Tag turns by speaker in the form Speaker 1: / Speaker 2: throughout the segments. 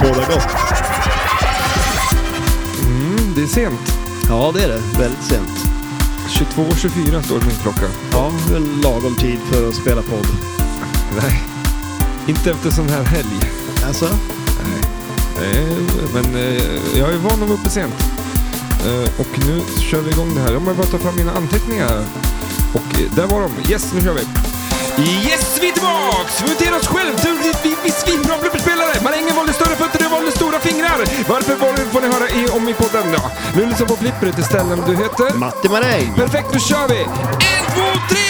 Speaker 1: båda gott.
Speaker 2: Mm, det är sent.
Speaker 1: Ja, det är det. Väldigt sent.
Speaker 2: 22.24 står det min klocka.
Speaker 1: Ja, det är en lagom tid för att spela podd.
Speaker 2: Nej. Inte efter sån här helg.
Speaker 1: Alltså?
Speaker 2: Nej. Eh, Men eh, jag är van att vara uppe sent. Eh, Och nu kör vi igång det här. Jag måste bara ta fram mina anteckningar. här. Och eh, där var de. Yes, nu kör vi. Yes, vi är tillbaks! Mutera oss själv till vi, vi, vi svinbra blubberspelare! Marängen valde större fötter, du valde stora fingrar! Varför valde får ni höra i, om i podden då? Nu lyssnar på Flippret istället, du heter?
Speaker 1: Matti Maräng!
Speaker 2: Perfekt, då kör vi! En, två, tre!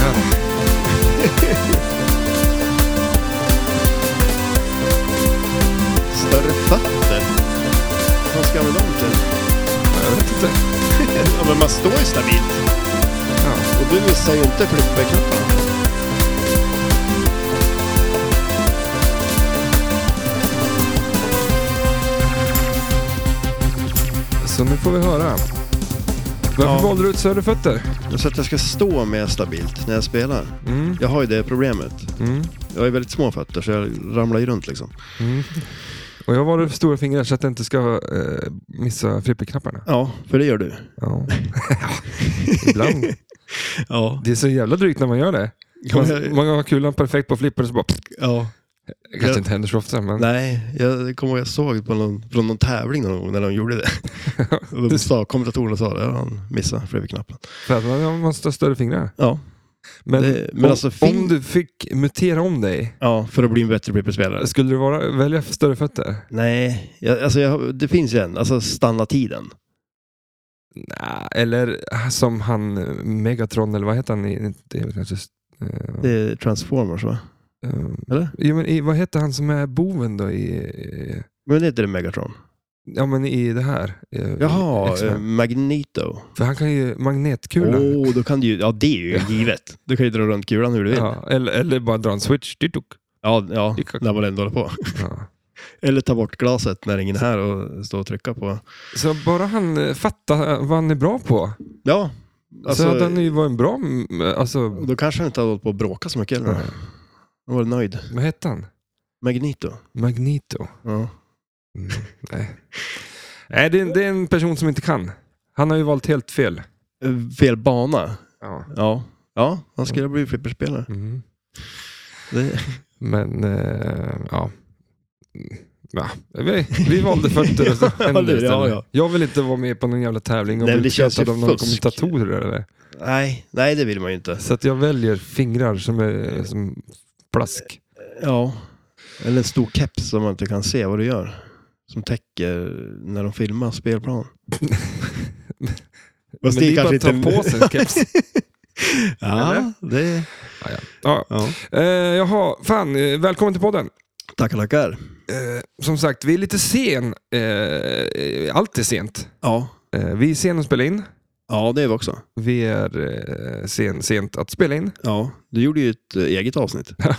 Speaker 2: Ja.
Speaker 1: Större fötter? Vad ska jag med dem till?
Speaker 2: Jag vet inte.
Speaker 1: Ja, men man står ju stabilt.
Speaker 2: Ja.
Speaker 1: Och du missar ju inte flipperknapparna.
Speaker 2: Så nu får vi höra. Varför
Speaker 1: Ja.
Speaker 2: valde du ut större fötter?
Speaker 1: Så att jag ska stå mer stabilt när jag spelar.
Speaker 2: Mm.
Speaker 1: Jag har ju det problemet.
Speaker 2: Mm.
Speaker 1: Jag har ju väldigt små fötter så jag ramlar ju runt liksom.
Speaker 2: Och jag valde stora fingrar så att jag inte ska eh, missa flipperknapparna.
Speaker 1: Ja, för det gör du.
Speaker 2: Ja. Ibland.
Speaker 1: Ja.
Speaker 2: Det är så jävla drygt när man gör det. Man,
Speaker 1: Ja, jag-
Speaker 2: man har kulan perfekt på flipper och så bara...
Speaker 1: ja.
Speaker 2: Det kanske
Speaker 1: Ja.
Speaker 2: inte händer så ofta, men
Speaker 1: Nej, jag kommer ihåg jag såg på någon, från någon tävling någon gång när de gjorde det. Och de sa, kommentatorerna sa det, ja, han missade flipperknappen.
Speaker 2: för att man måste ha större fingrar.
Speaker 1: Ja,
Speaker 2: Men,
Speaker 1: Det- men
Speaker 2: om,
Speaker 1: alltså, fin-
Speaker 2: om du fick mutera om dig,
Speaker 1: ja, för att bli en bättre flipperspelare.
Speaker 2: skulle du vara, välja större fötter?
Speaker 1: Nej, jag, alltså jag, det finns ju en. Alltså stanna tiden.
Speaker 2: Nä, eller som han eh, Megatron, eller vad heter han? i- Det är väl kanske... eh,
Speaker 1: Det är Transformers va?
Speaker 2: eh,
Speaker 1: Eller?
Speaker 2: Jo, men i, vad heter han som är boven då i... eh,
Speaker 1: Men det heter det Megatron.
Speaker 2: Ja, men i det här. eh,
Speaker 1: Jaha,
Speaker 2: X-Men.
Speaker 1: eh, Magneto.
Speaker 2: För han kan ju magnetkulan.
Speaker 1: Åh, då kan du ju, ja det är ju givet. Du kan ju dra runt kulan hur du vill. Ja,
Speaker 2: ja, eller, eller bara dra en switch. Dyrduk.
Speaker 1: ja, när man ändå håller på.
Speaker 2: Ja.
Speaker 1: Eller ta bort glaset när ingen är här och stå och trycka på.
Speaker 2: Så bara han eh, fattar vad han är bra på.
Speaker 1: Ja,
Speaker 2: så
Speaker 1: alltså,
Speaker 2: hade han ju varit en bra... mm, Alltså,
Speaker 1: då kanske han inte hade hållit på att bråka så mycket heller.
Speaker 2: Nej.
Speaker 1: Han var nöjd.
Speaker 2: vad hette han?
Speaker 1: Magneto.
Speaker 2: Magneto.
Speaker 1: Ja.
Speaker 2: Mm, nej, nej det, är, det är en person som inte kan. Han har ju valt helt fel.
Speaker 1: Eh, Fel bana.
Speaker 2: Ja.
Speaker 1: Ja. Ja, han skulle ha blivit flipperspelare.
Speaker 2: Mm.
Speaker 1: Det,
Speaker 2: Men, eh, ja. Mm, Ja, vi, vi valde fötter och så
Speaker 1: Ja,
Speaker 2: hände det
Speaker 1: du, ja,
Speaker 2: istället.
Speaker 1: ja.
Speaker 2: Jag vill inte vara med på någon jävla tävling och
Speaker 1: Nej, men
Speaker 2: bli
Speaker 1: det känns
Speaker 2: utkastad
Speaker 1: ju
Speaker 2: av några
Speaker 1: fusk.
Speaker 2: kommentatorer. Eller.
Speaker 1: nej, nej, det vill man ju inte.
Speaker 2: Så att jag väljer fingrar som är som plask.
Speaker 1: Ja. Eller en stor keps som man inte kan se vad du gör. Som täcker när de filmar spelplan. Fast
Speaker 2: men det är bara
Speaker 1: kanske
Speaker 2: att ta på sig en keps.
Speaker 1: Ja, det...
Speaker 2: Ja.
Speaker 1: Ja.
Speaker 2: Eh, jaha, fan, eh, välkommen till podden.
Speaker 1: Tackar, tackar.
Speaker 2: Eh, som sagt, vi är lite sen. Eh, Eh, allt är sent.
Speaker 1: Ja.
Speaker 2: Eh, vi är sen att spela in.
Speaker 1: ja, det är vi också.
Speaker 2: Vi är eh, sen, sent att spela in.
Speaker 1: Ja, du gjorde ju ett eh, eget avsnitt.
Speaker 2: Ja.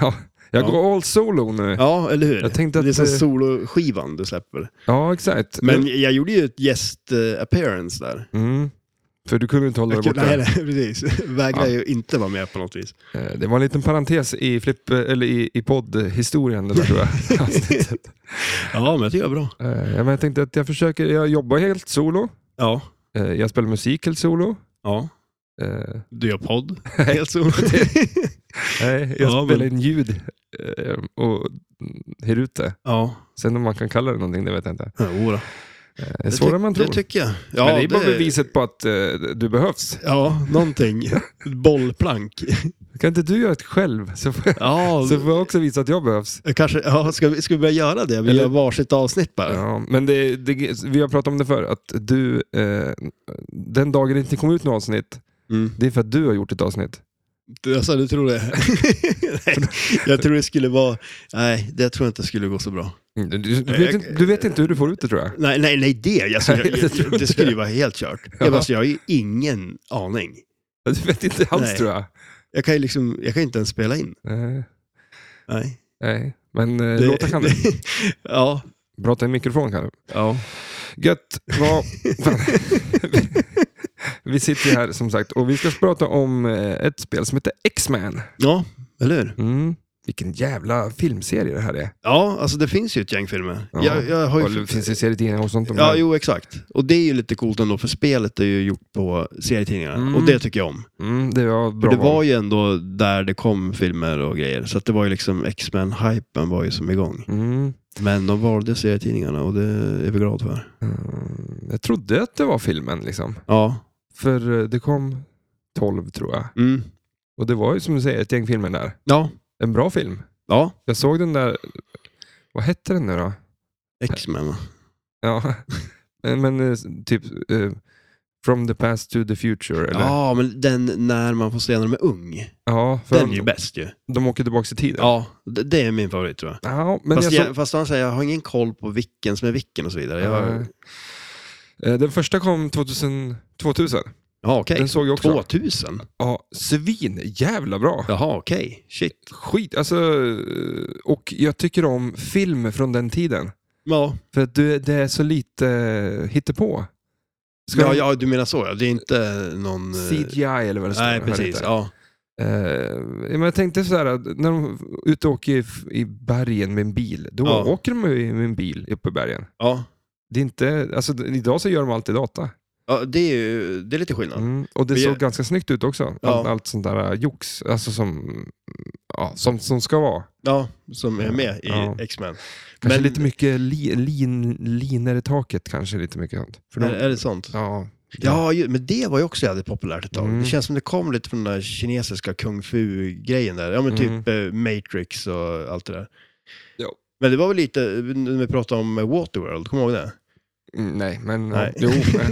Speaker 2: Jag
Speaker 1: Ja.
Speaker 2: går all solo nu. Ja,
Speaker 1: Ja, eller hur?
Speaker 2: Jag tänkte att,
Speaker 1: det är som
Speaker 2: eh,
Speaker 1: soloskivan du släpper.
Speaker 2: exakt.
Speaker 1: Men jag gjorde ju ett gäst-appearance där.
Speaker 2: Mm. För du kunde inte hålla dig borta.
Speaker 1: Nej, nej, precis. Vägrar
Speaker 2: Ja.
Speaker 1: ju inte vara med på något vis.
Speaker 2: Eh, Det var en liten parentes i, flipp, eh, eller i, i poddhistorien. Det där, tror jag. Avsnittet.
Speaker 1: Ja, men jag tycker det är bra.
Speaker 2: Eh, men jag tänkte att jag försöker, jag jobbar helt solo.
Speaker 1: Ja.
Speaker 2: Eh, jag spelar musik helt solo.
Speaker 1: ja.
Speaker 2: Eh,
Speaker 1: Du gör podd. Helt soligt.
Speaker 2: nej, jag
Speaker 1: Ja,
Speaker 2: spelar
Speaker 1: men-
Speaker 2: in ljud eh, och hyr ut det.
Speaker 1: ja.
Speaker 2: Sen om man kan kalla det någonting, det vet jag inte.
Speaker 1: Ja, jodå.
Speaker 2: Eh, det är
Speaker 1: Det
Speaker 2: svårare än man
Speaker 1: tyck-
Speaker 2: tror.
Speaker 1: Det tycker jag. Ja,
Speaker 2: men det är bara beviset på att eh, du behövs.
Speaker 1: Ja, någonting. Bollplank.
Speaker 2: Kan inte du göra ett själv? Så får jag,
Speaker 1: Ja,
Speaker 2: så får jag också visa att jag behövs.
Speaker 1: kanske. Ja, ska, vi, ska vi börja göra det? Vi
Speaker 2: Eller-
Speaker 1: gör varsitt avsnitt bara. Ja.
Speaker 2: Ja, men det, det, vi har pratat om det förr, att du, eh, den dagen det inte kom ut något avsnitt,
Speaker 1: Mm.
Speaker 2: det är för att du har gjort ett avsnitt.
Speaker 1: Du- Alltså, du tror det? nej, jag tror det skulle vara... Nej, det tror jag inte skulle gå så bra.
Speaker 2: Mm, Du, du,
Speaker 1: Eh,
Speaker 2: vet, inte- du vet inte hur du får ut det tror jag.
Speaker 1: Nej, nej, nej det, alltså, jag,
Speaker 2: Nej, det tror
Speaker 1: jag,
Speaker 2: inte
Speaker 1: det skulle ju
Speaker 2: jag.
Speaker 1: vara helt kört.
Speaker 2: Ja.
Speaker 1: Jag, alltså, jag har ju ingen aning.
Speaker 2: Du vet inte alls
Speaker 1: Nej.
Speaker 2: tror jag.
Speaker 1: Jag kan ju liksom, jag kan ju inte ens spela in.
Speaker 2: Nej,
Speaker 1: Nej.
Speaker 2: nej. men eh, låta kan du.
Speaker 1: ja.
Speaker 2: Prata i mikrofon kan du.
Speaker 1: ja.
Speaker 2: Gött. Vad... Fan. Vi- vi sitter ju här som sagt och vi ska prata om eh, ett spel som heter X-Man.
Speaker 1: Ja, eller hur?
Speaker 2: Mm. Vilken jävla filmserie det här är.
Speaker 1: Ja, alltså det finns ju ett gäng filmer.
Speaker 2: Ja.
Speaker 1: Jag, jag har ju...
Speaker 2: Och det finns det serietidningar och sånt om det
Speaker 1: Ja,
Speaker 2: här?
Speaker 1: jo exakt. Och det är ju lite coolt ändå, för spelet är ju gjort på serietidningar.
Speaker 2: Mm.
Speaker 1: Och det tycker jag om.
Speaker 2: Mm, det var
Speaker 1: För
Speaker 2: bra
Speaker 1: det
Speaker 2: val.
Speaker 1: var ju ändå där det kom filmer och grejer. Så att det var ju liksom, X-Men-hypen var ju som igång.
Speaker 2: Mm.
Speaker 1: Men de valde serietidningarna och det är vi glada för.
Speaker 2: Mm. Jag trodde att det var filmen liksom.
Speaker 1: Ja.
Speaker 2: För eh, det kom 12 tror jag.
Speaker 1: Mm.
Speaker 2: Och det var ju som du säger ett gäng filmer där.
Speaker 1: Ja.
Speaker 2: En bra film.
Speaker 1: Ja.
Speaker 2: Jag såg den där, vad hette den nu då?
Speaker 1: X-Men va?
Speaker 2: Ja, men, men eh, typ eh, From the past to the future. Eller?
Speaker 1: Ja, men den när man får se när de är ung.
Speaker 2: ja för
Speaker 1: Den är ju
Speaker 2: de,
Speaker 1: bäst ju.
Speaker 2: de åker tillbaka i tiden.
Speaker 1: Ja, det, det är min favorit tror jag.
Speaker 2: Ja, men
Speaker 1: fast,
Speaker 2: jag
Speaker 1: jag,
Speaker 2: såg,
Speaker 1: fast han säger, jag har ingen koll på vilken som är vilken och så vidare. Jag,
Speaker 2: Eh, eh, den första kom 2000. 2000.
Speaker 1: ja, okej.
Speaker 2: Den såg jag också.
Speaker 1: 2000?
Speaker 2: Ja, svin, jävla bra.
Speaker 1: Jaha, okej. Shit.
Speaker 2: Skit, alltså. eh, Och jag tycker om film från den tiden.
Speaker 1: Ja.
Speaker 2: För att du- det är så lite eh, hittepå. Ska
Speaker 1: ja,
Speaker 2: de-
Speaker 1: ja, du menar så ja. Det är inte någon... eh,
Speaker 2: CGI eller vad det står.
Speaker 1: Nej,
Speaker 2: jag hör
Speaker 1: precis.
Speaker 2: inte.
Speaker 1: Ja.
Speaker 2: Eh, men jag tänkte sådär, att när de är ute och åker i, i bergen med en bil, då
Speaker 1: Ja.
Speaker 2: åker de ju med en bil uppe i bergen.
Speaker 1: Ja.
Speaker 2: Det är inte, alltså, d- idag så gör de allt i data.
Speaker 1: ja, det är ju det är lite skillnad.
Speaker 2: Mm. Och det
Speaker 1: Men
Speaker 2: såg
Speaker 1: jag-
Speaker 2: ganska snyggt ut också. Allt,
Speaker 1: Ja.
Speaker 2: allt sånt där eh, jox, alltså som, ja, som, som ska vara.
Speaker 1: Ja, som är med i
Speaker 2: Ja.
Speaker 1: X-Men.
Speaker 2: Kanske
Speaker 1: Men-
Speaker 2: lite mycket li, lin, liner i taket kanske, lite mycket sånt. För de,
Speaker 1: Är, är det sånt? Ja,
Speaker 2: ja,
Speaker 1: ju, men det var ju också jävligt populärt ett tag.
Speaker 2: Mm.
Speaker 1: Det känns som det kom lite från den där kinesiska kung fu-grejen där. Ja, men typ eh, Matrix och allt det där.
Speaker 2: Mm. Ja.
Speaker 1: Men det var väl lite, när vi pratade om Waterworld, kommer du ihåg det?
Speaker 2: Mm, nej, men
Speaker 1: Nej.
Speaker 2: Ja, jo. eh,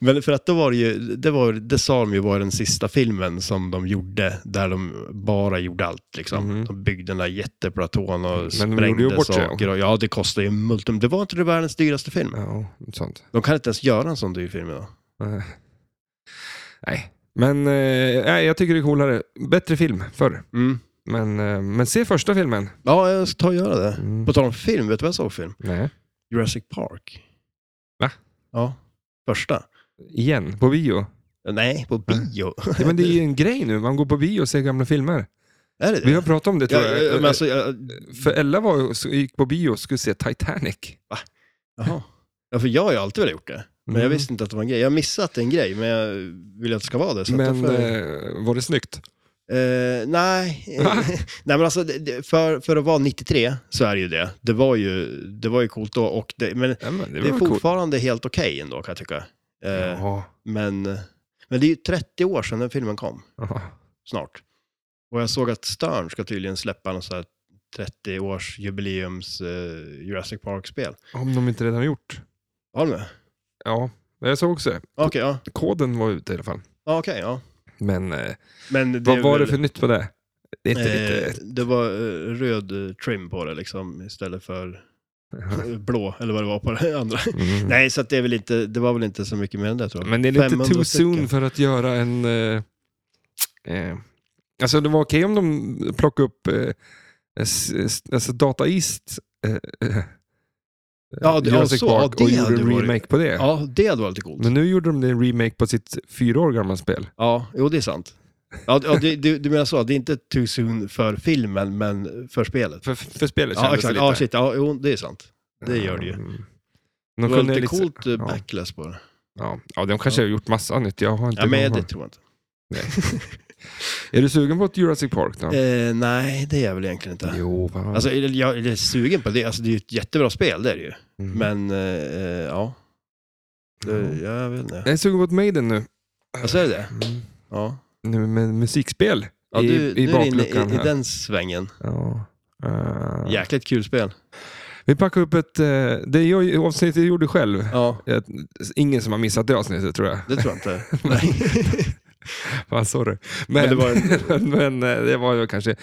Speaker 1: Men för att då var det ju, det, var, det sa de ju var den sista filmen som de gjorde, där de bara gjorde allt liksom.
Speaker 2: Mhm.
Speaker 1: De byggde den där jätteplatån och
Speaker 2: Mm, Men de gjorde ju
Speaker 1: sprängde
Speaker 2: bort sig, ja.
Speaker 1: saker. Och, ja, det kostade ju multum. Det var inte det världens dyraste film.
Speaker 2: ja, sånt.
Speaker 1: De kan inte ens göra en sån dyr film idag.
Speaker 2: Eh, Nej, men eh, nej, jag tycker det är coolare. Bättre film förr.
Speaker 1: Mm.
Speaker 2: Men, eh, men se första filmen.
Speaker 1: Ja, jag ska ta och göra det.
Speaker 2: Mm.
Speaker 1: På tal om film, vet du vad jag såg för film?
Speaker 2: Nej.
Speaker 1: Jurassic Park.
Speaker 2: Va?
Speaker 1: Ja, första.
Speaker 2: Igen, på bio.
Speaker 1: Nej,
Speaker 2: Äh.
Speaker 1: på bio.
Speaker 2: Ja, men det är ju en grej nu, man går på bio och ser gamla filmer.
Speaker 1: Är det det?
Speaker 2: Vi har pratat om det tror
Speaker 1: ja,
Speaker 2: jag. Eh,
Speaker 1: ja, men alltså, jag,
Speaker 2: För Ella var, ju- så gick på bio och skulle se Titanic.
Speaker 1: jaha. Ja, för jag har ju alltid velat gjort det. Men jag
Speaker 2: Mm.
Speaker 1: visste inte att det var en grej. Jag har missat att det är en grej, men jag vill att det ska vara det. Så att
Speaker 2: Men
Speaker 1: då får jag-
Speaker 2: eh, var det snyggt?
Speaker 1: Eh, nej.
Speaker 2: Va?
Speaker 1: nej, men alltså det- det- för, för att vara 93 så är det ju det. Det var ju, det var ju coolt då, och det, men
Speaker 2: Ja, men
Speaker 1: det,
Speaker 2: det,
Speaker 1: är
Speaker 2: var väl coolt.
Speaker 1: fortfarande helt okej ändå kan jag tycka. Eh,
Speaker 2: Ja,
Speaker 1: men, men det är ju 30 år sedan den filmen kom.
Speaker 2: ja.
Speaker 1: snart. Och jag såg att Stern ska tydligen släppa någon så här 30 års jubileums eh, Jurassic Park-spel.
Speaker 2: Om de inte redan har gjort.
Speaker 1: Har du med?
Speaker 2: Ja, men jag såg också det.
Speaker 1: Okej, ja.
Speaker 2: Koden var ute i alla fall.
Speaker 1: ja, okej, ja.
Speaker 2: Men eh,
Speaker 1: Men det
Speaker 2: vad
Speaker 1: är
Speaker 2: var det
Speaker 1: väl-
Speaker 2: för nytt på det? Det är inte
Speaker 1: eh,
Speaker 2: lite...
Speaker 1: Det var eh, röd eh, trim på det liksom istället för eh, blå eller vad det var på det andra.
Speaker 2: Mm.
Speaker 1: Nej, så att det, är väl inte, det var väl inte så mycket mer än det tror jag.
Speaker 2: Men det är lite
Speaker 1: 500 stycken.
Speaker 2: too soon för att göra en... Eh, eh, alltså det var okej om de plockade upp eh, s, s, alltså Data East eh, eh,
Speaker 1: Ja, det- ja,
Speaker 2: Jurassic
Speaker 1: så,
Speaker 2: Park
Speaker 1: ja, det
Speaker 2: och gjorde
Speaker 1: hade
Speaker 2: en
Speaker 1: varit-
Speaker 2: remake på det.
Speaker 1: Ja, det hade varit lite coolt.
Speaker 2: Men nu gjorde de en remake på sitt fyra år gamla spel.
Speaker 1: Ja, jo det är sant. Ja, ja, du, du, du menar så, det är inte too soon för filmen, men för spelet.
Speaker 2: För, för spelet
Speaker 1: Ja, exakt. Ja, shit. Ja, jo, det är sant. det gör det ju.
Speaker 2: Mm.
Speaker 1: Det
Speaker 2: De
Speaker 1: var
Speaker 2: kunde
Speaker 1: lite
Speaker 2: liksom-
Speaker 1: coolt eh,
Speaker 2: ja.
Speaker 1: backlash på det.
Speaker 2: Ja, ja, de kanske har gjort massa nytt. Jag har inte
Speaker 1: Ja, men
Speaker 2: koll på
Speaker 1: det
Speaker 2: det.
Speaker 1: tror jag inte.
Speaker 2: Är du sugen på ett Jurassic Park då?
Speaker 1: Eh, nej, det är jag väl egentligen inte.
Speaker 2: Jo, va?
Speaker 1: Alltså, jag, jag är sugen på det. Alltså, det är ju ett jättebra spel, det är det ju.
Speaker 2: Mm.
Speaker 1: Men, eh, eh, ja. Det, jag vet inte.
Speaker 2: Jag är sugen på ett Maiden nu.
Speaker 1: Alltså, är det det?
Speaker 2: Mm.
Speaker 1: Ja.
Speaker 2: Nu med musikspel
Speaker 1: ja
Speaker 2: i,
Speaker 1: du,
Speaker 2: i
Speaker 1: nu är du inne
Speaker 2: bakluckan
Speaker 1: i, i
Speaker 2: här.
Speaker 1: den svängen.
Speaker 2: Ja. Eh,
Speaker 1: Jäkligt kul spel.
Speaker 2: Vi packar upp ett... eh, det jag, avsnittet jag gjorde själv.
Speaker 1: Ja,
Speaker 2: Jag, ingen som har missat det avsnittet tror jag.
Speaker 1: det tror jag inte. Nej.
Speaker 2: Fan, sorry.
Speaker 1: Men
Speaker 2: Men,
Speaker 1: det
Speaker 2: det
Speaker 1: var
Speaker 2: var... men eh, det var ju kanske...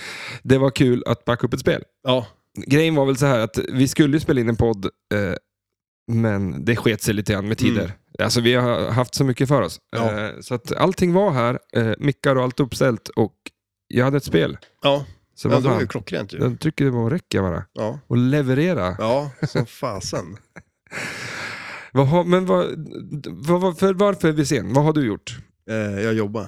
Speaker 2: Det var kul att packa upp ett spel.
Speaker 1: Ja,
Speaker 2: Grejen var väl så här att vi skulle ju spela in en podd, eh, men det sket sig lite grann med tider.
Speaker 1: Mm.
Speaker 2: Alltså vi har haft så mycket för oss.
Speaker 1: Ja.
Speaker 2: Eh, så att allting var här, eh, mickar och allt uppställt och jag hade ett spel.
Speaker 1: ja.
Speaker 2: Så
Speaker 1: ja
Speaker 2: vad
Speaker 1: det var ju
Speaker 2: fan,
Speaker 1: klockrent ju.
Speaker 2: jag trycker på räcka bara.
Speaker 1: Ja,
Speaker 2: och leverera.
Speaker 1: ja som fasen.
Speaker 2: Vad har, men vad, vad, vad- för, varför är vi sen? Vad har du gjort?
Speaker 1: Eh, jag jobbar.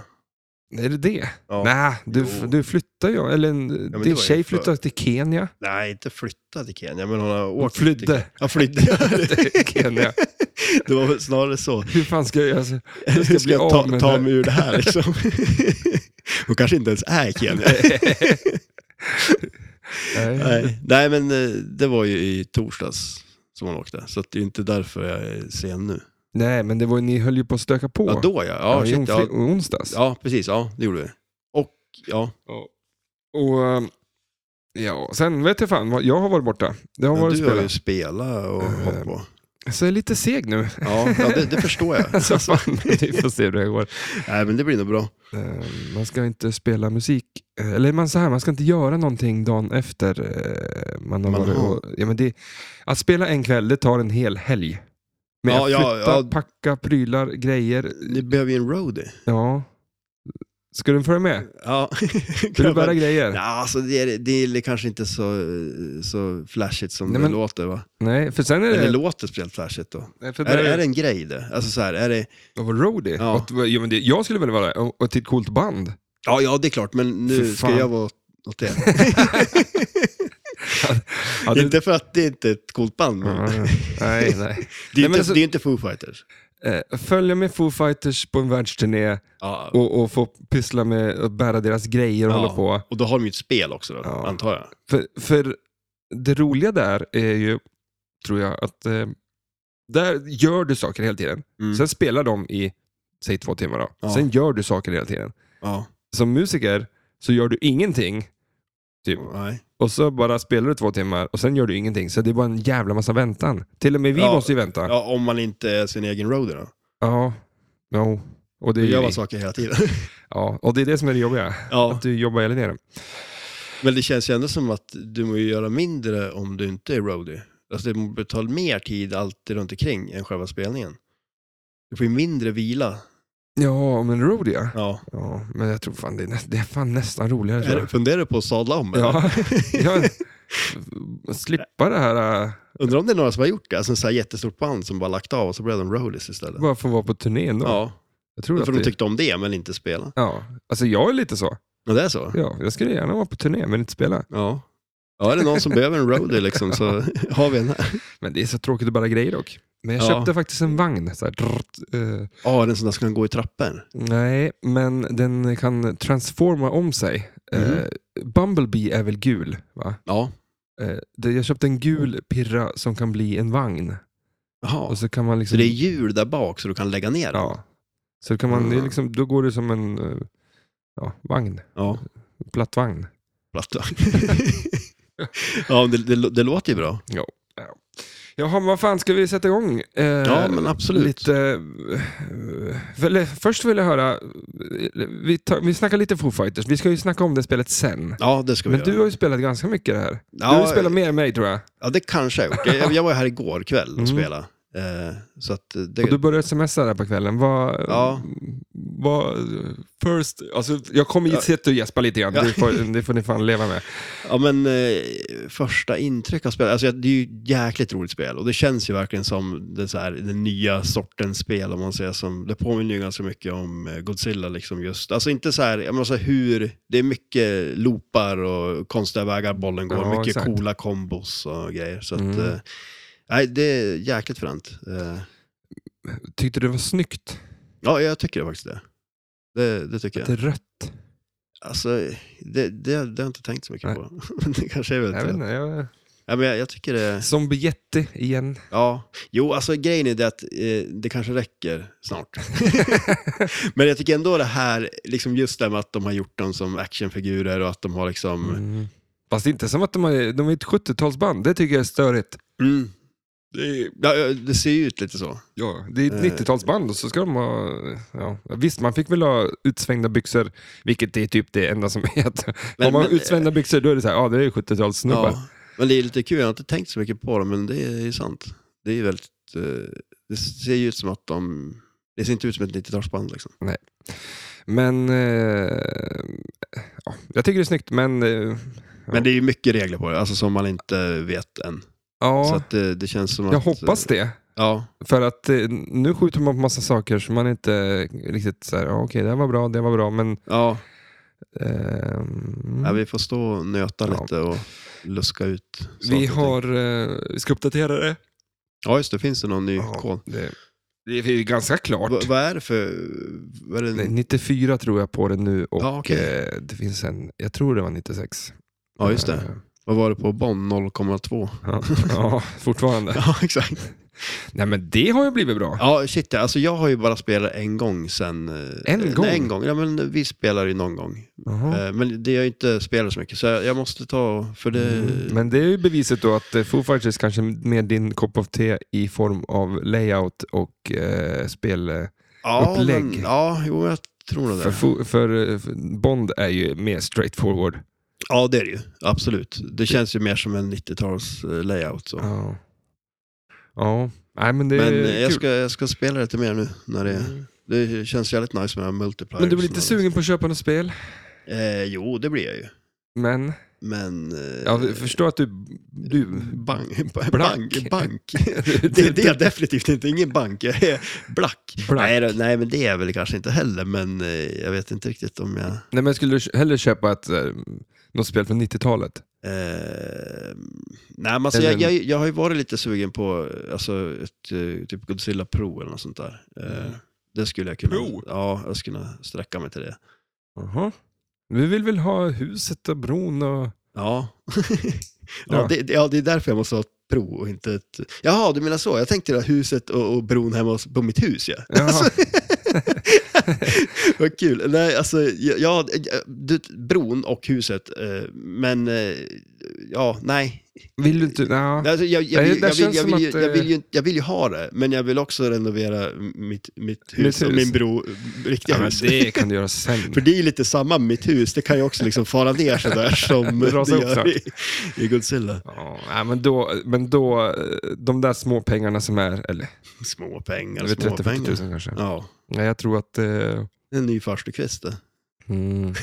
Speaker 2: Är det det?
Speaker 1: Ja.
Speaker 2: Nej, du,
Speaker 1: Jo.
Speaker 2: du flyttar ju. Eller en,
Speaker 1: det var
Speaker 2: din
Speaker 1: ju
Speaker 2: tjej
Speaker 1: för-
Speaker 2: flyttade till Kenya.
Speaker 1: Nej, inte flytta till Kenya, men hon har
Speaker 2: Hon
Speaker 1: åkt Till...
Speaker 2: flydde
Speaker 1: Ja, flydde.
Speaker 2: till Kenya.
Speaker 1: det var väl snarare så.
Speaker 2: Hur fan ska jag göra? så-
Speaker 1: Hur
Speaker 2: ska
Speaker 1: ska,
Speaker 2: bli av
Speaker 1: jag ta,
Speaker 2: med
Speaker 1: ta
Speaker 2: det.
Speaker 1: mig ur det här liksom? hon kanske inte ens är i Kenya.
Speaker 2: Nej.
Speaker 1: Nej. Nej, men eh, det var ju i torsdags som hon åkte, så att det är inte därför jag är sen nu.
Speaker 2: Nej, men det var, ju- ni höll ju på att stöka på.
Speaker 1: Ja, då ja.
Speaker 2: Ja,
Speaker 1: Ja,
Speaker 2: i
Speaker 1: shit,
Speaker 2: onf-
Speaker 1: ja.
Speaker 2: onsdags.
Speaker 1: ja precis. Ja, det gjorde vi. Och ja,
Speaker 2: Och ehm, ja, sen vet jag fan, vad- jag har varit borta. Det har
Speaker 1: men
Speaker 2: varit
Speaker 1: du har
Speaker 2: spelat.
Speaker 1: ju spelat och
Speaker 2: Eh,
Speaker 1: hållit på.
Speaker 2: Så jag är lite seg nu.
Speaker 1: Ja, ja det, det förstår jag.
Speaker 2: Alltså, fan, vi får se hur det går.
Speaker 1: Nej, men det blir nog bra.
Speaker 2: Ehm, Man ska inte spela musik, eh, eller man, så här, man ska inte göra någonting dagen efter eh, man har
Speaker 1: Man
Speaker 2: varit
Speaker 1: har-
Speaker 2: och, ja, men det, Att spela en kväll, det tar en hel helg. Med
Speaker 1: Ja,
Speaker 2: att
Speaker 1: ja,
Speaker 2: flytta,
Speaker 1: ja.
Speaker 2: packa, prylar, grejer.
Speaker 1: Ni behöver ju en roadie.
Speaker 2: Ja. Ska du följa med?
Speaker 1: Ja.
Speaker 2: Ska du bära grejer?
Speaker 1: Ja, alltså det är, det är kanske inte så, så flashigt som
Speaker 2: Nej, men- Eh.
Speaker 1: det låter va?
Speaker 2: Nej, för sen är det...
Speaker 1: Eller låter speciellt flashigt då.
Speaker 2: Nej, för
Speaker 1: Är,
Speaker 2: där-
Speaker 1: är det en grej det? Alltså så här, är det...
Speaker 2: Och vara roadie?
Speaker 1: Ja.
Speaker 2: Och att- Ja. men det, jag skulle väl vara det, och, och till ett coolt band.
Speaker 1: Ja, ja det är klart, men
Speaker 2: Fy
Speaker 1: nu
Speaker 2: fan.
Speaker 1: ska jag vara åt det.
Speaker 2: Ja, det-
Speaker 1: Inte för att det inte är ett coolt band, men
Speaker 2: Ja, ja. nej, nej.
Speaker 1: det är
Speaker 2: men
Speaker 1: ju inte,
Speaker 2: alltså-
Speaker 1: det är inte Foo Fighters.
Speaker 2: Eh, Följa med Foo Fighters på en världsturné
Speaker 1: Ja, och,
Speaker 2: och, och få pyssla med att bära deras grejer och
Speaker 1: Ja.
Speaker 2: hålla på.
Speaker 1: då har de ju ett spel också, då,
Speaker 2: Ja.
Speaker 1: antar jag.
Speaker 2: För, för det roliga där är ju, tror jag, att eh, där gör du saker hela tiden.
Speaker 1: Mm.
Speaker 2: Sen spelar de i, säg två timmar då.
Speaker 1: Ja.
Speaker 2: Sen gör du saker hela tiden.
Speaker 1: Ja,
Speaker 2: Som musiker så gör du ingenting. Typ.
Speaker 1: nej.
Speaker 2: Och så bara spelar du två timmar och sen gör du ingenting. Så det är bara en jävla massa väntan. Till och med vi
Speaker 1: Ja.
Speaker 2: måste ju vänta. Ja.
Speaker 1: ja, om man inte är sin egen roadie då.
Speaker 2: ja. Och det är
Speaker 1: Då
Speaker 2: ju
Speaker 1: gör
Speaker 2: vi.
Speaker 1: man saker hela tiden.
Speaker 2: Ja. Och det är det som är det jobbiga.
Speaker 1: ja.
Speaker 2: Att du jobbar hela tiden.
Speaker 1: Men det känns ju ändå som att du måste göra mindre om du inte är roadie. Alltså det måste ta mer tid alltid runt omkring än själva spelningen. Du får ju mindre vila.
Speaker 2: Ja, men roadie ja.
Speaker 1: Ja.
Speaker 2: ja. Men jag tror fan det är, nä- det är fan nästan roligare. Tror
Speaker 1: Är,
Speaker 2: jag.
Speaker 1: funderar du på att sadla om? eller?
Speaker 2: Ja. jag slippa det här. äh,
Speaker 1: Undrar om det är några som har gjort det? Alltså en så här jättestort band som bara lagt av och så blev de roadies istället.
Speaker 2: Bara få vara på turné ändå.
Speaker 1: Ja,
Speaker 2: Jag tror
Speaker 1: för
Speaker 2: att
Speaker 1: de
Speaker 2: det...
Speaker 1: tyckte om det men inte spela.
Speaker 2: Ja. Alltså jag är lite så.
Speaker 1: Men det är så?
Speaker 2: Ja, jag skulle gärna vara på turné men inte spela.
Speaker 1: Ja. Ja, är det någon som behöver en roadie liksom så har vi en här.
Speaker 2: Men det är så tråkigt att bära grejer dock. Men jag
Speaker 1: Ja.
Speaker 2: köpte faktiskt en vagn. Så här, drrt, eh,
Speaker 1: Ja, den som där ska gå i trappor.
Speaker 2: Nej, men den kan transforma om sig.
Speaker 1: Mhm.
Speaker 2: Eh, Bumblebee är väl gul? va?
Speaker 1: Ja.
Speaker 2: Eh, det- jag köpte en gul pirra som kan bli en vagn.
Speaker 1: Jaha.
Speaker 2: Och så kan man liksom...
Speaker 1: Så det är hjul där bak så du kan lägga ner den?
Speaker 2: ja. Så kan man, det är
Speaker 1: Mm.
Speaker 2: liksom, då går det som en eh, ja, vagn.
Speaker 1: Ja.
Speaker 2: Plattvagn.
Speaker 1: platta. ja, det, det, det låter ju bra.
Speaker 2: Jaha, men vad fan, ska vi sätta igång? Eh,
Speaker 1: Ja, men absolut.
Speaker 2: Lite, eh, för, eller, först vill jag höra, eh, vi, tar, vi snackar lite Foo Fighters, vi ska ju snacka om det spelet sen.
Speaker 1: Ja, det ska vi
Speaker 2: Men du
Speaker 1: göra.
Speaker 2: har ju spelat ganska mycket det här. Du har ju
Speaker 1: Ja,
Speaker 2: spelat mer än mig tror jag.
Speaker 1: ja, det kanske jag har gjort. Jag, jag var ju här igår kväll och
Speaker 2: Mm.
Speaker 1: spelade. Eh, så att eh, det,
Speaker 2: Och du började smsa där på kvällen. Vad...
Speaker 1: Ja.
Speaker 2: vad first... Alltså, jag kommer ju
Speaker 1: Ja.
Speaker 2: se att du gäspar lite grann.
Speaker 1: Ja.
Speaker 2: Det, får, det får ni fan leva med.
Speaker 1: ja, men eh, första intryck av spelet, alltså jag- det är ju ett jäkligt roligt spel och det känns ju verkligen som det, så här, den nya sortens spel om man säger som, det påminner ju ganska mycket om eh, Godzilla liksom just, alltså inte så här, jag menar så här hur, det är mycket loopar och konstiga vägar bollen går,
Speaker 2: Ja,
Speaker 1: mycket
Speaker 2: exakt.
Speaker 1: coola kombos och grejer så att,
Speaker 2: Mm.
Speaker 1: eh, nej det är jäkligt fränt. Eh,
Speaker 2: Tyckte du det var snyggt?
Speaker 1: Ja, jag tycker det faktiskt det. Det, det tycker
Speaker 2: Att
Speaker 1: jag.
Speaker 2: det är rött?
Speaker 1: Alltså, det, det, det har jag inte tänkt så mycket
Speaker 2: Nej.
Speaker 1: på. det kanske är väl
Speaker 2: Jag vet
Speaker 1: inte.
Speaker 2: inte. Jag...
Speaker 1: Ja, men jag, jag tycker det.
Speaker 2: Som Bietti igen.
Speaker 1: Ja. Jo, alltså grejen är det att eh, det kanske räcker snart. men jag tycker ändå det här, liksom just det med att de har gjort dem som actionfigurer och att de har liksom... Mm.
Speaker 2: Mm. Fast det är inte som att de, har, de är ett 70-talsband. Det tycker jag är störigt.
Speaker 1: mm, Det, är- ja, ja, det ser ju ut lite så.
Speaker 2: Ja, det är ett
Speaker 1: Eh.
Speaker 2: 90-talsband och så ska de ha... Ja. Visst, man fick väl ha utsvängda byxor, vilket är typ det enda som heter.
Speaker 1: Men-
Speaker 2: Har man
Speaker 1: men- eh.
Speaker 2: utsvängda byxor, då är det så här, ja, det är 70-talssnubbar.
Speaker 1: Ja. Men det är lite kul, jag har inte tänkt så mycket på dem, men det är ju sant. Det är ju väldigt... Eh, det ser ju ut som att de... Det ser inte ut som ett 90-talsband liksom.
Speaker 2: Men eh, ja, jag tycker det är snyggt, men eh, Ja.
Speaker 1: Men det är ju mycket regler på det, alltså som man inte vet än. Så
Speaker 2: ja,
Speaker 1: att det, det känns som
Speaker 2: jag
Speaker 1: att... eh,
Speaker 2: hoppas det.
Speaker 1: Ja,
Speaker 2: För att eh, nu skjuter man på massa saker som man inte riktigt så här, "Ja, okej det här var bra, det här var bra, men...
Speaker 1: ja.
Speaker 2: ehm,
Speaker 1: ja vi får stå och nöta
Speaker 2: Ja.
Speaker 1: lite och luska ut saker och
Speaker 2: vi
Speaker 1: ting.
Speaker 2: har... eh, vi ska uppdatera det.
Speaker 1: Ja, just det. Finns det någon ny
Speaker 2: Ja,
Speaker 1: kod?
Speaker 2: det, det är ju ganska klart.
Speaker 1: Va- vad är det för... Vad är det?
Speaker 2: Nej, 94 tror jag på det nu och
Speaker 1: Ja, okej.
Speaker 2: eh, det finns en, jag tror det var 96.
Speaker 1: Ja, just det.
Speaker 2: Eh,
Speaker 1: Vad var det på Bonn? 0,2?
Speaker 2: Ja, ja fortfarande.
Speaker 1: Ja, exakt.
Speaker 2: Nej men det har ju blivit bra.
Speaker 1: Ja, shit ja. Alltså jag har ju bara spelat en gång sen... eh,
Speaker 2: En gång?
Speaker 1: Nej, en gång. Ja, men vi spelar ju någon gång.
Speaker 2: Jaha.
Speaker 1: Eh, Men det har ju inte spelat så mycket, så jag jag måste ta... och- För det...
Speaker 2: Mm. Men det är ju beviset då att eh, Foo Fighters kanske med din kopp av te i form av layout och eh, spel. eh,
Speaker 1: ja,
Speaker 2: upplägg.
Speaker 1: Men, ja, jo, jag tror nog
Speaker 2: För,
Speaker 1: det.
Speaker 2: Foo- för, eh, för Bond är ju mer straightforward.
Speaker 1: Ja, det är det ju. Absolut. Det känns ju mer som en 90-tals eh, layout. Så.
Speaker 2: Ja. Ja, nej men det är
Speaker 1: Men
Speaker 2: kul.
Speaker 1: eh, jag ska, jag ska spela lite mer nu. När det, det känns jävligt nice med den här multipliers.
Speaker 2: Men du blir inte sugen på att köpa något spel?
Speaker 1: Eh, jo, det blir jag ju.
Speaker 2: Men,
Speaker 1: Men... Eh,
Speaker 2: jag förstår att du... du
Speaker 1: Bank,
Speaker 2: Blank.
Speaker 1: bank, bank. Det, det är jag definitivt inte, ingen bank. Jag är black.
Speaker 2: Black.
Speaker 1: Nej, då- nej, men det är jag väl kanske inte heller, men eh, jag vet inte riktigt om jag... eh,
Speaker 2: Nej, men skulle du hellre köpa ett, eh, något spel från 90-talet?
Speaker 1: Eh, nej, men alltså, jag,
Speaker 2: Eller-
Speaker 1: jag, jag har ju varit lite sugen på alltså, ett, eh, typ Godzilla Pro eller något sånt där. Eh, det skulle jag kunna...
Speaker 2: Mm. Pro?
Speaker 1: Ja, jag skulle kunna sträcka mig till det.
Speaker 2: Jaha. Vi vill väl ha huset och bron och...
Speaker 1: Ja.
Speaker 2: Ja.
Speaker 1: ja, det, det- ja, det är därför jag måste ha ett Pro och inte ett... Jaha, du menar så. Jag tänkte det här huset och, och bron hemma hos- på mitt hus, ja.
Speaker 2: Jaha.
Speaker 1: Vad kul. Nej, alltså, ja, ja, du, bron och huset, eh, men eh, ja, nej.
Speaker 2: Vill du inte... Ja.
Speaker 1: Alltså, jag, jag,
Speaker 2: Nej,
Speaker 1: vill,
Speaker 2: det
Speaker 1: jag, vill,
Speaker 2: känns
Speaker 1: jag, vill,
Speaker 2: som
Speaker 1: ju-
Speaker 2: att,
Speaker 1: jag, vill
Speaker 2: eh,
Speaker 1: ju, jag vill ju ha det, men jag vill också renovera mitt, mitt hus
Speaker 2: Mitt
Speaker 1: och
Speaker 2: hus.
Speaker 1: min bro, eh, riktiga
Speaker 2: Ja, men
Speaker 1: hus.
Speaker 2: det kan du göra sen.
Speaker 1: För det är ju lite samma med mitt hus, det kan ju också liksom fara ner sådär som
Speaker 2: Det rasar
Speaker 1: det
Speaker 2: upp snart.
Speaker 1: gör i, i Godzilla.
Speaker 2: Ja, nej, men då, men då, eh, de där små pengarna som är, eller
Speaker 1: Små pengar,
Speaker 2: över
Speaker 1: små
Speaker 2: 30 40
Speaker 1: pengar.
Speaker 2: tusen kanske.
Speaker 1: Ja,
Speaker 2: Nej, jag tror att... Eh,
Speaker 1: en ny farstukvist det.
Speaker 2: mm.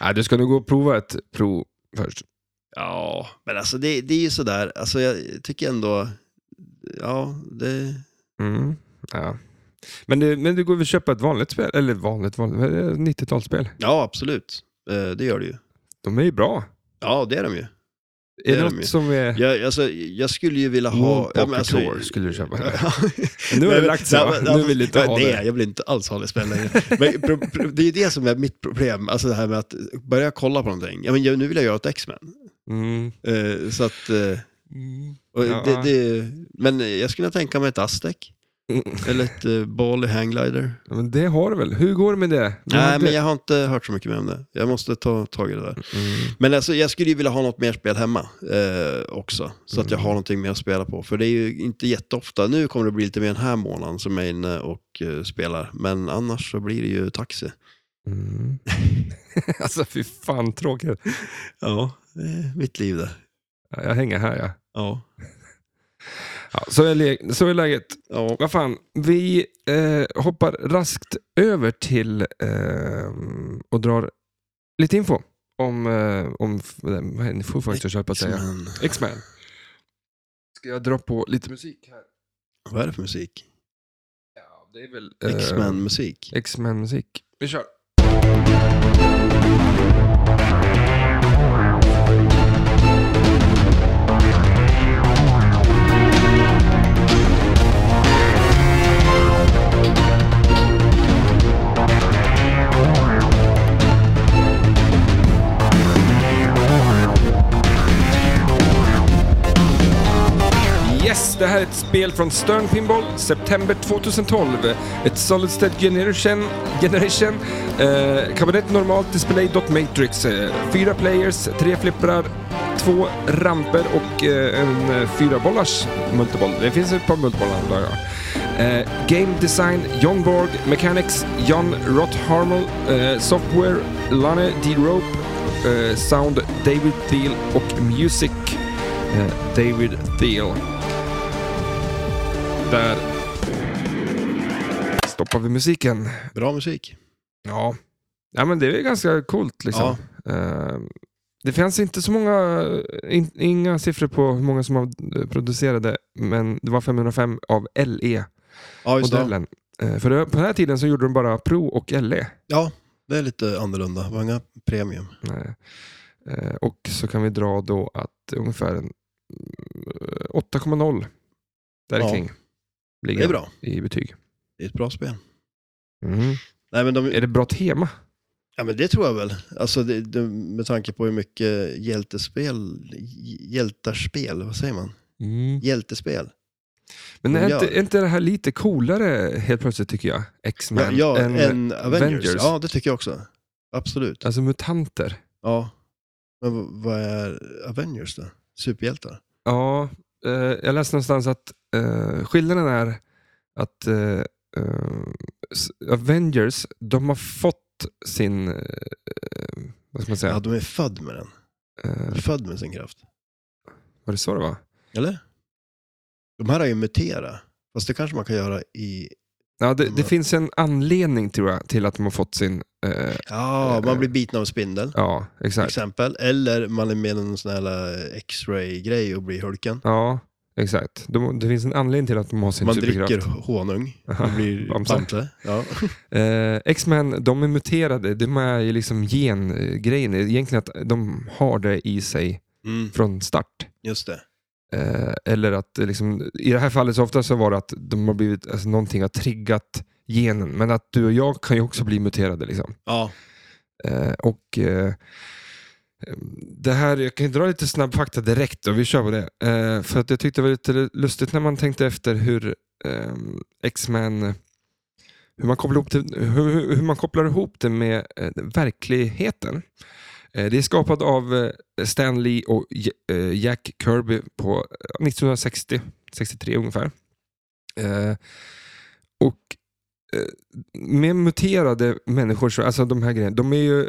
Speaker 2: nej, du ska nog gå och prova ett prov först.
Speaker 1: Ja, men alltså det, det är ju sådär, alltså jag tycker ändå, ja, det...
Speaker 2: Mm. Ja. Men, det, men det går väl att köpa ett vanligt spel, eller vanligt, vanligt eh, vad är det? 90-talsspel.
Speaker 1: Ja, absolut. Eh, Det gör det ju.
Speaker 2: De är ju bra.
Speaker 1: Ja, det är de ju.
Speaker 2: Är
Speaker 1: Det
Speaker 2: det
Speaker 1: är
Speaker 2: något
Speaker 1: de ju.
Speaker 2: som är...
Speaker 1: Jag, alltså, jag skulle ju vilja ha...
Speaker 2: Womp Walker Tour skulle du köpa. Nu har
Speaker 1: alltså- Nej,
Speaker 2: det
Speaker 1: men-
Speaker 2: lagt sig,
Speaker 1: nej,
Speaker 2: va?
Speaker 1: men-
Speaker 2: Nu vill du inte
Speaker 1: nej,
Speaker 2: ha
Speaker 1: nej,
Speaker 2: det.
Speaker 1: jag vill inte alls ha det spel längre. Men pro, pro, det är ju det som är mitt problem, alltså det här med att börja kolla på någonting. Ja, men jag, nu vill jag göra ett X-Men.
Speaker 2: Mm.
Speaker 1: Eh, så att... eh, och
Speaker 2: Ja.
Speaker 1: det, det, men jag skulle kunna tänka mig ett Aztec.
Speaker 2: Mm.
Speaker 1: Eller ett eh, Bali Hanglider.
Speaker 2: Ja, Men det har du väl? Hur går det med det? Vad
Speaker 1: Nej,
Speaker 2: hade-
Speaker 1: men jag har inte hört så mycket mer om det. Jag måste ta tag i det där.
Speaker 2: Mm.
Speaker 1: Men alltså, jag skulle ju vilja ha något mer spel hemma eh, också. Så att jag
Speaker 2: Mm.
Speaker 1: har någonting mer att spela på. För det är ju inte jätteofta. Nu kommer det bli lite mer den här månaden som jag är inne och eh, spelar. Men annars så blir det ju taxi.
Speaker 2: Mm. alltså fy fan tråkigt.
Speaker 1: Ja, mitt liv det.
Speaker 2: Ja, Jag hänger här ja.
Speaker 1: Ja.
Speaker 2: ja så, är le- så är läget.
Speaker 1: ja.
Speaker 2: Vad fan, vi eh, hoppar raskt över till eh, och drar lite info om, eh, om f- vad är det, Foo Fighters höll jag på att säga.
Speaker 1: X-Men.
Speaker 2: X-Man. Ska jag dra på lite musik här?
Speaker 1: Vad är det för musik?
Speaker 2: Ja, det är väl... eh,
Speaker 1: X-Men musik.
Speaker 2: X-Men musik. Vi kör. Yes, det här är ett spel från Stern Pinball, September 2012. Ett Solid State Generation, generation eh, kabinett normalt, display dot matrix. Eh, fyra players, tre flipprar, två ramper och eh, en eh, fyra bollars multiboll. Det finns ett par multibollar antar jag. Eh, game Design, John Borg, Mechanics, John Rotharmel, eh, Software, Lane D. Rope, eh, Sound, David Thiel och Music. Eh, David Thiel. Där stoppar vi musiken.
Speaker 1: Bra musik.
Speaker 2: Ja, ja men det är ju ganska coolt liksom. Eh, Det fanns inte så många, eh, in, inga siffror på hur många som av- producerade, men det var 505 av LE-modellen.
Speaker 1: Ja, just det.
Speaker 2: Eh, För det- på den här tiden så gjorde de bara Pro och E. LE.
Speaker 1: Ja, det är lite annorlunda. Det var inga premium.
Speaker 2: Nej. Eh, Och så kan vi dra då att ungefär en eh, 8,0 där
Speaker 1: Ja.
Speaker 2: kring
Speaker 1: Det
Speaker 2: ligger
Speaker 1: är bra.
Speaker 2: i betyg.
Speaker 1: Det är ett bra spel.
Speaker 2: Mm.
Speaker 1: Nej, men de,
Speaker 2: Är det bra tema?
Speaker 1: Ja, men det tror jag väl. Alltså, det, det, med tanke på hur mycket hjältespel, hj- hjältarspel, vad säger man? Mm. Hjältespel.
Speaker 2: Men är
Speaker 1: Ja.
Speaker 2: inte, är inte det här lite coolare helt plötsligt tycker jag?
Speaker 1: Ja,
Speaker 2: X-Men.
Speaker 1: ja,
Speaker 2: än-
Speaker 1: en, Avengers.
Speaker 2: Avengers.
Speaker 1: Ja, det tycker jag också. Absolut.
Speaker 2: Alltså mutanter.
Speaker 1: Ja. Men v- vad är Avengers då? Superhjältar?
Speaker 2: Ja, eh, jag läste någonstans att eh, skillnaden är att eh, eh, s- Avengers, de har fått sin, eh, vad ska
Speaker 1: Ja.
Speaker 2: man säga,
Speaker 1: de är född med den.
Speaker 2: eh,
Speaker 1: Född med sin kraft.
Speaker 2: var det så det var?
Speaker 1: Eller? De här har ju muterat. Fast det kanske man kan göra i...
Speaker 2: Ja, det,
Speaker 1: De
Speaker 2: det
Speaker 1: har-
Speaker 2: finns en anledning tror jag till att de har fått sin, eh,
Speaker 1: Ja, man blir biten av en spindel.
Speaker 2: ja
Speaker 1: Till
Speaker 2: exakt.
Speaker 1: exempel. Eller man är med i någon sån här jävla X-ray-grej och blir Hulken.
Speaker 2: Ja, exakt. De, det finns en anledning till att de har sin
Speaker 1: Man
Speaker 2: Typ superkraft.
Speaker 1: dricker honung. Det blir
Speaker 2: Bamse.
Speaker 1: Bamse. Ja.
Speaker 2: Eh, X-Men, de är muterade. De är ju liksom gengrejen. Egentligen att de har det i sig
Speaker 1: Mm,
Speaker 2: från start.
Speaker 1: just det.
Speaker 2: Eh, eller att eh, liksom, i det här fallet så ofta så var det att de har blivit, alltså, någonting har triggat genen. Men att du och jag kan ju också bli muterade. Liksom.
Speaker 1: Ja,
Speaker 2: Eh, och eh, det här, jag kan ju dra lite snabb fakta direkt och vi kör på det. Eh, för att jag tyckte det var lite lustigt när man tänkte efter hur eh, X-Men, hur man, kopplar ihop det, hur, hur- hur man kopplar ihop det med eh, verkligheten. Eh, det är skapat av eh, Stan Lee och J- eh, Jack Kirby på eh, 1960, 63 ungefär. Eh, och med muterade människor, så, alltså de här grejerna, de är ju,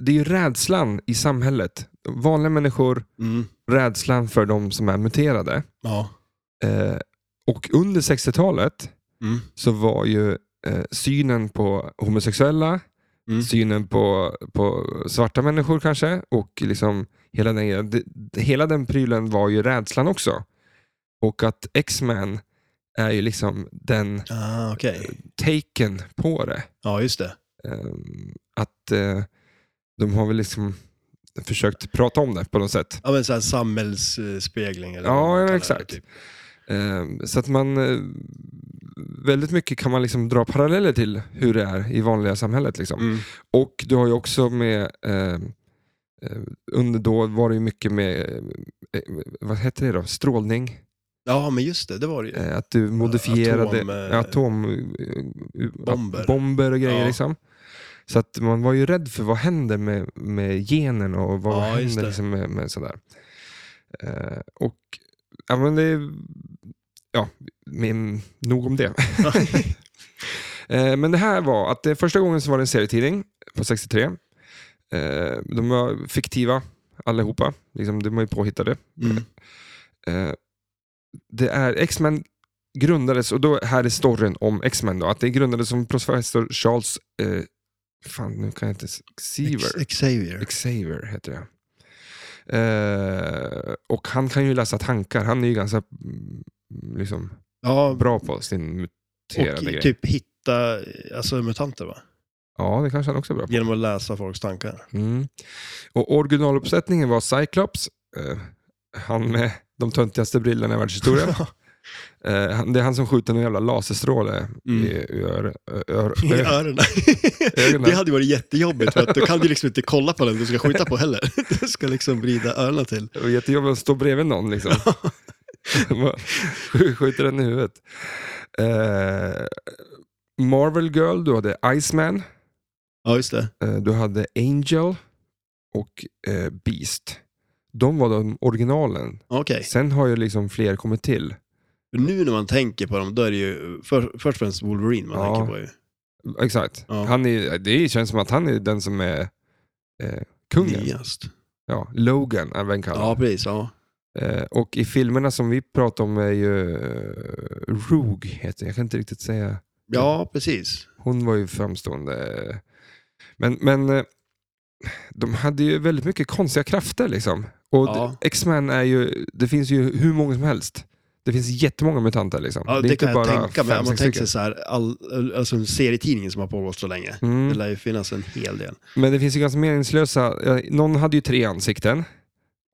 Speaker 2: det är ju rädslan i samhället. Vanliga människor,
Speaker 1: mm,
Speaker 2: rädslan för de som är muterade.
Speaker 1: ja.
Speaker 2: Eh, och under 60-talet
Speaker 1: Mm,
Speaker 2: så var ju eh, synen på homosexuella,
Speaker 1: mm,
Speaker 2: synen på, på svarta människor kanske och liksom hela den, grejen. Det- det- hela den prylen var ju rädslan också. Och att X-Men är ju liksom den
Speaker 1: ah, okej.
Speaker 2: taken på det.
Speaker 1: Ja, just det.
Speaker 2: Ehm, att eh, de har väl liksom försökt prata om det på något sätt.
Speaker 1: Ja, men så här samhällsspegling. Eller
Speaker 2: Ja,
Speaker 1: vad man
Speaker 2: ja,
Speaker 1: kallar
Speaker 2: exakt.
Speaker 1: Det, typ.
Speaker 2: Ehm, så att man eh, väldigt mycket kan man liksom dra paralleller till hur det är i vanliga samhället. Liksom.
Speaker 1: mm,
Speaker 2: Och du har ju också med, eh, eh, under då var det ju mycket med, eh, vad heter det då, strålning.
Speaker 1: ja, men just det. Det var det ju.
Speaker 2: Eh, att du modifierade
Speaker 1: Atom, eh,
Speaker 2: atombomber
Speaker 1: bomber.
Speaker 2: eh, bomber och grejer.
Speaker 1: Ja.
Speaker 2: Liksom. Så att man var ju rädd för vad händer med, med genen och vad
Speaker 1: Ja, just
Speaker 2: händer
Speaker 1: det.
Speaker 2: liksom med, med sådär. Eh, och ja, men det, ja, men, nog om det. Eh, men det här var att det, första gången så var det en serietidning på 63. Eh, de var fiktiva allihopa. Liksom, de var ju påhittade.
Speaker 1: Mm,
Speaker 2: Eh, det är X-Men grundades, och då här är storyn om X-Men då, att det grundades som professor Charles, eh, fan nu kan jag inte, s- Xavier,
Speaker 1: Ex- Xavier.
Speaker 2: Xavier heter jag. Eh, och han kan ju läsa tankar, han är ju ganska mm, liksom,
Speaker 1: Ja,
Speaker 2: bra på sin muterade
Speaker 1: och
Speaker 2: grej.
Speaker 1: typ hitta alltså, mutanter, va?
Speaker 2: Ja, det kanske han också är bra på.
Speaker 1: Genom att läsa folks tankar.
Speaker 2: Mm. Och originaluppsättningen var Cyclops, eh, han med de töntigaste brillorna i världshistorien. Eh, han- det är han som skjuter en jävla laserstråle
Speaker 1: Mm.
Speaker 2: i, i ör, ö- ör,
Speaker 1: I
Speaker 2: ö-
Speaker 1: öronen.
Speaker 2: ögonen.
Speaker 1: Det hade varit jättejobbigt för att du kan ju liksom inte kolla på den du ska skjuta på heller. Du ska liksom vrida öronen till.
Speaker 2: Det var jättejobbigt att stå bredvid någon. Liksom. Bara sk- skjuter den i huvudet. Eh, Marvel Girl, du hade Iceman,
Speaker 1: Ja, just det.
Speaker 2: eh, du hade Angel och eh, Beast. De var de originalen.
Speaker 1: Okej.
Speaker 2: Sen har ju liksom fler kommit till.
Speaker 1: Nu när man tänker på dem, då är det ju för, först och främst Wolverine man
Speaker 2: Ja.
Speaker 1: tänker på. Ju.
Speaker 2: Exakt.
Speaker 1: Ja.
Speaker 2: Han är, det känns som att han är den som är eh, kungen.
Speaker 1: Nyast.
Speaker 2: Ja, Logan är den kallad.
Speaker 1: Ja, precis. Ja.
Speaker 2: Eh, och i filmerna som vi pratar om är ju eh, Rogue, heter jag kan inte riktigt säga.
Speaker 1: ja, precis.
Speaker 2: Hon var ju framstående. Men, men eh, de hade ju väldigt mycket konstiga krafter liksom. Och
Speaker 1: Ja.
Speaker 2: d- X-Men är ju, det finns ju hur många som helst. Det finns jättemånga mutanter liksom.
Speaker 1: Ja, det,
Speaker 2: är inte
Speaker 1: kan jag
Speaker 2: bara
Speaker 1: tänka mig.
Speaker 2: fem,
Speaker 1: Om man
Speaker 2: sex
Speaker 1: tänker sig
Speaker 2: stycken.
Speaker 1: så här, all, alltså en serietidning som har pågått så länge. Det
Speaker 2: Mm.
Speaker 1: lär ju finnas en hel del.
Speaker 2: Men det finns ju ganska meningslösa, ja, någon hade ju tre ansikten.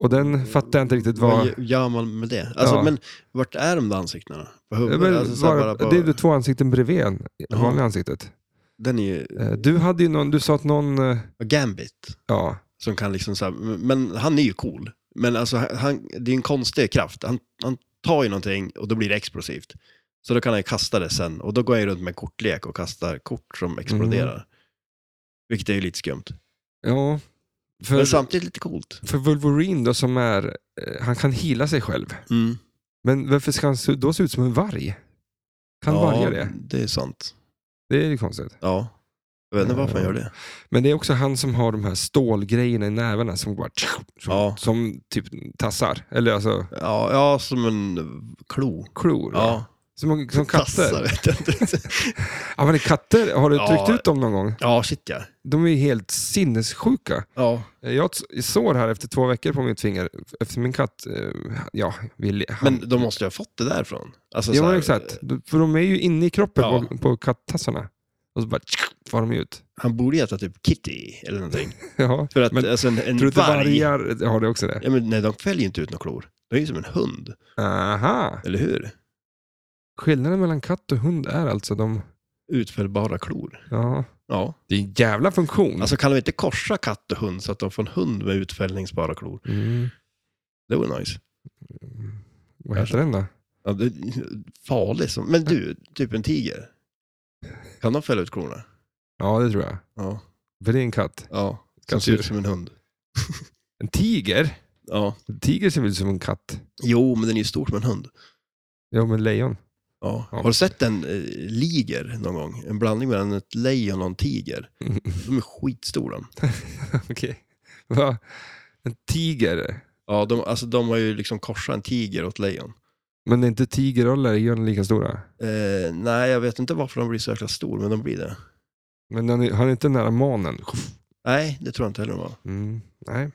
Speaker 2: Och
Speaker 1: Mm.
Speaker 2: den fattar jag inte riktigt vad...
Speaker 1: Vad gör man med det? Alltså,
Speaker 2: Ja.
Speaker 1: Men vart är de där ansiktena? På
Speaker 2: Ja,
Speaker 1: huvudet?
Speaker 2: men
Speaker 1: alltså, så här,
Speaker 2: bara,
Speaker 1: bara på,
Speaker 2: Det är ju två ansikten bredvid en,
Speaker 1: Jaha.
Speaker 2: vanliga ansiktet.
Speaker 1: Den är ju
Speaker 2: Eh, Du hade ju någon, du sa att någon, eh,
Speaker 1: Gambit.
Speaker 2: ja,
Speaker 1: Som kan liksom så här, men han är ju cool. Men alltså, han, det är en konstig kraft. Han, han tar ju någonting och då blir det explosivt. Så då kan han ju kasta det sen. Och då går jag ju runt med kortlek och kastar kort som exploderar.
Speaker 2: Mm.
Speaker 1: Vilket är ju lite skumt.
Speaker 2: ja. För,
Speaker 1: Men samtidigt lite coolt.
Speaker 2: för Wolverine då som är, eh, han kan hila sig själv.
Speaker 1: Mm.
Speaker 2: Men varför ska han se- då se ut som en varg? Kan vargar det?
Speaker 1: Det är sant.
Speaker 2: Det är ju konstigt.
Speaker 1: Ja. Jag vet inte varför han gör det.
Speaker 2: Men det är också han som har de här stålgrejerna i nävarna som bara... Som,
Speaker 1: Ja.
Speaker 2: som typ tassar. Eller alltså
Speaker 1: Ja, ja som en klo.
Speaker 2: klor. va?
Speaker 1: Ja.
Speaker 2: Som, som
Speaker 1: Tassar,
Speaker 2: katter.
Speaker 1: vet jag inte.
Speaker 2: Ja, men katter, har du
Speaker 1: Ja.
Speaker 2: tryckt ut dem någon gång?
Speaker 1: ja, shit ja.
Speaker 2: De är ju helt sinnessjuka. Eh,
Speaker 1: Ja,
Speaker 2: Jag har ett s- sår här efter två veckor på mitt finger. Efter min katt, eh, ja, vill han...
Speaker 1: men de måste ju ha fått det därifrån. Alltså,
Speaker 2: Ja,
Speaker 1: så här,
Speaker 2: men exakt. För de är ju inne i kroppen
Speaker 1: Ja.
Speaker 2: på, på kattassarna. Och så bara far de ut.
Speaker 1: Han borde heta typ Kitty eller någonting.
Speaker 2: Ja.
Speaker 1: För att
Speaker 2: Men
Speaker 1: alltså, en, en
Speaker 2: Tror du inte
Speaker 1: varg...
Speaker 2: vargar har det också det?
Speaker 1: Ja, men, nej, de fäller ju inte ut några klor. De är ju som en hund,
Speaker 2: Aha!
Speaker 1: eller hur?
Speaker 2: Skillnaden mellan katt och hund är alltså de...
Speaker 1: Utfällbara klor.
Speaker 2: Ja.
Speaker 1: Ja.
Speaker 2: Det är en jävla funktion.
Speaker 1: Alltså kan de inte korsa katt och hund så att de får en hund med utfällningsbara klor?
Speaker 2: Mm.
Speaker 1: Det vore nice.
Speaker 2: Vad heter den då?
Speaker 1: Ja, det är farlig som... Men du, typ en tiger. Kan de fälla ut klorna?
Speaker 2: Ja, det tror jag.
Speaker 1: Ja.
Speaker 2: För det är en katt.
Speaker 1: ja. Som ser
Speaker 2: Kattdjur.
Speaker 1: ut som en hund.
Speaker 2: En tiger?
Speaker 1: Ja.
Speaker 2: En tiger ser väl ut som en katt?
Speaker 1: Jo, men den är ju stor som en hund.
Speaker 2: Ja, men lejon.
Speaker 1: Ja.
Speaker 2: Ja.
Speaker 1: Har du sett en eh, liger någon gång? En blandning mellan ett lejon och en tiger.
Speaker 2: Mm.
Speaker 1: De är skitstora.
Speaker 2: Okej. Va? En tiger?
Speaker 1: Ja, de, alltså, de har ju liksom korsat en tiger och ett lejon.
Speaker 2: Men är inte tiger och lejon lika stora?
Speaker 1: Eh, nej, jag vet inte varför de blir så jäkla stor, men de blir det.
Speaker 2: Men han är, han är inte nära manen?
Speaker 1: Nej, det tror jag inte heller de var.
Speaker 2: Mm. Nej.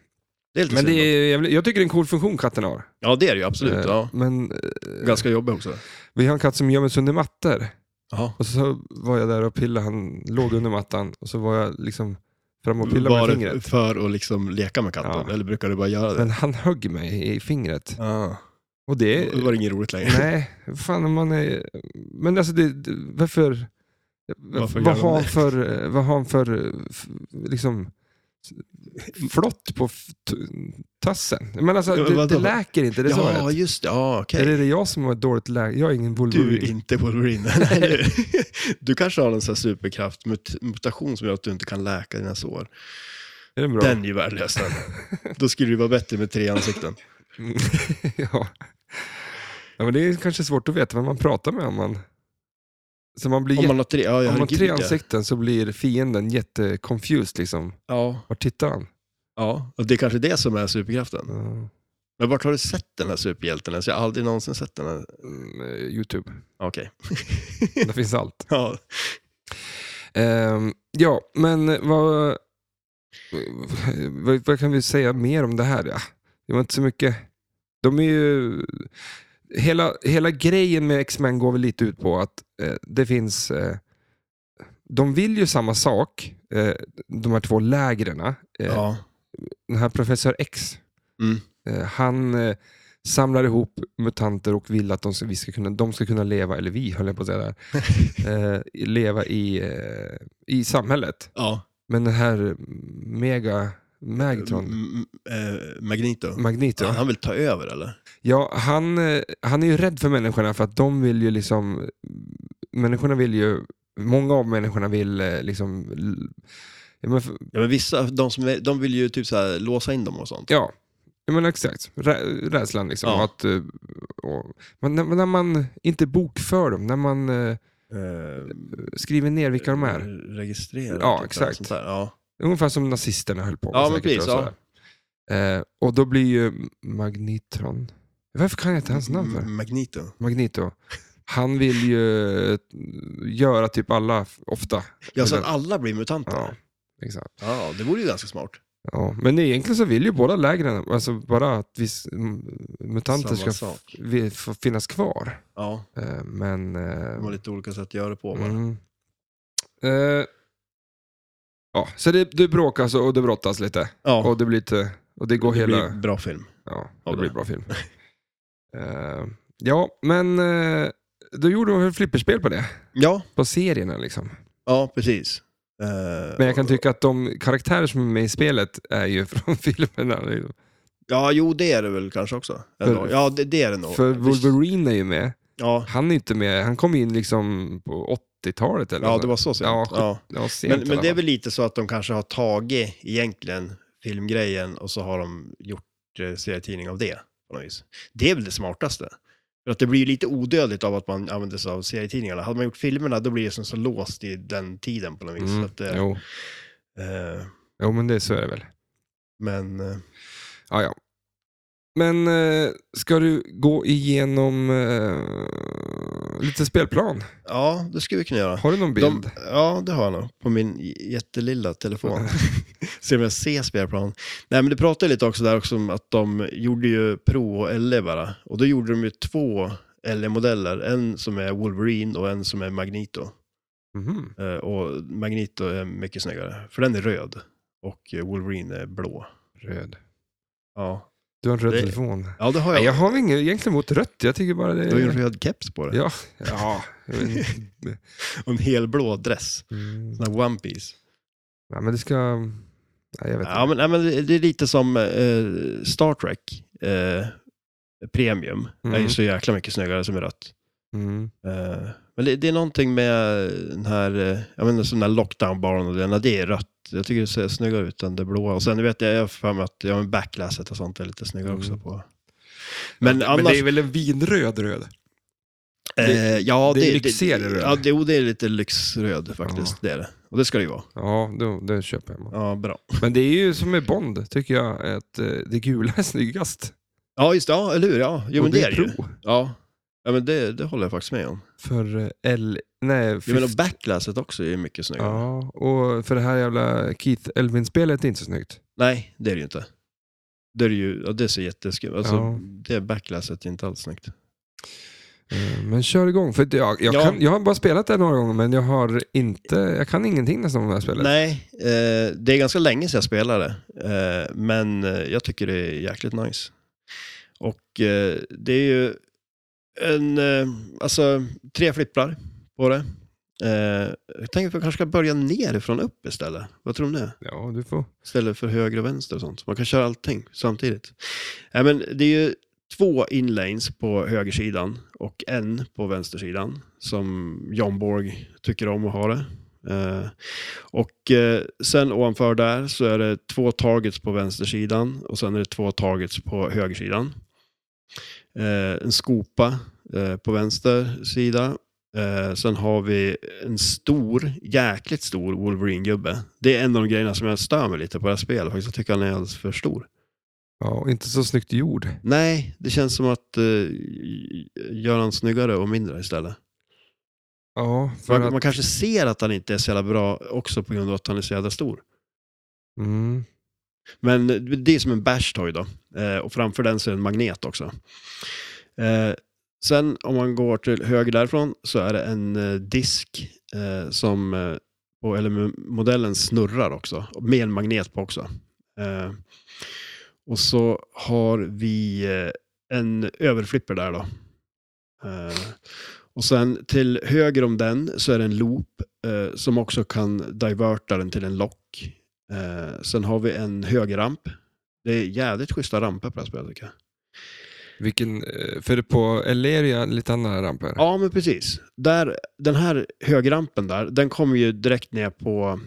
Speaker 1: Det är lite
Speaker 2: Men
Speaker 1: synd.
Speaker 2: det är, jag, jag tycker det är en cool funktion katten har.
Speaker 1: Ja, det är det ju absolut.
Speaker 2: Eh,
Speaker 1: Ja.
Speaker 2: Men eh,
Speaker 1: Ganska jobbig också.
Speaker 2: vi har en katt som gömmer sig under mattor.
Speaker 1: Jaha.
Speaker 2: Och så var jag där och pillade, han låg under mattan och så var jag liksom fram och pillade
Speaker 1: Var
Speaker 2: med
Speaker 1: det
Speaker 2: fingret.
Speaker 1: för att liksom leka med katten,
Speaker 2: Ja.
Speaker 1: eller brukar du bara göra det?
Speaker 2: Men han högg mig i fingret.
Speaker 1: Ah.
Speaker 2: Och det...
Speaker 1: Det var inget roligt längre.
Speaker 2: Nej, fan om man är... Men alltså det, det- varför...
Speaker 1: Varför
Speaker 2: vad,
Speaker 1: gör de
Speaker 2: har han
Speaker 1: det?
Speaker 2: för, vad har han för eh, f- liksom flott på f- t- tassen? Men alltså,
Speaker 1: Ja,
Speaker 2: det,
Speaker 1: vadå?
Speaker 2: det läker inte, det är
Speaker 1: ja,
Speaker 2: svaret.
Speaker 1: just det. Ja, okej.
Speaker 2: Eller är det jag som har ett dåligt läge? Jag är ingen
Speaker 1: Du
Speaker 2: Wolverine.
Speaker 1: är inte Wolverine. Nej, du. du kanske har en sån här superkraft, mut- mutation som gör att du inte kan läka dina sår.
Speaker 2: Är den bra?
Speaker 1: Den är ju värdelös den. Då skulle det vara bättre med tre ansikten.
Speaker 2: Mm. ja. ja, men det är kanske svårt att veta vem man pratar med om man... Så man blir
Speaker 1: Om
Speaker 2: jätte...
Speaker 1: man har tre, ja,
Speaker 2: Om man har
Speaker 1: herregud,
Speaker 2: tre
Speaker 1: ja.
Speaker 2: ansikten så blir fienden jätteconfused liksom.
Speaker 1: Ja,
Speaker 2: Var tittar han?
Speaker 1: ja. Och det är kanske det som är superkraften.
Speaker 2: Ja.
Speaker 1: Men vart har du sett den här superhjälten? Alltså, jag har aldrig någonsin sett den här.
Speaker 2: Mm, eh, Youtube.
Speaker 1: Okej.
Speaker 2: Där finns allt.
Speaker 1: ja.
Speaker 2: Ehm, ja, men vad, vad, vad kan vi säga mer om det här? Ja, det var inte så mycket. De är ju... Hela, hela grejen med X-Men går väl lite ut på att eh, det finns... Eh, de vill ju samma sak, eh, de här två lägren. Eh,
Speaker 1: ja.
Speaker 2: Den här Professor X,
Speaker 1: Mm.
Speaker 2: eh, han eh, samlar ihop mutanter och vill att de ska, vi ska, kunna, de ska kunna leva, eller vi höll jag på att säga där, eh, leva i, eh, i samhället.
Speaker 1: ja.
Speaker 2: Men den här mega Megatron,
Speaker 1: M- m- eh, Magneto.
Speaker 2: Magneto,
Speaker 1: Mm. Han vill ta över eller?
Speaker 2: ja, han, eh, han är ju rädd för människorna för att de vill ju liksom, människorna vill ju, många av människorna vill eh, liksom, l- ja, men, f-
Speaker 1: Ja, men vissa, de, som, är- de vill ju typ så här, låsa in dem och sånt.
Speaker 2: ja, ja men exakt, Rä, rädslan liksom.
Speaker 1: Ja.
Speaker 2: Att, eh, och, men när, men när man inte bokför dem, när man eh,
Speaker 1: Eh,
Speaker 2: skriver ner vilka de
Speaker 1: Mm.
Speaker 2: är.
Speaker 1: Registrera.
Speaker 2: Ja,
Speaker 1: typ,
Speaker 2: exakt.
Speaker 1: Sånt där. Ja.
Speaker 2: Ungefär som nazisterna höll på
Speaker 1: Ja, men
Speaker 2: säkert,
Speaker 1: precis,
Speaker 2: och, sådär. eh, och då blir ju Magnitron... Varför kan jag inte hans namn för?
Speaker 1: M- Mm, Magneto.
Speaker 2: Magnito. Han vill ju eh, göra typ alla f- ofta.
Speaker 1: Ja, så att alla blir mutanter.
Speaker 2: Ja. Liksom.
Speaker 1: Ja, det vore ju ganska smart.
Speaker 2: Ja, men egentligen så vill ju båda lägren, alltså bara att vi, s- m- mutanter
Speaker 1: Samma
Speaker 2: ska
Speaker 1: sak.
Speaker 2: f- vi- få finnas kvar.
Speaker 1: Ja,
Speaker 2: Eh, Men... eh,
Speaker 1: de har lite olika sätt att göra det på bara.
Speaker 2: Mm. Eh, ja, så det, det bråkas och det brottas lite.
Speaker 1: Ja,
Speaker 2: Och det blir lite... Och det går
Speaker 1: det
Speaker 2: hela...
Speaker 1: blir bra film.
Speaker 2: Ja,
Speaker 1: av
Speaker 2: det
Speaker 1: det.
Speaker 2: blir bra film. Eh, ja, men eh, då gjorde de väl flipperspel på det.
Speaker 1: Ja,
Speaker 2: På serierna liksom.
Speaker 1: ja precis. Eh,
Speaker 2: Men jag kan tycka att de karaktärer som är med i spelet är ju från filmerna. Liksom.
Speaker 1: Ja, jo det är det väl kanske också. Eller,
Speaker 2: För-
Speaker 1: ja, det, det är det nog.
Speaker 2: För
Speaker 1: Visst.
Speaker 2: Wolverine är ju med.
Speaker 1: Ja,
Speaker 2: Han är inte med. Han kom in liksom på 80-talet eller
Speaker 1: ja
Speaker 2: något.
Speaker 1: det var så sent.
Speaker 2: Ja,
Speaker 1: Ja,
Speaker 2: sjukt. Ja, sent
Speaker 1: Men,
Speaker 2: i
Speaker 1: men
Speaker 2: alla
Speaker 1: det är
Speaker 2: fall.
Speaker 1: väl lite så att de kanske har tagit egentligen filmgrejen och så har de gjort eh, serietidning av det. På något vis. Det är väl det smartaste. För att det blir ju lite odödligt av att man använder sig av serietidningarna. Hade man gjort filmerna då blir det som så låst i den tiden på något vis.
Speaker 2: Mm,
Speaker 1: Så att, eh,
Speaker 2: jo.
Speaker 1: eh,
Speaker 2: jo, men det, så är det väl.
Speaker 1: men eh,
Speaker 2: Ja, ja. Men eh, ska du gå igenom eh, lite spelplan?
Speaker 1: ja, det skulle vi kunna göra.
Speaker 2: Har du någon bild?
Speaker 1: De, ja, det har jag nog. På min j- jättelilla telefon. Ser om jag ser spelplan. Nej, men du pratade lite också där också om att de gjorde ju Pro och LE bara. Och då gjorde de ju två LE-modeller. En som är Wolverine och en som är Magneto.
Speaker 2: Mhm.
Speaker 1: Eh, och Magneto är mycket snyggare, för den är röd. Och eh, Wolverine är blå.
Speaker 2: Röd.
Speaker 1: Ja,
Speaker 2: Du har en röd
Speaker 1: Det-
Speaker 2: telefon.
Speaker 1: ja det har
Speaker 2: Nej,
Speaker 1: jag.
Speaker 2: jag har inget egentligen mot rött. Jag tycker bara det
Speaker 1: Du har ju en röd keps på dig.
Speaker 2: Ja. ja. Mm.
Speaker 1: Och en helblå dress. Sån här one piece.
Speaker 2: ja men det ska... Nej, jag vet
Speaker 1: Ja, men, nej, men det- det är lite som eh, Star Trek eh, Premium. Det är
Speaker 2: Mm.
Speaker 1: ju så jäkla mycket snyggare som är rött.
Speaker 2: inte. Mm.
Speaker 1: Eh, men det, det är någonting med den här, eh, jag menar sån där lockdown-baron och det, när det är rött. Jag tycker det ser snyggare ut än det blåa. Och sen vet jag, jag har för mig att ja, men backlasset och sånt är lite snyggare också
Speaker 2: Mm.
Speaker 1: på. Men annars...
Speaker 2: det är väl en vinröd röd? det-
Speaker 1: eh, ja,
Speaker 2: det
Speaker 1: det,
Speaker 2: är lyxigare röd.
Speaker 1: Ja, det, jo, det är lite lyxröd faktiskt. Det är det. Och det ska det ju vara.
Speaker 2: Ja, då, det köper jag.
Speaker 1: Ja, bra.
Speaker 2: Men det är ju som med Bond, tycker jag, att eh, det gula är snyggast.
Speaker 1: Ja, just det. Ja, eller hur? Ja, jo,
Speaker 2: Och
Speaker 1: men det är det
Speaker 2: pro.
Speaker 1: ju. Ja. ja, men det, det håller jag faktiskt med om.
Speaker 2: För eh, L... Nej,
Speaker 1: Jag menar backlasset också är mycket snyggare.
Speaker 2: Ja, och för det här jävla Keith Elvin-spelet är inte så snyggt.
Speaker 1: Nej, det är det ju inte. Det är det ju, ja, det ser jätteskumt alltså,
Speaker 2: Ja.
Speaker 1: Det backlasset är inte alls snyggt.
Speaker 2: Eh, Men kör igång. För att jag, jag,
Speaker 1: Ja.
Speaker 2: kan, jag har bara spelat det några gånger, men jag, har inte, jag kan ingenting nästan om det här spelet.
Speaker 1: Nej, eh, det är ganska länge sedan jag spelade, eh, men eh, jag tycker det är jäkligt nice. Och eh, det är ju en, eh, alltså tre flipprar på det. Eh, jag tänker att vi kanske ska börja nerifrån upp istället. Vad tror du om det?
Speaker 2: Ja, du får.
Speaker 1: Istället för höger och vänster och sånt. Man kan köra allting samtidigt. Nej, men det är ju två inlanes på högersidan och en på vänstersidan som John Borg tycker om att ha det. Eh, och eh, sen ovanför där så är det två targets på vänstersidan och sen är det två targets på högersidan. Eh, en skopa eh, på vänster sida. Eh, sen har vi en stor, jäkligt stor Wolverine-gubbe. Det är en av de grejerna som jag stör mig lite på det här spelet. Faktiskt. Jag tycker han är alldeles för stor.
Speaker 2: Ja, och inte så snyggt gjord.
Speaker 1: Nej, det känns som att eh, göra han snyggare och mindre istället.
Speaker 2: Ja, för
Speaker 1: Man,
Speaker 2: att...
Speaker 1: man kanske ser att han inte är så jävla bra också på grund av att han är så jävla stor.
Speaker 2: Mm.
Speaker 1: Men det är som en bash toy då. Eh, och framför den så är det en magnet också. Eh, sen om man går till höger därifrån så är det en eh, disk eh, som eh, på LM-modellen snurrar också. Med en magnet på också. Eh, och så har vi eh, en överflipper där då. Eh, och sen till höger om den så är det en loop eh, som också kan diverta den till en lock. Eh, sen har vi en högerramp. Det är jävligt schyssta ramper på det här spelet tycker jag.
Speaker 2: Vilken, eh, för på Eleria lite andra ramper.
Speaker 1: Ja, men precis. Där, den här högerrampen där, den kommer ju direkt ner på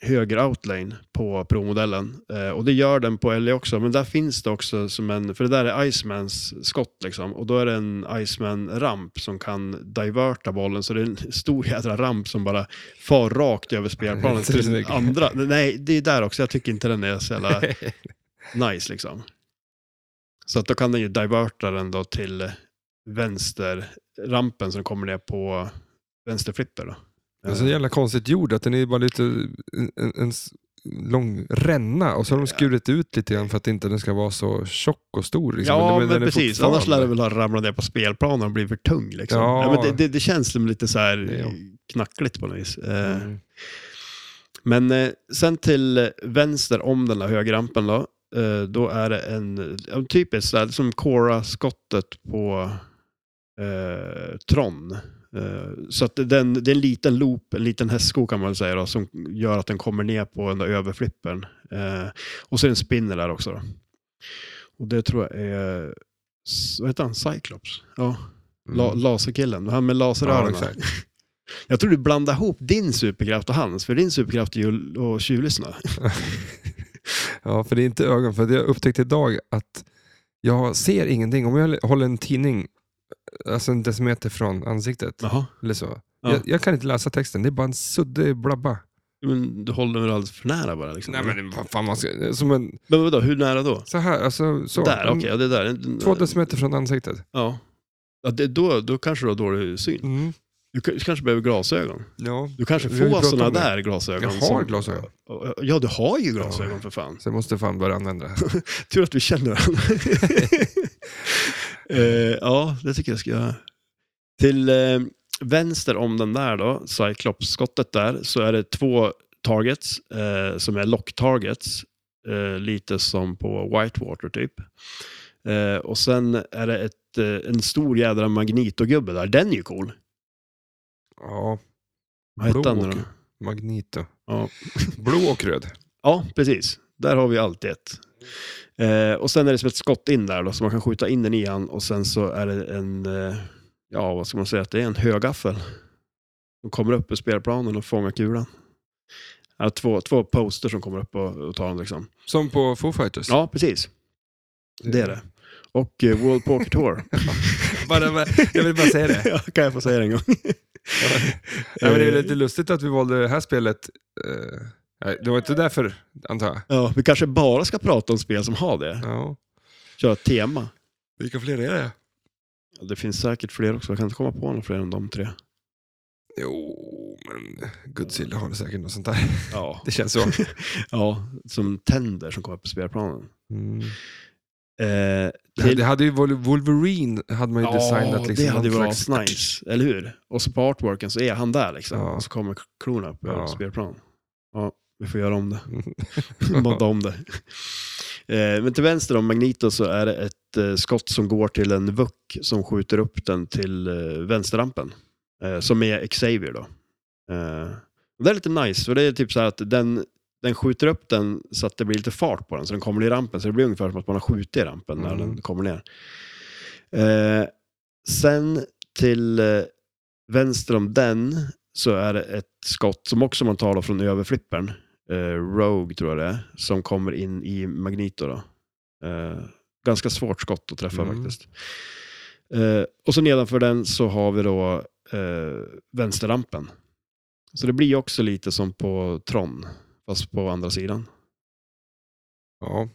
Speaker 1: höger outlane på Pro-modellen. Eh, och det gör den på LE också, men där finns det också som en, för det där är Icemans skott liksom. Och då är det en Iceman-ramp som kan diverta bollen, så det är en stor jädra ramp som bara far rakt över spelplanen
Speaker 2: Det är så
Speaker 1: till den
Speaker 2: mycket.
Speaker 1: andra. Nej, det är där också, jag tycker inte den är så jävla... nice liksom. Så att då kan den ju diverta den då till vänsterrampen som kommer ner på vänsterflipper då.
Speaker 2: Alltså, det är så jävla konstigt gjord att den är bara lite en, en, en s- lång ränna och så har de skurit ut lite grann för att inte den ska vara så tjock och stor. Liksom.
Speaker 1: Ja, men,
Speaker 2: den är
Speaker 1: precis. Annars lär
Speaker 2: fortfarande-
Speaker 1: det väl ha ramlat ner på spelplanen och blivit för tung. Liksom.
Speaker 2: Ja.
Speaker 1: Ja. men det, det, det känns som lite så här
Speaker 2: Ja.
Speaker 1: knackligt på något vis. Eh,
Speaker 2: Mm.
Speaker 1: Men eh, sen till vänster om den där högerrampen då, eh, då är det en, en typisk, där, som liksom Cora-skottet på eh, Tron. Eh, så att den, det är en liten loop, en liten hästsko kan man väl säga då, som gör att den kommer ner på den där överflippen. Eh, och så är det en spinner där också. Då. Och det tror jag är, s- vad heter han, Cyclops? Ja, la, laserkillen, han med
Speaker 2: Mm. Ja,
Speaker 1: laseröronen.
Speaker 2: exakt.
Speaker 1: Jag tror du blandar ihop din superkraft och hans, för din superkraft är ju att- att tjuvlyssna.
Speaker 2: ja, för det är inte ögon. För jag upptäckte idag att jag ser ingenting. Om jag håller en tidning alltså en decimeter från ansiktet,
Speaker 1: Jaha.
Speaker 2: eller så.
Speaker 1: Ja.
Speaker 2: Jag, jag kan inte läsa texten. Det är bara en suddig blabba.
Speaker 1: Men du håller den väl alldeles för nära bara? Liksom.
Speaker 2: Nej, men vad fan man ska... Som en,
Speaker 1: Men vadå, hur nära då?
Speaker 2: så här, alltså så.
Speaker 1: Där, okej,
Speaker 2: Mm,
Speaker 1: ja, det där.
Speaker 2: Två decimeter från ansiktet.
Speaker 1: Ja. ja det, då, då kanske du har dålig syn.
Speaker 2: Mm.
Speaker 1: Du k- kanske behöver glasögon.
Speaker 2: Ja.
Speaker 1: Du kanske
Speaker 2: Vi har ju
Speaker 1: får
Speaker 2: pratat om
Speaker 1: sådana
Speaker 2: det.
Speaker 1: där glasögon.
Speaker 2: Jag har glasögon.
Speaker 1: Ja, du har ju glasögon för fan.
Speaker 2: Så jag måste fan börja använda det här.
Speaker 1: Tur att vi känner varandra. Eh, ja, det tycker jag ska göra. Till eh, vänster om den där då, Cyclops-skottet där, så är det två targets eh, som är lock-targets. Eh, lite som på Whitewater typ. Eh, och sen är det ett, eh, en stor jädra magnitogubbe där. Den är ju cool.
Speaker 2: Ja,
Speaker 1: Vad hette han nu
Speaker 2: Blå
Speaker 1: då?
Speaker 2: och- Magnito.
Speaker 1: Ja.
Speaker 2: Blå och röd.
Speaker 1: Ja, precis. Där har vi alltid ett. Eh, och sen är det som ett skott in där då, så man kan skjuta in den i han och sen så är det en, eh, ja vad ska man säga, att det är en högaffel. De kommer upp ur spelplanen och fångar kulan. Ja, två, två poster som kommer upp och, och tar den liksom.
Speaker 2: Som på Foo Fighters.
Speaker 1: Ja, precis. Det är det. Och eh, World Poker Tour.
Speaker 2: Bara, bara, jag vill bara säga det.
Speaker 1: ja, kan jag få säga det en gång?
Speaker 2: Ja, men det är
Speaker 1: Eh.
Speaker 2: lite lustigt att vi valde det här spelet. Eh, nej, det var inte därför, antar jag.
Speaker 1: Ja, vi kanske bara ska prata om spel som har det.
Speaker 2: Ja.
Speaker 1: Köra ett tema.
Speaker 2: Vilka fler är det?
Speaker 1: Ja, Det finns säkert fler också. Jag kan inte komma på några fler än de tre.
Speaker 2: Jo, men Godzilla har det säkert något sånt där.
Speaker 1: Ja,
Speaker 2: Det känns så.
Speaker 1: Ja, som tänder som kommer upp på spelplanen.
Speaker 2: Mm.
Speaker 1: Eh,
Speaker 2: Det,
Speaker 1: till-
Speaker 2: det hade ju Vol- Wolverine hade man ju designat. Liksom,
Speaker 1: det hade
Speaker 2: någon
Speaker 1: varit
Speaker 2: slags-
Speaker 1: nice, eller hur? Och så på artworken så är han där liksom.
Speaker 2: Ja.
Speaker 1: Och så kommer klon upp på
Speaker 2: Ja.
Speaker 1: spelplanen. Ja, vi får göra om det. Modda om det. Eh, men till vänster om Magneto så är det ett eh, skott som går till en vuck som skjuter upp den till eh, vänsterrampen. Eh, som är Xavier då. Eh, och det är lite nice, för det är typ så här att den, den skjuter upp den så att det blir lite fart på den, så den kommer ner i rampen. Så det blir ungefär som att man har skjutit i rampen när
Speaker 2: Mm.
Speaker 1: den kommer ner. Eh, sen till eh, vänster om den så är det ett skott som också man tar då från överflippern. Eh, Rogue tror jag det är, som kommer in i Magneto. Då. Eh, ganska svårt skott att träffa
Speaker 2: Mm.
Speaker 1: faktiskt. Eh, och så nedanför den så har vi då eh, vänsterrampen. Så det blir också lite som på Tron, fast på andra sidan.
Speaker 2: Ja.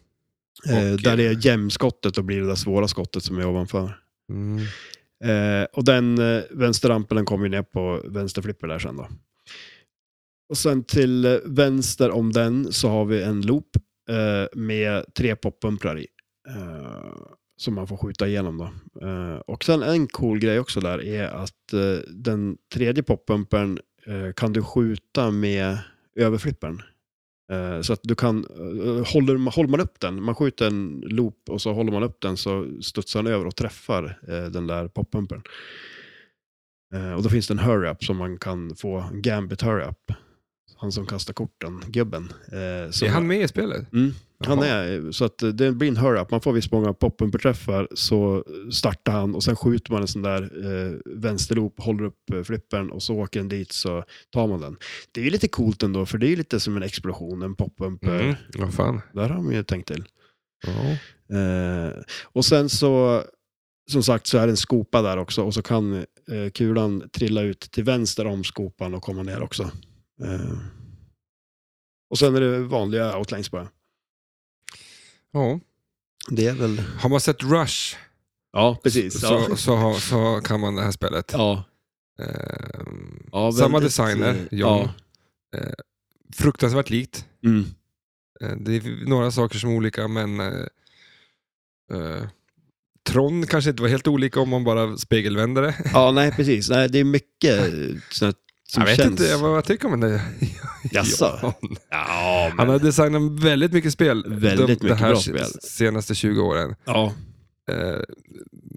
Speaker 1: Eh,
Speaker 2: Och-
Speaker 1: där det är jämskottet och blir det där svåra skottet som är ovanför.
Speaker 2: Mm.
Speaker 1: Eh, och den eh, vänsterrampen den kommer ju ner på vänsterflipper där sen då. Och sen till eh, vänster om den så har vi en loop eh, med tre poppumprar i. Eh, som man får skjuta igenom då. Eh, och sen en cool grej också där är att eh, den tredje poppumpern eh, kan du skjuta med överflippern. Eh, Så att du kan, eh, håller, man- håller man upp den, man skjuter en loop och så håller man upp den så studsar den över och träffar eh, den där poppumpen. Eh, Och då finns det en hurry-up som man kan få, en gambit hurry-up. Han som kastar korten, gubben. Eh, så-
Speaker 2: Är han med i spelet?
Speaker 1: Mm, han
Speaker 2: Jaha.
Speaker 1: är, så att eh, det blir en hurry-up. Man får visst många poppumperträffar så startar han och sen skjuter man en sån där eh, vänsterloop, håller upp eh, flippern och så åker den dit så tar man den. Det är ju lite coolt ändå för det är ju lite som en explosion, en poppumper.
Speaker 2: Mm. Vad fan.
Speaker 1: Där har man ju tänkt till.
Speaker 2: Ja.
Speaker 1: Eh, och sen så, som sagt, så är det en skopa där också och så kan eh, kulan trilla ut till vänster om skopan och komma ner också. Eh. Och sen är det vanliga outlines bara.
Speaker 2: ja.
Speaker 1: Det är väl...
Speaker 2: Har man sett Rush
Speaker 1: Ja, precis. ja.
Speaker 2: så, så, har- så kan man det här spelet.
Speaker 1: Ja.
Speaker 2: Ehm,
Speaker 1: Ja,
Speaker 2: Samma
Speaker 1: väldigt,
Speaker 2: designer,
Speaker 1: eh,
Speaker 2: John. fruktansvärt likt.
Speaker 1: Ja. Mm.
Speaker 2: Eh, Det är några saker som är olika, men eh, eh, Tron kanske inte var helt olika om man bara spegelvänder det.
Speaker 1: Ja, nej precis. Nej, det är mycket sånt som
Speaker 2: jag vet
Speaker 1: känns...
Speaker 2: inte, jag- vad jag tycker om det.
Speaker 1: Jaså? Ja, men...
Speaker 2: Han har designat väldigt mycket spel
Speaker 1: Väldigt
Speaker 2: de, de
Speaker 1: mycket
Speaker 2: här
Speaker 1: bra
Speaker 2: se-
Speaker 1: spel.
Speaker 2: senaste 20 åren.
Speaker 1: ja.
Speaker 2: Eh,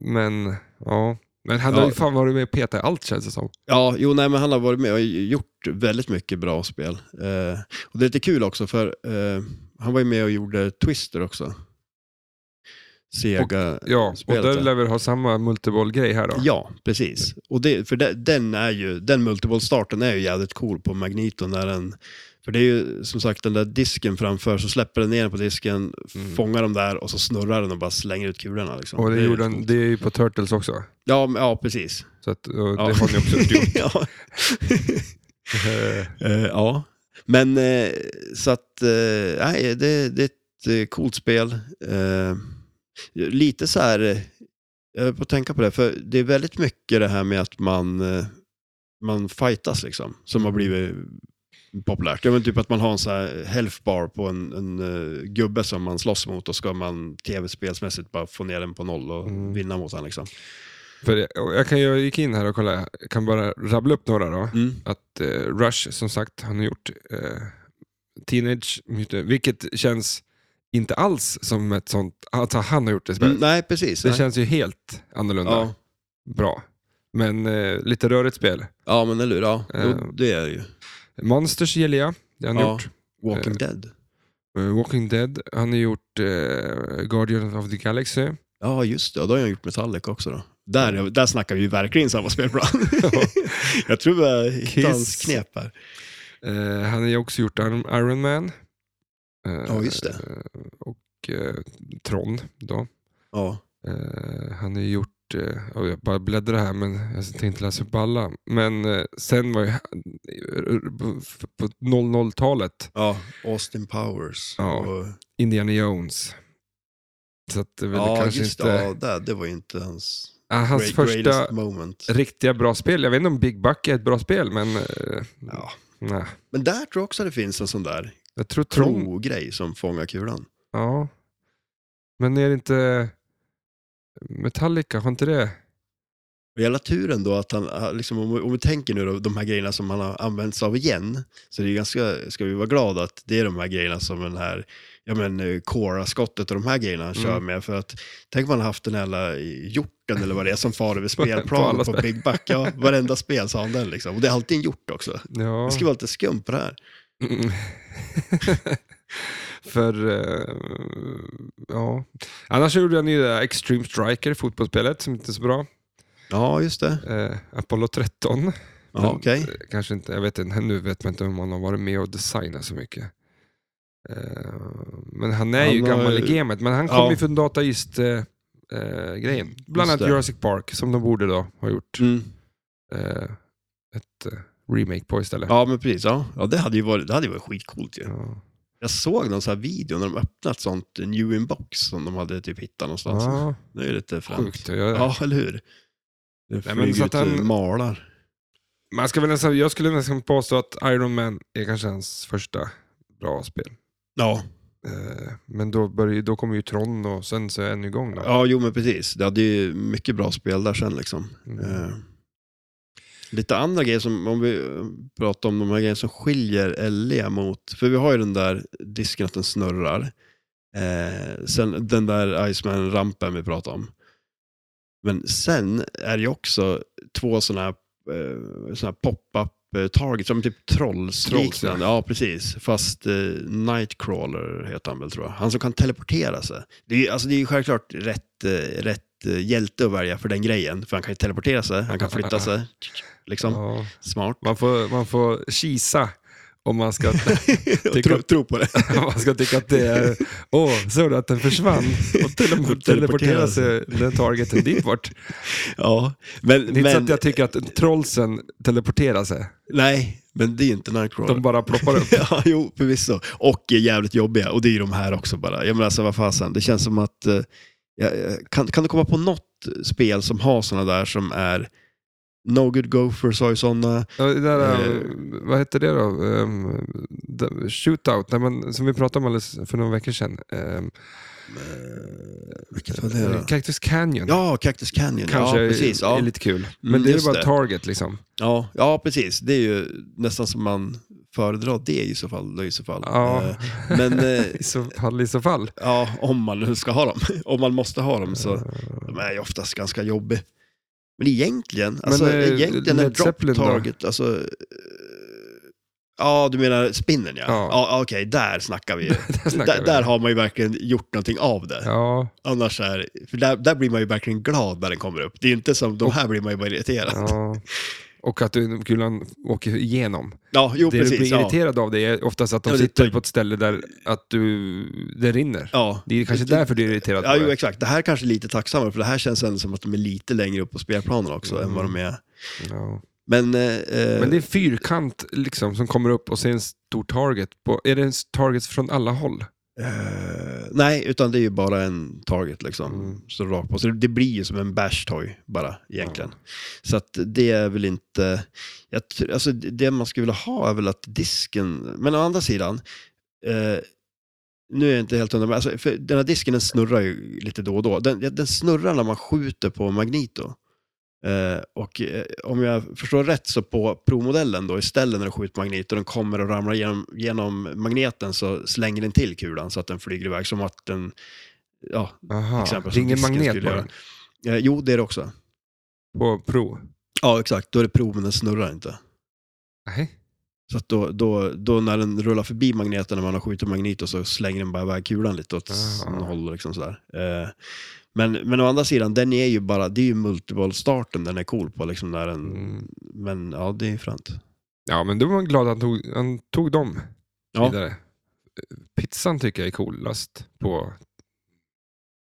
Speaker 2: men, ja. Men han
Speaker 1: Ja.
Speaker 2: har ju fan varit med och petat i allt känns det som.
Speaker 1: Ja, jo, nej, men han har varit med och gjort väldigt mycket bra spel. Eh, och det är lite kul också, för eh, han var ju med och gjorde Twister också. Sega.
Speaker 2: Ja,
Speaker 1: Spelet,
Speaker 2: och
Speaker 1: ja.
Speaker 2: där lär vi ha samma multiboll-grej här då.
Speaker 1: Ja, precis. Och det, för det, den är ju, den multiball-starten är ju jävligt cool på Magneto när den, för det är ju som sagt den där disken framför, så släpper den ner den på disken,
Speaker 2: Mm.
Speaker 1: fångar dem där och så snurrar den och bara slänger ut kulorna. Liksom.
Speaker 2: Och det,
Speaker 1: är
Speaker 2: gjorde
Speaker 1: coolt.
Speaker 2: han, det är ju på Turtles också.
Speaker 1: Ja, men- ja, precis.
Speaker 2: Så att, och
Speaker 1: Ja.
Speaker 2: det har ni också gjort.
Speaker 1: ja.
Speaker 2: Eh,
Speaker 1: Eh, ja, men eh, så att eh, nej, det, det är ett eh, coolt spel. Eh, lite så här, eh, jag höll på att tänka på det, för det är väldigt mycket det här med att man, eh, man fightas liksom, som
Speaker 2: Mm.
Speaker 1: har blivit populärt. Jag menar typ att man har en så här health bar på en, en eh, gubbe som man slåss mot och ska man tv-spelsmässigt bara få ner den på noll och
Speaker 2: Mm.
Speaker 1: vinna mot honom liksom.
Speaker 2: för jag, och jag, kan, jag gick in här och kollade, jag kan bara rabbla upp några då.
Speaker 1: Mm.
Speaker 2: Att eh, Rush, som sagt, han har gjort eh, Teenage Mutant, vilket känns inte alls som ett sånt, alltså han har gjort det spelet.
Speaker 1: Mm, nej, precis.
Speaker 2: Det
Speaker 1: nej.
Speaker 2: känns ju helt annorlunda.
Speaker 1: ja.
Speaker 2: Bra. Men eh, lite rörigt spel.
Speaker 1: ja, men eller hur. Ja,
Speaker 2: Eh.
Speaker 1: jo, det är det ju.
Speaker 2: Monsters gillar jag. Det har han
Speaker 1: Ja.
Speaker 2: gjort.
Speaker 1: Walking
Speaker 2: Eh.
Speaker 1: Dead.
Speaker 2: Eh, Walking Dead. Han har gjort eh, Guardians of the Galaxy.
Speaker 1: Ja, just det. Och då har jag gjort Metallic också då.
Speaker 2: Mm.
Speaker 1: Där, där snackar vi ju verkligen samma spelplan. jag tror vi hittade hans
Speaker 2: Kiss.
Speaker 1: knep här.
Speaker 2: Eh, han har ju också gjort Iron Iron Man. Eh,
Speaker 1: Ja, just det.
Speaker 2: eh, och eh, Tron då.
Speaker 1: Ja.
Speaker 2: Eh, han har ju gjort, eh, ja, jag bara bläddrar här men jag tänkte inte läsa upp alla. Men eh, sen var ju han- på 00-talet
Speaker 1: ja, Austin Powers.
Speaker 2: Ja.
Speaker 1: och,
Speaker 2: Indiana Jones. Så att det är väl
Speaker 1: ja
Speaker 2: kanske
Speaker 1: just
Speaker 2: inte...
Speaker 1: det. Ja, det, det var ju inte hans,
Speaker 2: Ah, hans
Speaker 1: great-
Speaker 2: första
Speaker 1: greatest moment.
Speaker 2: riktiga bra spel. Jag vet inte om Big Buck är ett bra spel, men eh,
Speaker 1: Ja.
Speaker 2: nej.
Speaker 1: Men där tror jag också det finns en sån där
Speaker 2: jag tror Tron.
Speaker 1: tro-grej som fångar kulan.
Speaker 2: Ja. Men är det inte Metallica, har inte det?
Speaker 1: Och Hela turen då, att han, ah, liksom, om, vi- om vi tänker nu då, de här grejerna som han har använt sig av igen, så det är ganska, ska vi vara glada att det är de här grejerna som den här, ja men eh, Cora-skottet och de här grejerna han
Speaker 2: Mm.
Speaker 1: kör med. För att tänk om han haft den jävla hjorten eller vad det är som far över
Speaker 2: alla
Speaker 1: spelplanen på
Speaker 2: spel.
Speaker 1: Big Buck. Ja, varenda spel så har han den liksom. Och det är alltid en hjort också.
Speaker 2: Ja.
Speaker 1: Det ska vara lite skumt på det här.
Speaker 2: Mm. För, eh, ja. Annars gjorde han ju det där Extreme Striker, fotbollsspelet, som inte är så bra.
Speaker 1: Ja, just det.
Speaker 2: Eh, Apollo 13.
Speaker 1: Ja,
Speaker 2: Men,
Speaker 1: okej.
Speaker 2: eh, Kanske inte, jag vet inte, nu vet man inte om han har varit med och designat så mycket. Eh, Men han är
Speaker 1: Han
Speaker 2: ju
Speaker 1: har-
Speaker 2: gammal i gamet, men han
Speaker 1: Ja.
Speaker 2: kom ju från Data East eh, eh, grejen. Bland
Speaker 1: Just
Speaker 2: annat
Speaker 1: det.
Speaker 2: Jurassic Park, som de borde då ha gjort
Speaker 1: Mm.
Speaker 2: eh, ett eh, remake på istället.
Speaker 1: Ja, men precis. Ja, ja det, hade ju varit, det hade ju varit skitcoolt ju.
Speaker 2: Ja.
Speaker 1: Jag såg någon sån här video när de öppnat ett sånt new inbox som de hade typ hittat någonstans.
Speaker 2: Ja,
Speaker 1: Det är ju lite fränt.
Speaker 2: sjukt att göra.
Speaker 1: Ja, eller hur? Det
Speaker 2: Nej,
Speaker 1: flyger
Speaker 2: men så
Speaker 1: ut
Speaker 2: att han-
Speaker 1: och malar.
Speaker 2: Man ska väl nästan, jag skulle nästan påstå att Iron Man är kanske hans första bra spel.
Speaker 1: Ja.
Speaker 2: Eh, Men då, börjar, då kommer ju Tron och sen så är han ju igång. Då.
Speaker 1: ja, jo men precis. Det hade ju mycket bra spel där sen liksom.
Speaker 2: Mm.
Speaker 1: Eh, lite andra grejer som, om vi eh, pratar om de här grejerna som skiljer LE mot, för vi har ju den där disken att den snurrar. Eh, sen den där Iceman-rampen vi pratade om. Men sen är det ju också två sådana här, eh, såna här pop-up eh, targets, som typ trolls,
Speaker 2: Trolls, ja.
Speaker 1: liknande. Ja, precis. Fast eh, Nightcrawler heter han väl tror jag. Han som kan teleportera sig. Det är ju alltså, det är ju självklart rätt, eh, rätt eh, hjälte att välja för den grejen. För han kan ju teleportera sig, han kan flytta sig. Liksom,
Speaker 2: Ja.
Speaker 1: smart.
Speaker 2: Man, får, man får kisa om man ska
Speaker 1: Och tro, tro på det.
Speaker 2: Man ska tycka att det är, åh, såg du att den försvann? Och tele- teleporterade sig den targeten dit bort.
Speaker 1: Ja, men...
Speaker 2: Det är inte så
Speaker 1: men
Speaker 2: att jag tycker att trollsen teleporterar sig.
Speaker 1: Nej, men det är inte Nightcrawler.
Speaker 2: De bara ploppar upp.
Speaker 1: ja, jo, förvisso. Och är jävligt jobbiga. Och det är ju de här också bara. Jag menar, alltså, vad fasen. Det känns som att... Eh, jag- jag- kan, kan du komma på något spel som har sådana där som är No Good Gopher sa ju sådana.
Speaker 2: Ja, det där,
Speaker 1: Eh.
Speaker 2: eh, vad hette det då? Ehm, d- shootout, nej, men, som vi pratade om alldeles för några veckor sedan. Ehm,
Speaker 1: Vilket var det då?
Speaker 2: Cactus Canyon.
Speaker 1: Ja, Cactus Canyon.
Speaker 2: Kanske
Speaker 1: ja, precis.
Speaker 2: är
Speaker 1: Ja.
Speaker 2: lite kul. Men
Speaker 1: Mm,
Speaker 2: det är ju
Speaker 1: just
Speaker 2: bara
Speaker 1: det.
Speaker 2: Target liksom.
Speaker 1: Ja, ja, precis. Det är ju nästan som man föredrar det i så fall. Då, i så fall.
Speaker 2: Ja.
Speaker 1: Eh, Men eh,
Speaker 2: I så fall, i så fall.
Speaker 1: ja, om man nu ska ha dem, om man måste ha dem
Speaker 2: Eh.
Speaker 1: så de är ju oftast ganska jobbiga. Men egentligen, alltså,
Speaker 2: eh,
Speaker 1: egentligen är
Speaker 2: Led Zeppelin
Speaker 1: drop
Speaker 2: då?
Speaker 1: target, alltså... eh, Ja, du menar spinnen ja.
Speaker 2: Ja.
Speaker 1: Ja, ja okej, där snackar vi ju.
Speaker 2: Där snackar
Speaker 1: där,
Speaker 2: vi.
Speaker 1: där har man ju verkligen gjort någonting av det.
Speaker 2: Ja,
Speaker 1: Annars är, för där, där blir man ju verkligen glad när den kommer upp. Det är ju inte som, de här blir man ju bara irriterad. Ja,
Speaker 2: ja. Och att du- kulan åker igenom.
Speaker 1: jo
Speaker 2: det du
Speaker 1: precis.
Speaker 2: blir
Speaker 1: Ja.
Speaker 2: irriterad av det är oftast att de
Speaker 1: Ja, det
Speaker 2: sitter
Speaker 1: tar-
Speaker 2: på ett ställe där att du, det rinner.
Speaker 1: Ja.
Speaker 2: Det är kanske
Speaker 1: Det-
Speaker 2: därför du är irriterad
Speaker 1: Ja,
Speaker 2: på
Speaker 1: jo,
Speaker 2: det.
Speaker 1: exakt. Det här kanske är lite tacksammare, för det här känns ändå som att de är lite längre upp på spelplanen också än vad de är.
Speaker 2: Ja.
Speaker 1: Men, eh,
Speaker 2: Mm. Men det är fyrkant liksom som kommer upp och ser en stor target. På, är det en targets från alla håll?
Speaker 1: eh, nej, utan det är ju bara en target liksom.
Speaker 2: Mm.
Speaker 1: Så rakt på. Så det blir ju som en bash toy bara egentligen. Så att det är väl inte... Jag, tr- alltså, det det man skulle vilja ha är väl att disken... Men å andra sidan, eh, nu är jag inte helt hundra, men alltså, för den här disken den snurrar ju lite då och då. Den, den snurrar när man skjuter på Magneto. Eh, och eh, om jag förstår rätt så på provmodellen då, istället när du skjuter Magneto, den kommer och ramlar genom, genom magneten så slänger den till kulan så att den flyger iväg som att den... Ja,
Speaker 2: Aha,
Speaker 1: exempel
Speaker 2: det är
Speaker 1: som
Speaker 2: ingen
Speaker 1: disken
Speaker 2: magnet
Speaker 1: skulle
Speaker 2: på
Speaker 1: göra.
Speaker 2: den?
Speaker 1: eh, jo, det är det också.
Speaker 2: På Pro?
Speaker 1: Ja, exakt. Då är det prov, men den snurrar inte.
Speaker 2: Nej.
Speaker 1: Så att då, då, då när den rullar förbi magneten när man har skjutit Magneto så slänger den bara iväg kulan lite åt
Speaker 2: Aha.
Speaker 1: ah. håll. Liksom sådär. Eh, men, men å andra sidan, den är ju bara, det är ju multiball-starten den är cool på. Liksom när den,
Speaker 2: Mm.
Speaker 1: Men ja, det är ju fränt.
Speaker 2: Ja, men då var man glad att han tog, han tog dem
Speaker 1: Ja.
Speaker 2: vidare. Pizzan tycker jag är coolast på...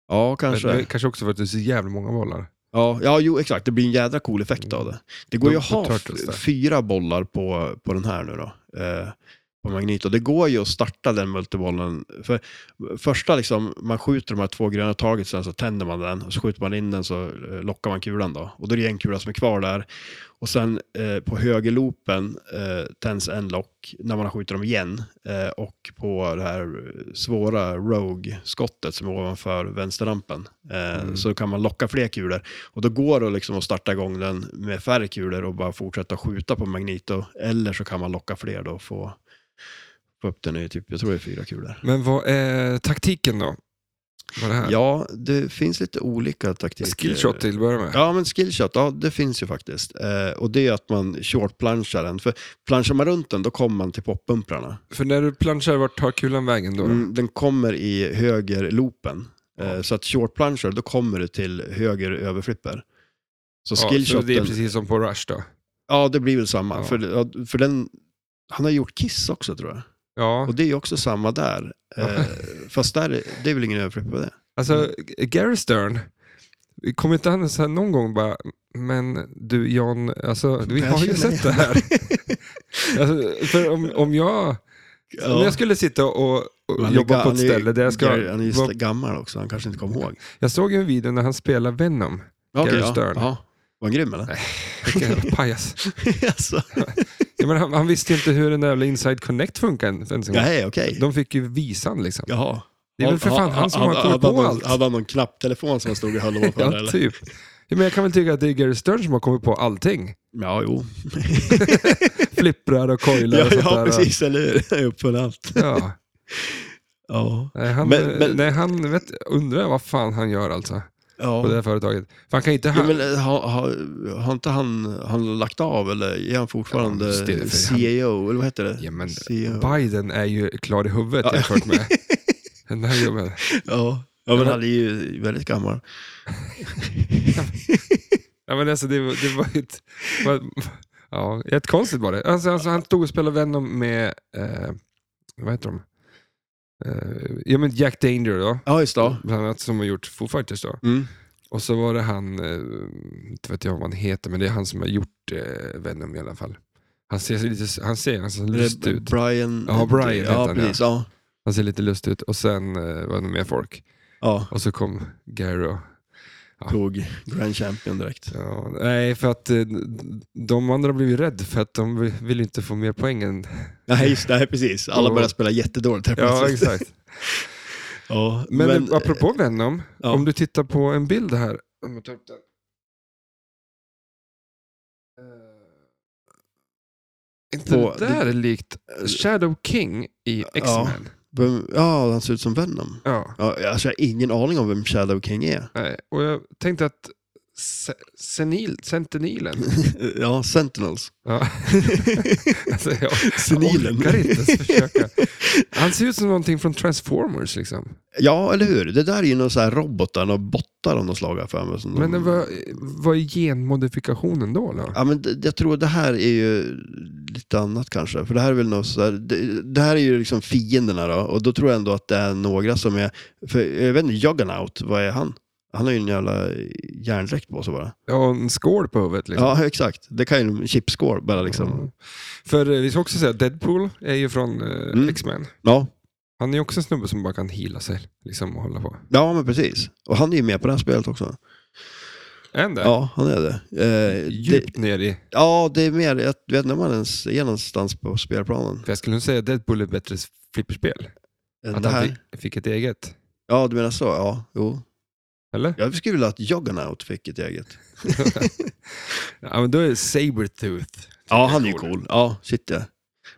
Speaker 1: Ja,
Speaker 2: Men-
Speaker 1: kanske.
Speaker 2: Kanske också för att det är så jävla många bollar.
Speaker 1: Ja, ja, jo exakt. Det blir en jädra cool effekt av det. Det går ju att ha
Speaker 2: Turtles
Speaker 1: f-
Speaker 2: där.
Speaker 1: fyra bollar på, på den här nu då. Eh, på Magneto. Det går ju att starta den multibollen. För första liksom, man skjuter de här två gröna taget sen så tänder man den och så skjuter man in den så eh, lockar man kulan då. Och då är det en kula som är kvar där. Och sen eh, på högerloopen eh, tänds en lock när man har skjutit dem igen. Eh, och på det här eh, svåra Rogue-skottet som är ovanför vänsterrampen eh,
Speaker 2: Mm.
Speaker 1: så kan man locka fler kulor. Och då går det liksom att starta igång den med färre kulor och bara fortsätta skjuta på Magneto. Eller så kan man locka fler då och få, få upp den i typ, jag tror det är fyra kulor.
Speaker 2: Men vad är taktiken då? Vad det här?
Speaker 1: Ja, det finns lite olika taktiker.
Speaker 2: Skillshot till att börja med.
Speaker 1: Ja, men skillshot, ja det finns ju faktiskt. Eh, och det är att man short-planchar den. För planchar man runt den, då kommer man till poppumprarna.
Speaker 2: För när du planchar, vart tar kulan vägen då?
Speaker 1: Mm, den kommer i högerloopen. Eh,
Speaker 2: Ja.
Speaker 1: så att short-planchar, då kommer du till höger överflipper. Så
Speaker 2: Ja, så
Speaker 1: skillshoten,
Speaker 2: det
Speaker 1: ja,
Speaker 2: är precis som på Rush då?
Speaker 1: det blir väl samma.
Speaker 2: Ja.
Speaker 1: För, ja, för den, han har gjort kiss också tror jag.
Speaker 2: Ja,
Speaker 1: Och det är ju också samma där. Eh, fast där, det är väl ingen överflipper på det. Mm.
Speaker 2: alltså Gary Stern, kommer inte han så här någon gång bara, men du John, alltså, vi
Speaker 1: Jag
Speaker 2: har ju
Speaker 1: känner
Speaker 2: sett det här. alltså, för om, om, jag, om jag skulle sitta och, och
Speaker 1: Han är
Speaker 2: jobba
Speaker 1: ga-
Speaker 2: på
Speaker 1: han
Speaker 2: ett
Speaker 1: är ju-
Speaker 2: ställe där jag ska...
Speaker 1: Gary, han är ju
Speaker 2: vara-
Speaker 1: gammal också, han kanske inte kommer ihåg.
Speaker 2: jag såg ju en video när han spelade Venom.
Speaker 1: Ja, okej,
Speaker 2: Gary
Speaker 1: ja.
Speaker 2: Stern.
Speaker 1: Ja. Var han grym eller?
Speaker 2: Vilken jävla pajas.
Speaker 1: alltså.
Speaker 2: Ja, men han, han visste ju inte hur den där jävla Inside Connect funkar ens en gång.
Speaker 1: Nej, okej.
Speaker 2: De fick ju visan liksom.
Speaker 1: Jaha.
Speaker 2: Det är väl för
Speaker 1: Ha-
Speaker 2: fan
Speaker 1: ha-
Speaker 2: han som har
Speaker 1: hade-
Speaker 2: kommit
Speaker 1: hade
Speaker 2: på
Speaker 1: han någon-
Speaker 2: allt.
Speaker 1: Hade han någon knapptelefon som han stod och höll ovanför?
Speaker 2: Ja,
Speaker 1: eller?
Speaker 2: typ. Ja, men jag kan väl tycka att det är Gary Stern som har kommit på allting.
Speaker 1: Ja, jo.
Speaker 2: Flipprar och coilar
Speaker 1: Ja,
Speaker 2: och sånt
Speaker 1: ja
Speaker 2: där.
Speaker 1: precis, eller hur? Jag uppfann allt.
Speaker 2: Ja.
Speaker 1: Ja.
Speaker 2: Nej, han,
Speaker 1: Men- men-
Speaker 2: nej, han vet, undrar vad fan han gör alltså på det
Speaker 1: ja.
Speaker 2: här företaget. För han kan inte...
Speaker 1: Ja,
Speaker 2: Han,
Speaker 1: men, eh, har, har, har inte han, han lagt av eller är han fortfarande
Speaker 2: Ja, just det, för han-
Speaker 1: CEO? Eller vad heter det? E
Speaker 2: ja, men
Speaker 1: CEO.
Speaker 2: Biden är ju klar i huvudet jämfört med den här gubben.
Speaker 1: Ja. ja, men han är ju väldigt gammal.
Speaker 2: Ja, men alltså, det, var- det var ju ett... Var, ja, ett konstigt var det. Alltså, alltså, han stod och spelade Venom med... Eh, vad heter de? Eh, ja, men Jack Danger då.
Speaker 1: Ja, just det.
Speaker 2: Bland annat som har gjort Foo Fighters då.
Speaker 1: Mm.
Speaker 2: Och så var det han, eh, inte vet jag vad han heter, men det är han som har gjort eh, Venom i alla fall. Han ser så lite, han ser, han ser lust ut.
Speaker 1: Brian...
Speaker 2: Ja, Brian heter
Speaker 1: ja,
Speaker 2: han, ja.
Speaker 1: precis. Ja.
Speaker 2: Han ser lite lust ut och sen eh, var det mer folk.
Speaker 1: Ja.
Speaker 2: Och så kom Gary och Ja.
Speaker 1: tog Grand Champion direkt.
Speaker 2: Ja, nej, för att eh, de andra blev ju rädda för att de vi- vill inte få mer poäng än...
Speaker 1: Nej, just det, nej, precis. Alla
Speaker 2: Ja.
Speaker 1: började spela jättedåligt här
Speaker 2: Ja,
Speaker 1: plötsligt.
Speaker 2: exakt.
Speaker 1: Ja,
Speaker 2: Men,
Speaker 1: men,
Speaker 2: eh, apropå Venom,
Speaker 1: ja.
Speaker 2: om du tittar på en bild här. Om jag tar upp den. Eh, Inte
Speaker 1: På-
Speaker 2: det där är likt Shadow King i X-Men?
Speaker 1: vem, ja, han ser ut som Venom.
Speaker 2: Ja.
Speaker 1: Ja, alltså jag har ingen aning om vem Shadow King är.
Speaker 2: nej. Och jag tänkte att se, senil, Sentinilen...
Speaker 1: ja, Sentinels.
Speaker 2: Ja. alltså, jag,
Speaker 1: Senilen.
Speaker 2: Jag orkar inte ens försöka. Han ser ut som någonting från Transformers liksom.
Speaker 1: Ja, eller hur? Det där är ju någon så här robotar och bottar av något slag här för mig. som de-
Speaker 2: Men vad, vad är genmodifikationen då? då?
Speaker 1: Mm. Ja, men det, jag tror det här är ju lite annat kanske. För det här är väl något så här, det, det här är ju liksom fienderna då. Och då tror jag ändå att det är några som är... För jag vet inte, Juggernaut, vad är han? Han har ju en jävla järndräkt på sig bara.
Speaker 2: Ja, en skål på huvudet liksom. Mm.
Speaker 1: Ja, exakt. Det kan ju en chipsskål bara liksom.
Speaker 2: Ja. För eh, vi ska också säga att Deadpool är ju från eh,
Speaker 1: Mm.
Speaker 2: X-Men.
Speaker 1: Ja,
Speaker 2: Han är ju också en snubbe som bara kan heala sig liksom, och hålla på.
Speaker 1: ja men precis. Och han är ju med på det här spelet också.
Speaker 2: Är han det?
Speaker 1: Ja, han är det. Eh, det
Speaker 2: Djupt ner i...
Speaker 1: ja, det är mer, jag vet inte om han ens är någonstans på spelplanen.
Speaker 2: För jag skulle nog säga att Deadpool är ett bättre flipperspel.
Speaker 1: Än
Speaker 2: Att
Speaker 1: det
Speaker 2: han
Speaker 1: här.
Speaker 2: fick, fick ett eget.
Speaker 1: Ja, du menar så. Ja, jo.
Speaker 2: Eller?
Speaker 1: Jag skulle vilja att Juggernaut fick ett eget.
Speaker 2: ja, men då är det Sabertooth.
Speaker 1: Ja, han är ju cool. Ja, shit ja.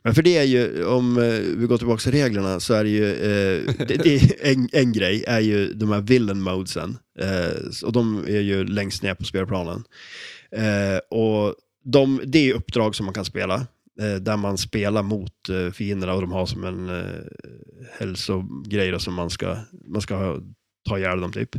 Speaker 1: Men för det är ju, om eh, vi går tillbaka till reglerna, så är det ju, eh, det, det är en, en grej är ju de här villain modesen. Eh, och de är ju längst ner på spelplanen. Eh, och de, det är ju uppdrag som man kan spela, eh, där man spelar mot eh, fienderna och de har som en eh, hälsogrej då, som man ska, man ska ha, ta ihjäl dem typ.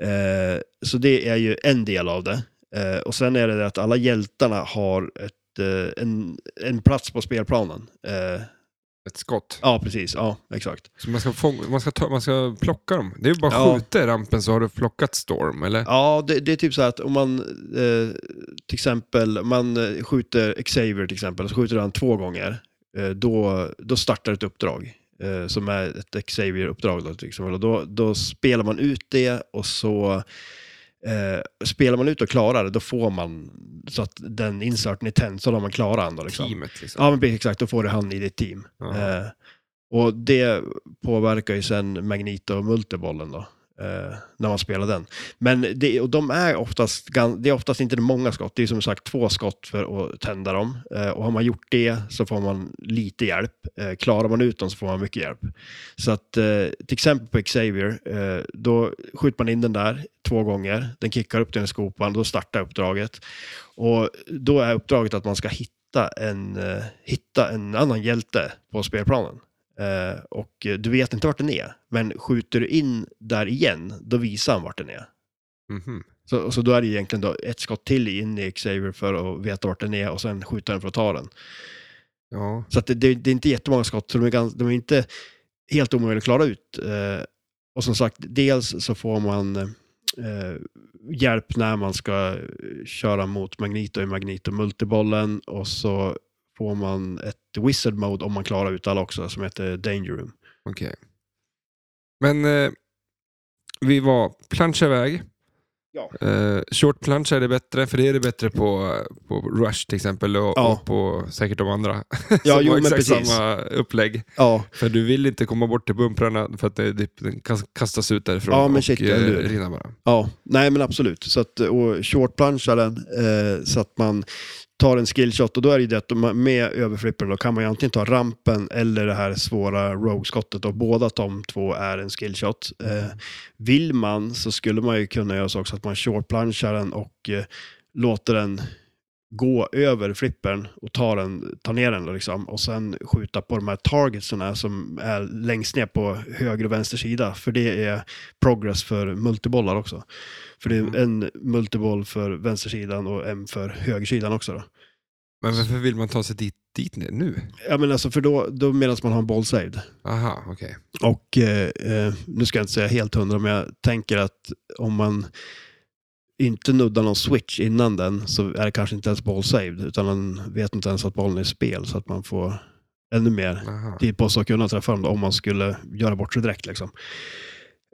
Speaker 1: Eh, så det är ju en del av det. Eh, och sen är det det att alla hjältarna har ett, eh, en, en plats på spelplanen. Eh,
Speaker 2: Ett skott.
Speaker 1: ja, precis. Ja, exakt.
Speaker 2: Så man ska, fång- man, ska ta- man ska plocka dem. Det är ju bara
Speaker 1: Ja.
Speaker 2: skjuta i rampen så har du plockat Storm, eller?
Speaker 1: Ja, det, det är typ så här att om man eh, till exempel man eh, skjuter Xavier till exempel, och så skjuter han två gånger, eh, då, då startar ett uppdrag. Eh, som är ett Xavier-uppdrag. Då, till exempel. Och då, då spelar man ut det och så eh, spelar man ut och klarar det, då får man så att den inserten är tänd, så då har man klarat den. Då, liksom.
Speaker 2: Teamet liksom.
Speaker 1: Ja, men precis, exakt. Då får du han i ditt team.
Speaker 2: Ja.
Speaker 1: Eh, och det påverkar ju sen Magneto och Multibollen då, eh, när man spelar den. Men det, och de är oftast, gan- det är oftast inte många skott, det är som sagt två skott för att tända dem. Eh, och har man gjort det så får man lite hjälp. Eh, klarar man ut dem så får man mycket hjälp. Så att eh, till exempel på Xavier, eh, då skjuter man in den där två gånger, den kickar upp den i skopan, då startar uppdraget. Och då är uppdraget att man ska hitta en, eh, hitta en annan hjälte på spelplanen. Eh, och eh, du vet inte vart den är, men skjuter du in där igen, då visar han vart den är.
Speaker 2: Mhm.
Speaker 1: Så, så då är det egentligen då ett skott till in i Xavier för att veta vart den är och sen skjuta den för att ta den.
Speaker 2: ja.
Speaker 1: Så att det, det, det är inte jättemånga skott, så de är, ganska, de är inte helt omöjliga att klara ut. Eh, och som sagt, dels så får man eh, hjälp när man ska eh, köra mot Magneto i Magneto Multibollen och så får man ett Wizard Mode om man klarar ut alla också, som heter Danger Room.
Speaker 2: Okej. Men eh, vi var plancha iväg.
Speaker 1: Ja.
Speaker 2: Eh, short plancha är det bättre, för det är det bättre på, på Rush till exempel och,
Speaker 1: Ja.
Speaker 2: och på säkert de andra.
Speaker 1: Ja,
Speaker 2: som
Speaker 1: jo,
Speaker 2: har
Speaker 1: men
Speaker 2: exakt
Speaker 1: precis.
Speaker 2: samma upplägg.
Speaker 1: Ja,
Speaker 2: För du vill inte komma bort till bumprarna för att det, det, den kas- kastas ut därifrån
Speaker 1: Ja, men
Speaker 2: och
Speaker 1: shit,
Speaker 2: eh,
Speaker 1: eller hur?
Speaker 2: rinner bara.
Speaker 1: ja. Nej, men absolut. Så att, eh, och shortplanchar den eh, så att man tar en skillshot och då är det ju det att de- med överflippen då kan man ju antingen ta rampen eller det här svåra rogue-skottet och båda att de två är en skillshot. Eh, vill man så skulle man ju kunna göra så också att man shortplanchar den och eh, låter den gå över flippern och ta, den, ta ner den då liksom, och sen skjuta på de här targetsen som är längst ner på höger och vänster sida. För det är progress för multibollar också. För det är
Speaker 2: Mhm.
Speaker 1: en multiboll för vänstersidan och en för högersidan också. Då.
Speaker 2: Men varför vill man ta sig dit, dit ner nu?
Speaker 1: Ja, men alltså för då, då medan man har en boll saved.
Speaker 2: Aha, okej.
Speaker 1: Och eh, eh, nu ska jag inte säga helt hundra, men jag tänker att om man inte nuddar någon switch innan den så är det kanske inte ens ball saved, utan man vet inte ens att bollen är i spel så att man får ännu mer
Speaker 2: Aha.
Speaker 1: typ tid på sig att kunna träffa dem då, om man skulle göra bort sig direkt. Liksom.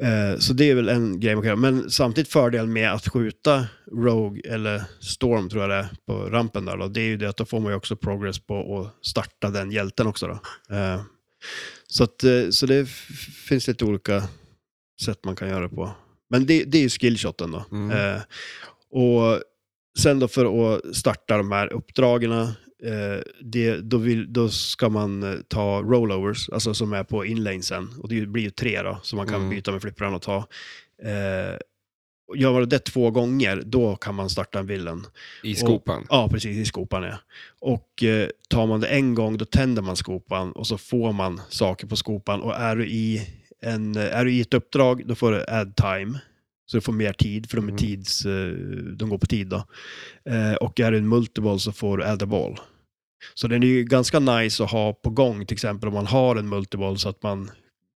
Speaker 1: Eh, Så det är väl en grej man kan göra. Men samtidigt fördel med att skjuta Rogue eller Storm tror jag det är på rampen där då. Det är ju det att då får man ju också progress på att starta den hjälten också då. Eh, Så, att, eh, så det f- finns lite olika sätt man kan göra det på. Men det, det är ju skillshoten då.
Speaker 2: Mm.
Speaker 1: Eh, Och sen då för att starta de här uppdragen, eh, det, då, vill, då ska man eh, ta rollovers, alltså som är på inlanesen. Och det blir ju tre då, som man kan
Speaker 2: Mm.
Speaker 1: byta med flippran och ta. Eh, och gör man det två gånger, då kan man starta en villen.
Speaker 2: I skopan.
Speaker 1: Ja, precis, i skopan ja. Och eh, tar man det en gång, då tänder man skopan och så får man saker på skopan. Och är du i, en, eh, är du i ett uppdrag, då får du add time. Så du får mer tid, för de, är
Speaker 2: Mm.
Speaker 1: tids, eh, de går på tid då. Eh, och är du en multiball så får du add a ball. Så den är ju ganska nice att ha på gång, till exempel om man har en multiball så att man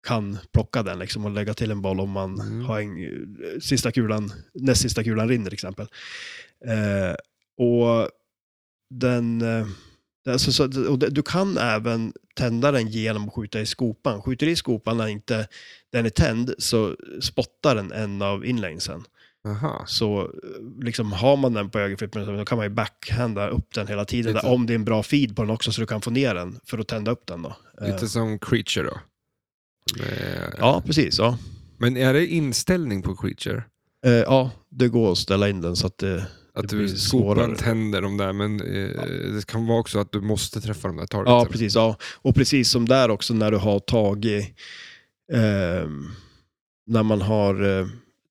Speaker 1: kan plocka den liksom, och lägga till en boll om man
Speaker 2: Mm.
Speaker 1: har en, eh, sista kulan, näst sista kulan rinner till exempel. Eh, och den... eh, Alltså, så, och det- du kan även tända den genom att skjuta i skopan. Skjuter du i skopan när inte den är tänd så spottar den en av inlanesen.
Speaker 2: Aha.
Speaker 1: Så eh, liksom, har man den på ögonflippen så kan man ju backhanda upp den hela tiden.
Speaker 2: Lite-
Speaker 1: Där, om det är en bra feed på den också så du kan få ner den för att tända upp den. Då. Eh,
Speaker 2: Lite som creature då. Eh,
Speaker 1: Ja, precis. Ja.
Speaker 2: Men är det inställning på creature?
Speaker 1: Eh, ja, det går att ställa in den så att eh, det...
Speaker 2: Att
Speaker 1: blir
Speaker 2: du skopan
Speaker 1: svårare.
Speaker 2: tänder de där, men eh, det kan vara också att du måste träffa de där targetsen.
Speaker 1: Ja, precis. Ja. Och precis som där också när du har tagit... ehm, när man har eh,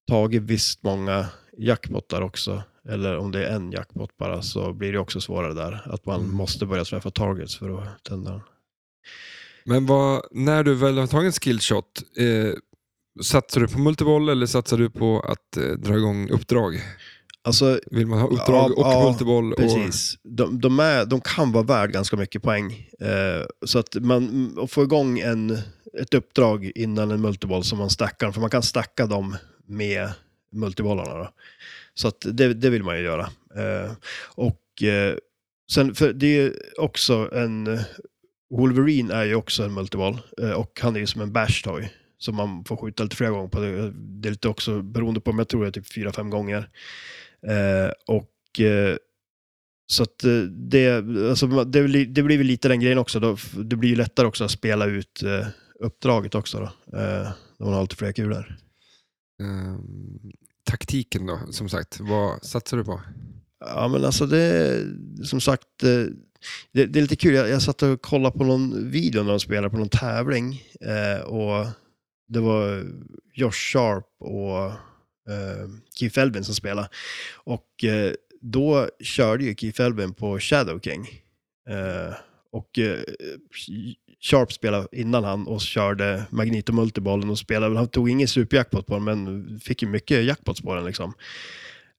Speaker 1: tagit visst många jackpottar också, eller om det är en jackpot bara, så blir det också svårare där. Att man
Speaker 2: Mm.
Speaker 1: måste börja träffa targets för att tända den.
Speaker 2: Men vad, när du väl har tagit en skillshot, eh, satsar du på multiboll eller satsar du på att eh, dra igång uppdrag?
Speaker 1: Alltså,
Speaker 2: Vill man ha uppdrag
Speaker 1: Ja,
Speaker 2: och
Speaker 1: ja,
Speaker 2: multiboll? Och,
Speaker 1: Precis. De, de, är, de kan vara värd ganska mycket poäng. Eh, så att man att få igång en, ett uppdrag innan en multiboll som man stackar, för man kan stacka dem med multibollarna. Då. Så att det, det vill man ju göra. Eh, och eh, sen, för det är ju också en... Wolverine är ju också en multiboll eh, och han är ju som en bash toy. Så man får skjuta lite flera gånger på det. Det är lite också beroende på, men jag tror det är typ fyra, fem gånger. Eh, och eh, så att eh, det, alltså, man- det, blir, det blir väl lite den grejen också. Då, F- det blir ju lättare också att spela ut eh, uppdraget också då. Eh, när man har lite fler kulor.
Speaker 2: ehm, taktiken då, som sagt. Vad satsar du på?
Speaker 1: Ja men alltså det, som sagt, eh, det, det är lite kul. Jag, jag satt och kollade på någon video när de spelade på någon tävling. Eh, och det var Josh Sharp och eh, Keith Elvin som spelade. Och eh, då körde ju Keith Elvin på Shadow King. Eh, och eh, Sharp spelade innan han och körde Magneto Multibollen och spelade. Han tog ingen superjackpot på den, men fick ju mycket jackpots på den liksom.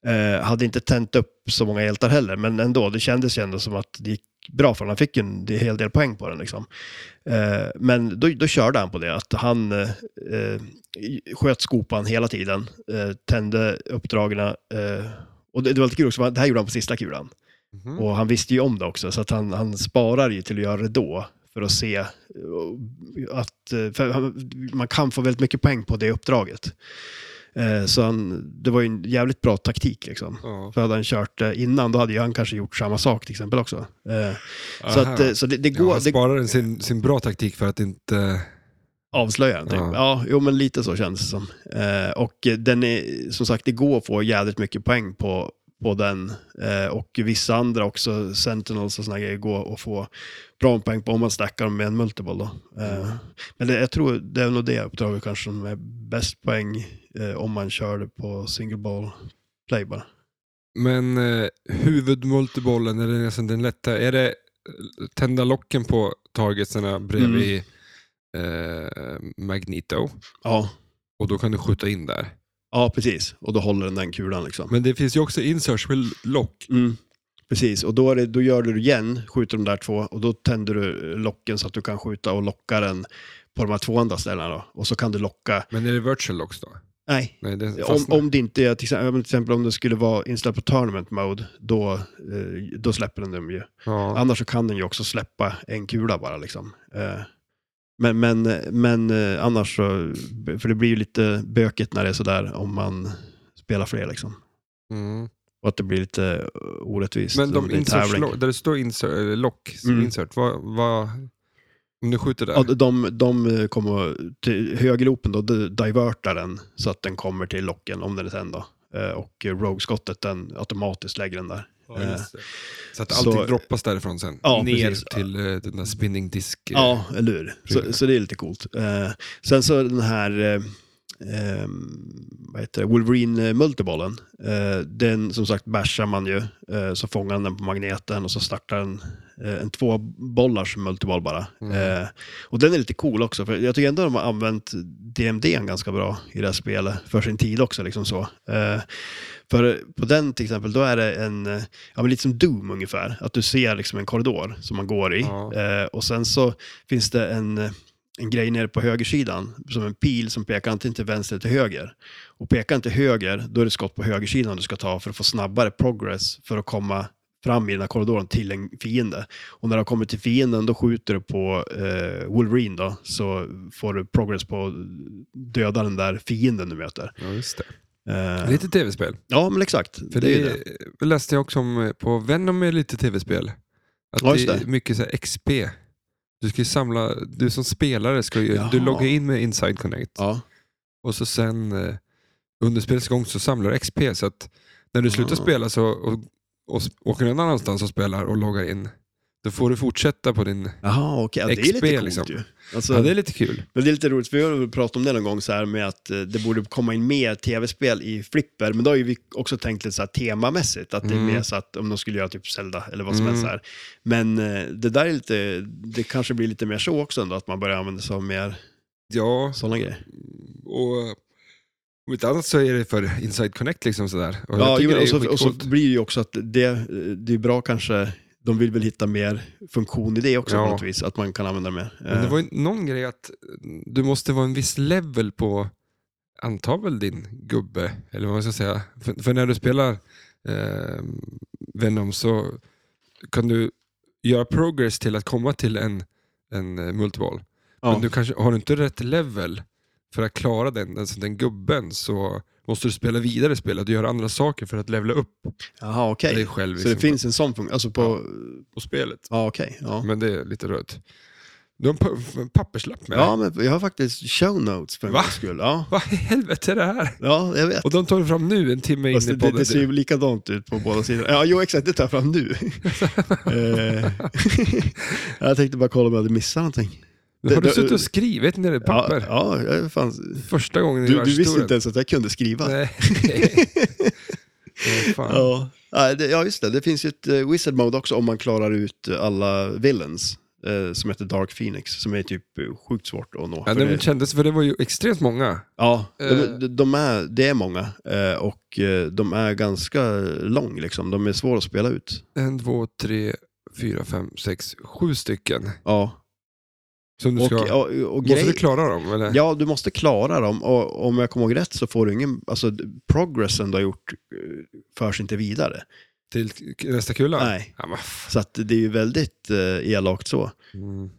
Speaker 1: Eh, hade inte tänt upp så många hjältar heller, men ändå, det kändes ju ändå som att det gick bra för honom. Han fick ju en hel del poäng på den liksom. Eh, men då, då körde han på det, att han eh, eh, sköt skopan hela tiden, eh, tände uppdragen. Eh, och det, det var lite kul också, för det här gjorde han på sista kulan.
Speaker 2: Mhm.
Speaker 1: Och han visste ju om det också, så att han, han sparar ju till att göra det då. För att se eh, att eh, för han, man kan få väldigt mycket poäng på det uppdraget. Eh, Så han, det var ju en jävligt bra taktik liksom.
Speaker 2: Ja.
Speaker 1: För hade han kört det innan, då hade ju han kanske gjort samma sak till exempel också. Eh, Så,
Speaker 2: Aha.
Speaker 1: att, eh, så det, det
Speaker 2: ja,
Speaker 1: går...
Speaker 2: han
Speaker 1: det,
Speaker 2: sparar sin, sin bra taktik för att inte...
Speaker 1: avslöjaren. Typ.
Speaker 2: Ja.
Speaker 1: Ja. jo men lite så känns det som. Eh, och eh, den är, som sagt, det går att få jädrigt mycket poäng på, på den. Eh, och vissa andra också, Sentinels och sådana grejer, går att få bra poäng på om man stackar dem med en multiboll. Då. Eh, Men det, jag tror det är nog det uppdraget kanske som är bäst poäng eh, om man kör det på single ball play bara.
Speaker 2: Men eh, huvudmultibollen, eller nästan den lätta, är det eh, tända locken på targetsarna bredvid
Speaker 1: Mm.
Speaker 2: eh, Magneto?
Speaker 1: Ja.
Speaker 2: Och då kan du skjuta in där.
Speaker 1: ja, precis. Och då håller den den kulan liksom.
Speaker 2: Men det finns ju också inserts med lock.
Speaker 1: Mm. Precis, och då, är det, då gör du det igen, skjuter de där två och då tänder du eh, locken så att du kan skjuta och locka den på de här två andra ställena då. Och så kan du locka,
Speaker 2: Men är det virtual locks då?
Speaker 1: nej,
Speaker 2: Nej, det
Speaker 1: om,
Speaker 2: fastnar.
Speaker 1: om det inte är, till exempel, ja, men till exempel om det skulle vara inställt på tournament mode, då, eh, då släpper den dem ju.
Speaker 2: ja.
Speaker 1: Annars så kan den ju också släppa en kula bara liksom. Eh, Men, men, men eh, annars så, för det blir ju lite bökigt när det är sådär om man spelar fler liksom.
Speaker 2: Mm.
Speaker 1: Och att det blir lite eh, orättvist.
Speaker 2: Men
Speaker 1: om
Speaker 2: de
Speaker 1: det är
Speaker 2: inserts,
Speaker 1: tävling.
Speaker 2: lo- där det står insert, eller lock, som
Speaker 1: Mm.
Speaker 2: insert, vad, vad, om du skjuter där?
Speaker 1: Ja, de, de kommer till högerlopen då, de- divertar den så att den kommer till locken om den är tänd då. Eh, Och rogue-skottet den automatiskt lägger den där.
Speaker 2: Ja, just det. Eh, Så att
Speaker 1: så-
Speaker 2: allting droppas därifrån sen,
Speaker 1: Ja,
Speaker 2: ner
Speaker 1: precis.
Speaker 2: till eh, den där spinning disk. eh,
Speaker 1: Ja, eller hur?
Speaker 2: Precis.
Speaker 1: Så, så det är lite coolt. Eh, Sen så den här eh, eh, vad heter det? Wolverine eh, multibollen. Eh, Den som sagt bashar man ju. eh, Så fångar han den på magneten och så startar den eh, en två bollars multiboll bara.
Speaker 2: Mm.
Speaker 1: Eh, Och den är lite cool också. För jag tycker ändå de har använt DMD ganska bra i det här spelet. För sin tid också liksom så. Eh, För på den till exempel, då är det en, eh, ja men lite som Doom ungefär. Att du ser liksom en korridor som man går i.
Speaker 2: Ja.
Speaker 1: Eh, Och sen så finns det en, eh, en grej nere på högersidan, som en pil som pekar antingen till vänster eller till höger. Och pekar den till höger, då är det skott på högersidan du ska ta för att få snabbare progress för att komma fram i den här korridoren till en fiende. Och när du har kommit till fienden, då skjuter du på eh, Wolverine då, så får du progress på att döda den där fienden du möter.
Speaker 2: Ja, just det.
Speaker 1: Eh,
Speaker 2: Lite tv-spel.
Speaker 1: ja, men exakt.
Speaker 2: För
Speaker 1: det är
Speaker 2: det,
Speaker 1: ju det.
Speaker 2: läste jag också om eh, på Venom är lite tv-spel. Att
Speaker 1: Ja,
Speaker 2: det.
Speaker 1: just
Speaker 2: är mycket så här XP. Du ska ju samla, du som spelare ska ju,
Speaker 1: Jaha.
Speaker 2: du loggar in med Inside Connect
Speaker 1: Ja.
Speaker 2: och så sen eh, under spelets gång så samlar du XP så att när du slutar
Speaker 1: Ah.
Speaker 2: spela så, och, och s- åker någon annanstans och spelar och loggar in, då får du fortsätta på din...
Speaker 1: Jaha, okej. Ja, det är
Speaker 2: XP
Speaker 1: lite coolt
Speaker 2: liksom.
Speaker 1: ju. Alltså,
Speaker 2: Ja, det är lite kul.
Speaker 1: Men det är lite roligt, för vi har pratat om det någon gång så här med att eh, det borde komma in mer tv-spel i flipper, men då har ju vi också tänkt lite så här temamässigt, att
Speaker 2: Mm.
Speaker 1: det är mer så att om de skulle göra typ Zelda eller vad som
Speaker 2: Mm.
Speaker 1: helst så här. Men eh, det där är lite, det kanske blir lite mer så också ändå, att man börjar använda sig av mer
Speaker 2: Ja,
Speaker 1: sådana grejer.
Speaker 2: och om inte annat så är det för Inside Connect liksom sådär. Och jag
Speaker 1: Ja, jo,
Speaker 2: tycker det är
Speaker 1: och, så, och så
Speaker 2: skitcoolt.
Speaker 1: blir det ju också att det, eh, det är bra kanske, de vill väl hitta mer funktion i det också
Speaker 2: Ja.
Speaker 1: på något vis, att man kan använda det mer.
Speaker 2: Men det
Speaker 1: Eh,
Speaker 2: var ju någon grej att du måste vara en viss level på, antar väl din gubbe, eller vad man ska säga. För, för när du spelar eh, Venom så kan du göra progress till att komma till en, en eh, multiball.
Speaker 1: ja.
Speaker 2: Men du kanske, har du inte rätt level för att klara den, alltså den gubben så måste du spela vidare i spelet och göra andra saker för att levla upp
Speaker 1: Jaha, okej.
Speaker 2: dig själv
Speaker 1: Så det
Speaker 2: liksom,
Speaker 1: finns en sån funktion, alltså på, ja,
Speaker 2: på spelet.
Speaker 1: okej. Ja.
Speaker 2: Men det är lite rött. Du har en pa- en papperslapp med dig.
Speaker 1: Ja, men jag har faktiskt show notes för en
Speaker 2: Va?
Speaker 1: gångs skull. Ja.
Speaker 2: Vad i helvete är det här?
Speaker 1: ja, jag vet.
Speaker 2: Och de tar vi fram nu, en timme in
Speaker 1: Fast Alltså,
Speaker 2: i
Speaker 1: det, det,
Speaker 2: podden.
Speaker 1: det ser ju likadant ut på båda sidor. Ja, jo exakt, det tar jag fram nu. Eh, jag tänkte bara kolla om jag hade missat någonting.
Speaker 2: har du
Speaker 1: det-
Speaker 2: suttit och skrivit ner i papper?
Speaker 1: Ja, ja jag fanns.
Speaker 2: Första gången i
Speaker 1: Du, du visste
Speaker 2: världshistorien.
Speaker 1: inte ens att jag kunde skriva.
Speaker 2: Nej. Åh, fan.
Speaker 1: Ja. Ja, det- ja, just det. Det finns ju ett eh, wizard mode också om man klarar ut eh, alla villains. eh, Som heter Dark Phoenix, som är typ eh, sjukt svårt att nå.
Speaker 2: Ja,
Speaker 1: För
Speaker 2: det
Speaker 1: det-
Speaker 2: kändes, för det var ju extremt många.
Speaker 1: Ja,
Speaker 2: Eh.
Speaker 1: de, de- de är, det är många eh, och eh, de är ganska lång liksom. De är svåra att spela ut.
Speaker 2: En, två, tre, fyra, fem, sex, sju stycken.
Speaker 1: Ja.
Speaker 2: Som du
Speaker 1: Och,
Speaker 2: ska...
Speaker 1: och, och
Speaker 2: måste
Speaker 1: grej-
Speaker 2: du klara dem? Eller?
Speaker 1: Ja, du måste klara dem och om jag kommer ihåg rätt så får du ingen, alltså progressen du har gjort eh, förs inte vidare.
Speaker 2: Till k- nästa kula?
Speaker 1: Nej.
Speaker 2: Ja, men f-
Speaker 1: Så att det är ju väldigt eh, elakt så.
Speaker 2: mm.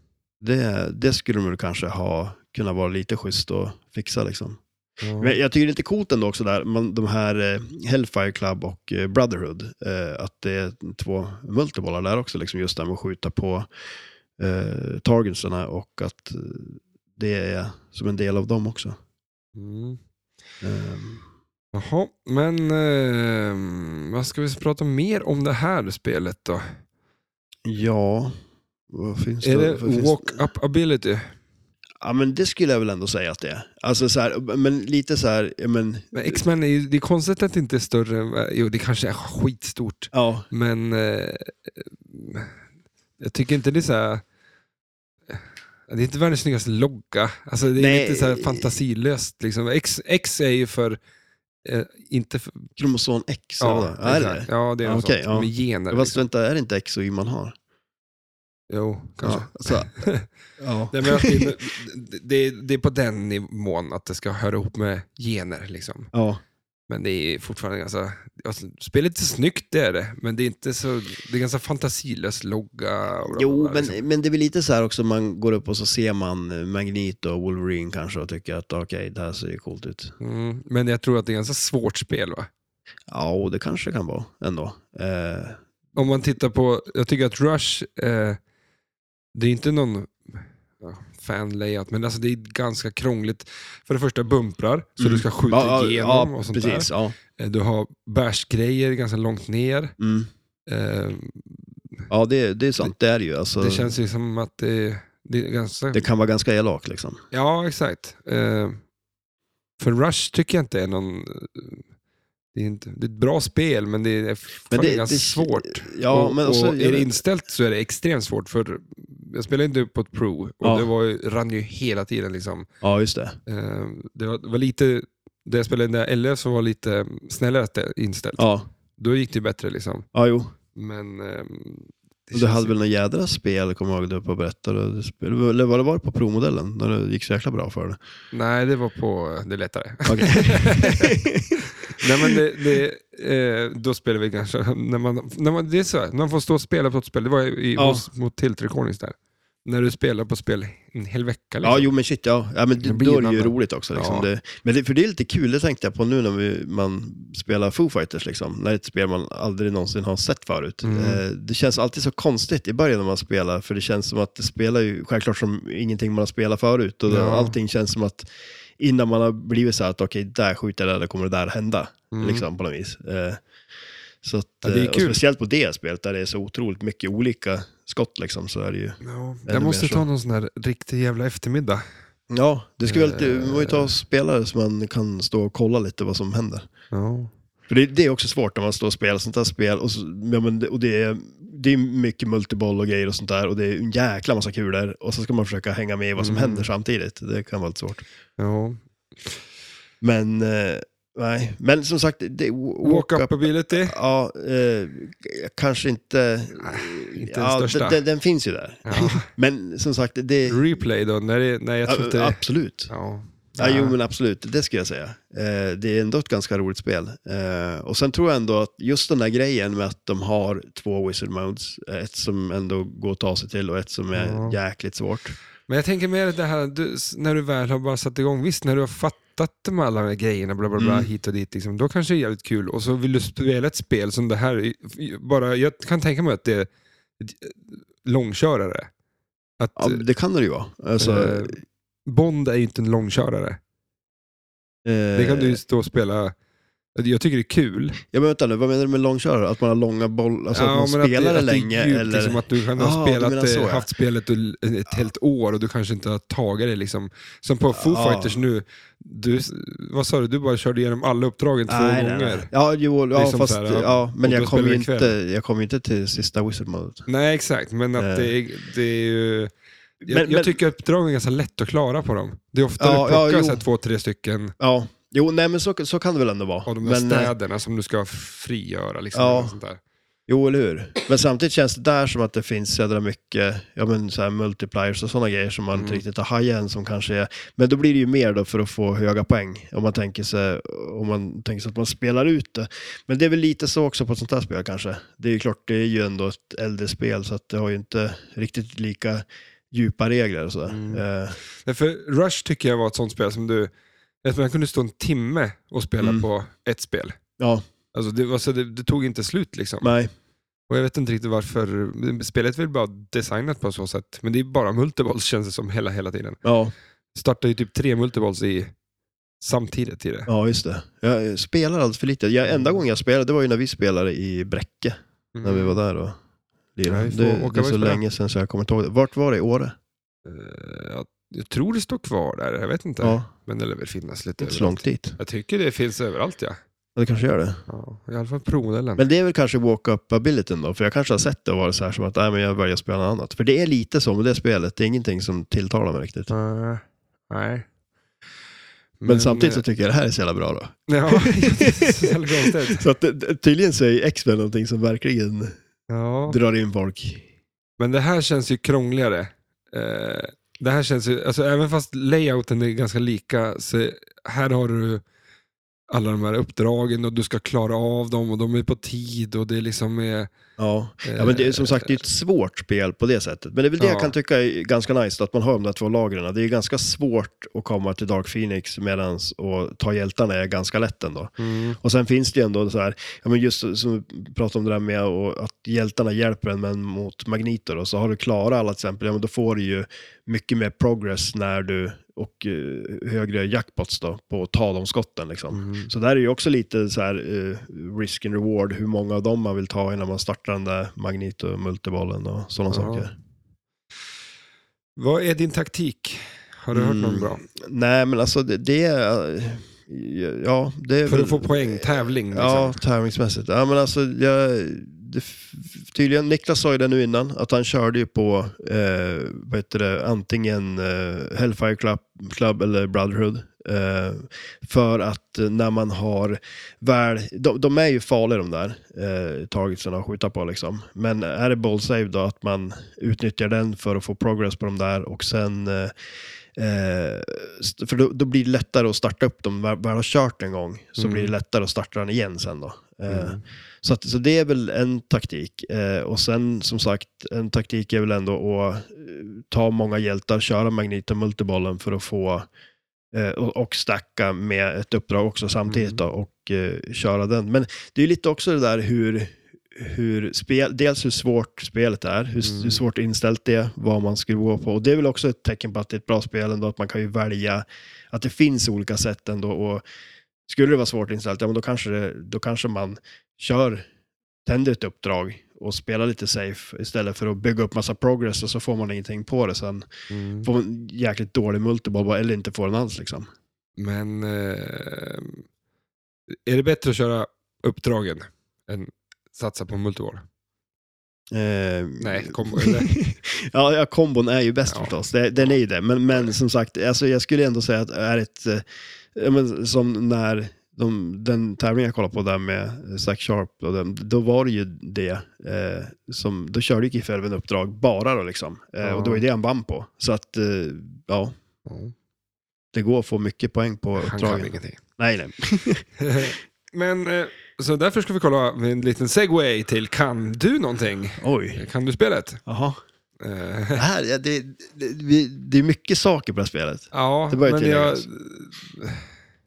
Speaker 1: Det, det skulle de väl kanske ha kunnat vara lite schysst och fixa liksom.
Speaker 2: ja.
Speaker 1: Men jag tycker det är lite coolt ändå också där, man, de här eh, Hellfire Club och eh, Brotherhood, eh, att det är två multibollar där också, liksom just det här med att skjuta på eh, targetsarna och att eh, det är som en del av dem också.
Speaker 2: Mm.
Speaker 1: Ehm,
Speaker 2: Jaha, men ehm, vad ska vi prata mer om det här spelet då?
Speaker 1: ja, vad finns
Speaker 2: Är
Speaker 1: det?
Speaker 2: det
Speaker 1: vad finns-
Speaker 2: walk-up ability?
Speaker 1: Ja, men det skulle jag väl ändå säga att det är. Alltså så här, men lite så här, ja, men,
Speaker 2: Men X-Men är ju, det är konstigt att det inte är större, än- eh, jo det kanske är skitstort,
Speaker 1: ja,
Speaker 2: men eh, jag tycker inte det är så här, eh, det är inte världens snyggaste logga, alltså det är
Speaker 1: Nej.
Speaker 2: inte så här fantasilöst liksom. X, X är ju för, eh, inte för,
Speaker 1: kromosom X, ja, är det
Speaker 2: exakt. Ja, det är
Speaker 1: Ja,
Speaker 2: något
Speaker 1: okej,
Speaker 2: sånt,
Speaker 1: ja.
Speaker 2: med gener.
Speaker 1: det? Fast
Speaker 2: Liksom.
Speaker 1: vänta, är det inte X och Y man har?
Speaker 2: Jo, kanske.
Speaker 1: Ja, så, ja.
Speaker 2: Nej, men att det, är- det, det är på den nivån, att det ska höra ihop med gener liksom.
Speaker 1: ja.
Speaker 2: Men det är fortfarande ganska... Alltså, spelet är snyggt, det är det. Men det är inte så... Det är ganska fantasilös logga. Och bla, bla,
Speaker 1: Jo,
Speaker 2: bla, liksom.
Speaker 1: men, men det blir lite så här också, man går upp och så ser man Magneto och Wolverine kanske och tycker att okej, det här ser ju coolt ut.
Speaker 2: Mm, men jag tror att det är ganska svårt spel, va?
Speaker 1: Ja, och det kanske det kan vara ändå. Eh,
Speaker 2: Om man tittar på... Jag tycker att Rush... Eh, det är inte någon ja, fan-layout, men alltså det är ganska krångligt. För det första bumprar, så
Speaker 1: Mm.
Speaker 2: du ska skjuta
Speaker 1: ja, ja,
Speaker 2: igenom
Speaker 1: ja,
Speaker 2: och sånt
Speaker 1: precis. Ja,
Speaker 2: där. Eh, Du har bärsgrejer ganska långt ner.
Speaker 1: mm.
Speaker 2: Eh,
Speaker 1: ja det, det är sant. Det är det ju. Alltså,
Speaker 2: Det
Speaker 1: det,
Speaker 2: känns ju som att det, det är ganska...
Speaker 1: kan vara ganska elak liksom.
Speaker 2: Ja, exakt. Eh, för Rush tycker jag inte är någon... Det är, inte, det är ett bra spel, men det är men
Speaker 1: det-
Speaker 2: ganska
Speaker 1: det-
Speaker 2: svårt.
Speaker 1: Ja,
Speaker 2: och,
Speaker 1: men alltså, också,
Speaker 2: och är det inställt så är det extremt svårt. För jag spelade inte på ett Pro och
Speaker 1: Ja.
Speaker 2: det var, ju- rann ju hela tiden. Liksom.
Speaker 1: ja, just det.
Speaker 2: Eh, det, var, det var lite... Där jag spelade den där LF som var lite snällare att det- inställt.
Speaker 1: Ja,
Speaker 2: Då gick det ju bättre. Liksom.
Speaker 1: ja jo.
Speaker 2: Men... ehm, det
Speaker 1: Du
Speaker 2: känns
Speaker 1: hade
Speaker 2: ju-
Speaker 1: väl något jädra spel, kommer jag ihåg, du upp och berättade. Du spel- Eller var det bara på provmodellen, när det gick så jäkla bra för det?
Speaker 2: Nej, det var på det är lättare.
Speaker 1: Okej.
Speaker 2: Nej, men det, det, eh, då spelar vi kanske... När man, när man, det är så här, när man får stå och spela på ett spel. Det var i,
Speaker 1: Ja.
Speaker 2: hos, mot Tilt Recordings där. När du spelar på spel en hel vecka. Liksom.
Speaker 1: Ja, jo men shit, ja. ja men det,
Speaker 2: Det blir
Speaker 1: då är det
Speaker 2: en
Speaker 1: ju
Speaker 2: annan-
Speaker 1: roligt också. Liksom.
Speaker 2: Ja.
Speaker 1: Det, men det, för det är lite kul, det tänkte jag på nu när vi, man spelar Foo Fighters, liksom. när det är ett spel man aldrig någonsin har sett förut.
Speaker 2: Mm.
Speaker 1: Eh, det känns alltid så konstigt i början när man spelar, för det känns som att det spelar ju självklart som ingenting man har spelat förut. Och
Speaker 2: Ja.
Speaker 1: Allting känns som att innan man har blivit så här att okej, där skjuter jag där, där kommer det där hända.
Speaker 2: Mm.
Speaker 1: Liksom, på något vis. Eh, så att,
Speaker 2: Ja, det är
Speaker 1: eh, och
Speaker 2: kul.
Speaker 1: speciellt på det spelet där det är så otroligt mycket olika skott liksom, så är det ju
Speaker 2: Ja,
Speaker 1: Ännu
Speaker 2: jag måste
Speaker 1: mer så.
Speaker 2: ta någon sån här riktig jävla eftermiddag.
Speaker 1: Ja, det ska väl alltid,
Speaker 2: Eh.
Speaker 1: man får ju ta spelare så man kan stå och kolla lite vad som händer.
Speaker 2: Ja.
Speaker 1: För det, det är också svårt när man står och spelar sånt här spel. Och, så, ja, men det, och det, är, det är mycket multiboll och grejer och sånt där. Och det är en jäkla massa kulor. Och så ska man försöka hänga med i vad som
Speaker 2: Mm.
Speaker 1: händer samtidigt. Det kan vara lite svårt.
Speaker 2: ja.
Speaker 1: Men, eh, nej. Men som sagt, det,
Speaker 2: Walk up ability.
Speaker 1: Ja, eh, kanske inte...
Speaker 2: inte den största.
Speaker 1: Den, den finns ju där.
Speaker 2: Ja.
Speaker 1: Men som sagt, det...
Speaker 2: Replay då, när, det, när jag tror att det...
Speaker 1: Absolut.
Speaker 2: Ja.
Speaker 1: Ja, jo, men absolut, det skulle jag säga. Eh, det är ändå ett ganska roligt spel. Eh, och sen tror jag ändå att just den där grejen med att de har två wizard modes, eh, ett som ändå går att ta sig till och ett som är
Speaker 2: Ja.
Speaker 1: jäkligt svårt.
Speaker 2: Men jag tänker mer det här, du, s- när du väl har bara satt igång, visst när du har fattat de alla de här grejerna, bla bla bla,
Speaker 1: Mm.
Speaker 2: hit och dit, liksom, då kanske det är jävligt kul. Och så vill du spela ett spel som det här, i- i- bara, jag kan tänka mig att det är ett- eh, långkörare. Att,
Speaker 1: Ja, det kan det ju vara. Alltså,
Speaker 2: eh, Bond är ju inte en långkörare.
Speaker 1: eh,
Speaker 2: Det kan du ju stå och spela, jag tycker det är kul.
Speaker 1: ja, men vänta nu, vad menar du med långkörare? Att man har långa boll, alltså
Speaker 2: Ja,
Speaker 1: att
Speaker 2: men
Speaker 1: man spelar det
Speaker 2: att det,
Speaker 1: länge?
Speaker 2: Att det är djupt,
Speaker 1: eller?
Speaker 2: liksom, att du kan
Speaker 1: Ah,
Speaker 2: ha
Speaker 1: du
Speaker 2: spelat,
Speaker 1: menar så,
Speaker 2: eh,
Speaker 1: ja.
Speaker 2: haft spelet ul- ett helt år och du kanske inte har tagit det. Liksom. Som på Foo
Speaker 1: Ja.
Speaker 2: Fighters nu, du, vad sa du, du bara körde igenom alla uppdragen två
Speaker 1: nej, nej,
Speaker 2: gånger.
Speaker 1: nej. Ja, jo, ja,
Speaker 2: Liksom
Speaker 1: fast,
Speaker 2: så här,
Speaker 1: ja, men
Speaker 2: och
Speaker 1: jag
Speaker 2: då
Speaker 1: kommer ju
Speaker 2: spelar
Speaker 1: inte, jag kom ju inte till sista wizard mode.
Speaker 2: Nej, exakt, men att
Speaker 1: Eh.
Speaker 2: det, är, det är ju... Jag,
Speaker 1: Men- men-
Speaker 2: jag tycker uppdragen är ganska lätt att klara på dem. Det är ofta
Speaker 1: Ja,
Speaker 2: du
Speaker 1: ja,
Speaker 2: plockar
Speaker 1: jo.
Speaker 2: så här, två, tre stycken
Speaker 1: Ja, jo, nej men så, så kan det väl ändå vara.
Speaker 2: av de där
Speaker 1: men, eh,
Speaker 2: städerna som du ska frigöra. Liksom,
Speaker 1: Ja.
Speaker 2: eller sånt där.
Speaker 1: Jo, eller hur? Men samtidigt känns det där som att det finns så jädra mycket ja, men så här multipliers och sådana grejer som man inte
Speaker 2: Mm.
Speaker 1: riktigt har hajat än som kanske är... Men då blir det ju mer då för att få höga poäng om man tänker sig, om man tänker sig att man spelar ut det. Men det är väl lite så också på ett sånt här spel kanske. Det är ju klart, det är ju ändå ett äldre spel så att det har ju inte riktigt lika djupa regler och sådär.
Speaker 2: Mm.
Speaker 1: Eh,
Speaker 2: Nej, för Rush tycker jag var ett sånt spel som du... Jag tror jag kunde stå en timme och spela
Speaker 1: Mm.
Speaker 2: på ett spel.
Speaker 1: ja,
Speaker 2: Alltså det, var så det, det tog inte slut liksom.
Speaker 1: nej.
Speaker 2: Och jag vet inte riktigt varför. Spelet är väl bara designat på så sätt. Men det är bara multiballs känns det som hela, hela tiden.
Speaker 1: Ja,
Speaker 2: Startar ju typ tre multiballs i, samtidigt i det.
Speaker 1: ja, just det. Jag spelar alldeles för lite. Jag, enda gången jag spelade det var ju när vi spelade i Bräcke.
Speaker 2: Mm.
Speaker 1: när vi var där och
Speaker 2: Ja,
Speaker 1: lirade.
Speaker 2: vi får
Speaker 1: det, det
Speaker 2: åka
Speaker 1: är så
Speaker 2: iväg på det.
Speaker 1: länge sedan så jag kommer inte ihåg det. Vart var det? I Åre?
Speaker 2: Eh, jag, jag tror det står kvar där, jag vet inte.
Speaker 1: Ja,
Speaker 2: Men det lär väl finnas lite
Speaker 1: inte så långt dit.
Speaker 2: Jag tycker det finns överallt ja.
Speaker 1: Ja, det kanske gör det.
Speaker 2: ja I alla fall provmodellen.
Speaker 1: Men det är väl kanske walk-up-abilityn då, för jag kanske har
Speaker 2: Mm.
Speaker 1: sett det och varit så här som att nej, men jag väljer att spela något annat. För det är lite så med det spelet, det är ingenting som tilltalar mig riktigt.
Speaker 2: Eh, nej.
Speaker 1: Men,
Speaker 2: Mm.
Speaker 1: samtidigt så tycker jag det här är så jävla bra då.
Speaker 2: Ja, det är så jävla konstigt.
Speaker 1: Så att, det- det- tydligen så är X-Men någonting som verkligen
Speaker 2: Ja.
Speaker 1: drar in folk.
Speaker 2: Men det här känns ju krångligare. Eh, det här känns ju, alltså även fast layouten är ganska lika, så här har du alla de här uppdragen och du ska klara av dem och de är på tid och det liksom är...
Speaker 1: Ja. ja, men det är som sagt det är ett svårt spel på det sättet. Men det är väl det
Speaker 2: Ja.
Speaker 1: jag kan tycka är ganska nice, att man har de där två lagren. Det är ganska svårt att komma till Dark Phoenix medan och ta hjältarna är ganska lätt ändå. Och sen finns det ju ändå så här, ja, men just som vi pratade om det där med och att hjältarna hjälper en men mot magneter och så har du klarat alla till exempel, ja, men då får du ju mycket mer progress när du och eh, högre jackpots då på att ta de skotten liksom.
Speaker 2: Mm.
Speaker 1: Så där är ju också lite så här eh, risk and reward, hur många av dem man vill ta innan man startar den där magnet och multibollen och sådana
Speaker 2: Ja.
Speaker 1: saker.
Speaker 2: Vad är din taktik? Har du hört någon
Speaker 1: Mm.
Speaker 2: bra?
Speaker 1: Nej men alltså det, det är, eh, ja det är
Speaker 2: För
Speaker 1: väl-
Speaker 2: att få poäng, tävling liksom.
Speaker 1: Ja, tävlingsmässigt. Ja, men alltså, jag, det, f- tydligen, Niklas sa ju det nu innan, att han körde ju på eh, vad heter det, antingen eh, Hellfire Club, Club eller Brotherhood. Eh, för att eh, när man har väl, de, de är ju farliga de där eh, targetsarna att skjuta på liksom. Men är det ball save då, att man utnyttjar den för att få progress på de där och sen eh, Eh, st- för då, då blir det lättare att starta upp dem. Väl väl har kört en gång så
Speaker 2: Mm.
Speaker 1: blir det lättare att starta den igen sen då. Eh,
Speaker 2: Mm.
Speaker 1: så, att, så det är väl en taktik. Eh, och sen som sagt, en taktik är väl ändå att eh, ta många hjältar, köra magneten, multibollen för att få eh, och, och stacka med ett uppdrag också samtidigt då, och eh, köra den. Men det är ju lite också det där hur hur spel, dels hur svårt spelet är, hur,
Speaker 2: Mm.
Speaker 1: hur svårt inställt det är, vad man ska gå på. Och det är väl också ett tecken på att det är ett bra spel ändå, att man kan ju välja, att det finns olika sätt ändå. Och skulle det vara svårt inställt, ja men då kanske, det, då kanske man kör, tänder ett uppdrag och spelar lite safe istället för att bygga upp massa progress och så får man ingenting på det sen.
Speaker 2: Mm.
Speaker 1: Får man jäkligt dålig multiboll eller inte får den alls liksom.
Speaker 2: Men eh, är det bättre att köra uppdragen än satsa på multival?
Speaker 1: Eh,
Speaker 2: Nej, kom, eller?
Speaker 1: ja, ja, kombon är ju bäst
Speaker 2: Ja.
Speaker 1: förstås. Det, den är ju det. Men, men som sagt, alltså, jag skulle ändå säga att är ett... eh, ja, men, som när de, den tävling jag kollade på där med Zack Sharp, och den, då var det ju det. Eh, som, då körde ju Giff Elven uppdrag bara då liksom. Eh,
Speaker 2: Ja.
Speaker 1: Och det var ju det han vann på. Så att, eh, ja, det går att få mycket poäng på
Speaker 2: Han kan
Speaker 1: uppdragen.
Speaker 2: ingenting.
Speaker 1: Nej, nej.
Speaker 2: Men eh, så därför ska vi kolla med en liten segway till kan du någonting?
Speaker 1: Oj.
Speaker 2: Kan du spelet?
Speaker 1: Jaha. Det,
Speaker 2: Eh,
Speaker 1: här, ja, det, det, vi- det är mycket saker på det här spelet.
Speaker 2: ja,
Speaker 1: Det bör
Speaker 2: men jag...
Speaker 1: tilläggas.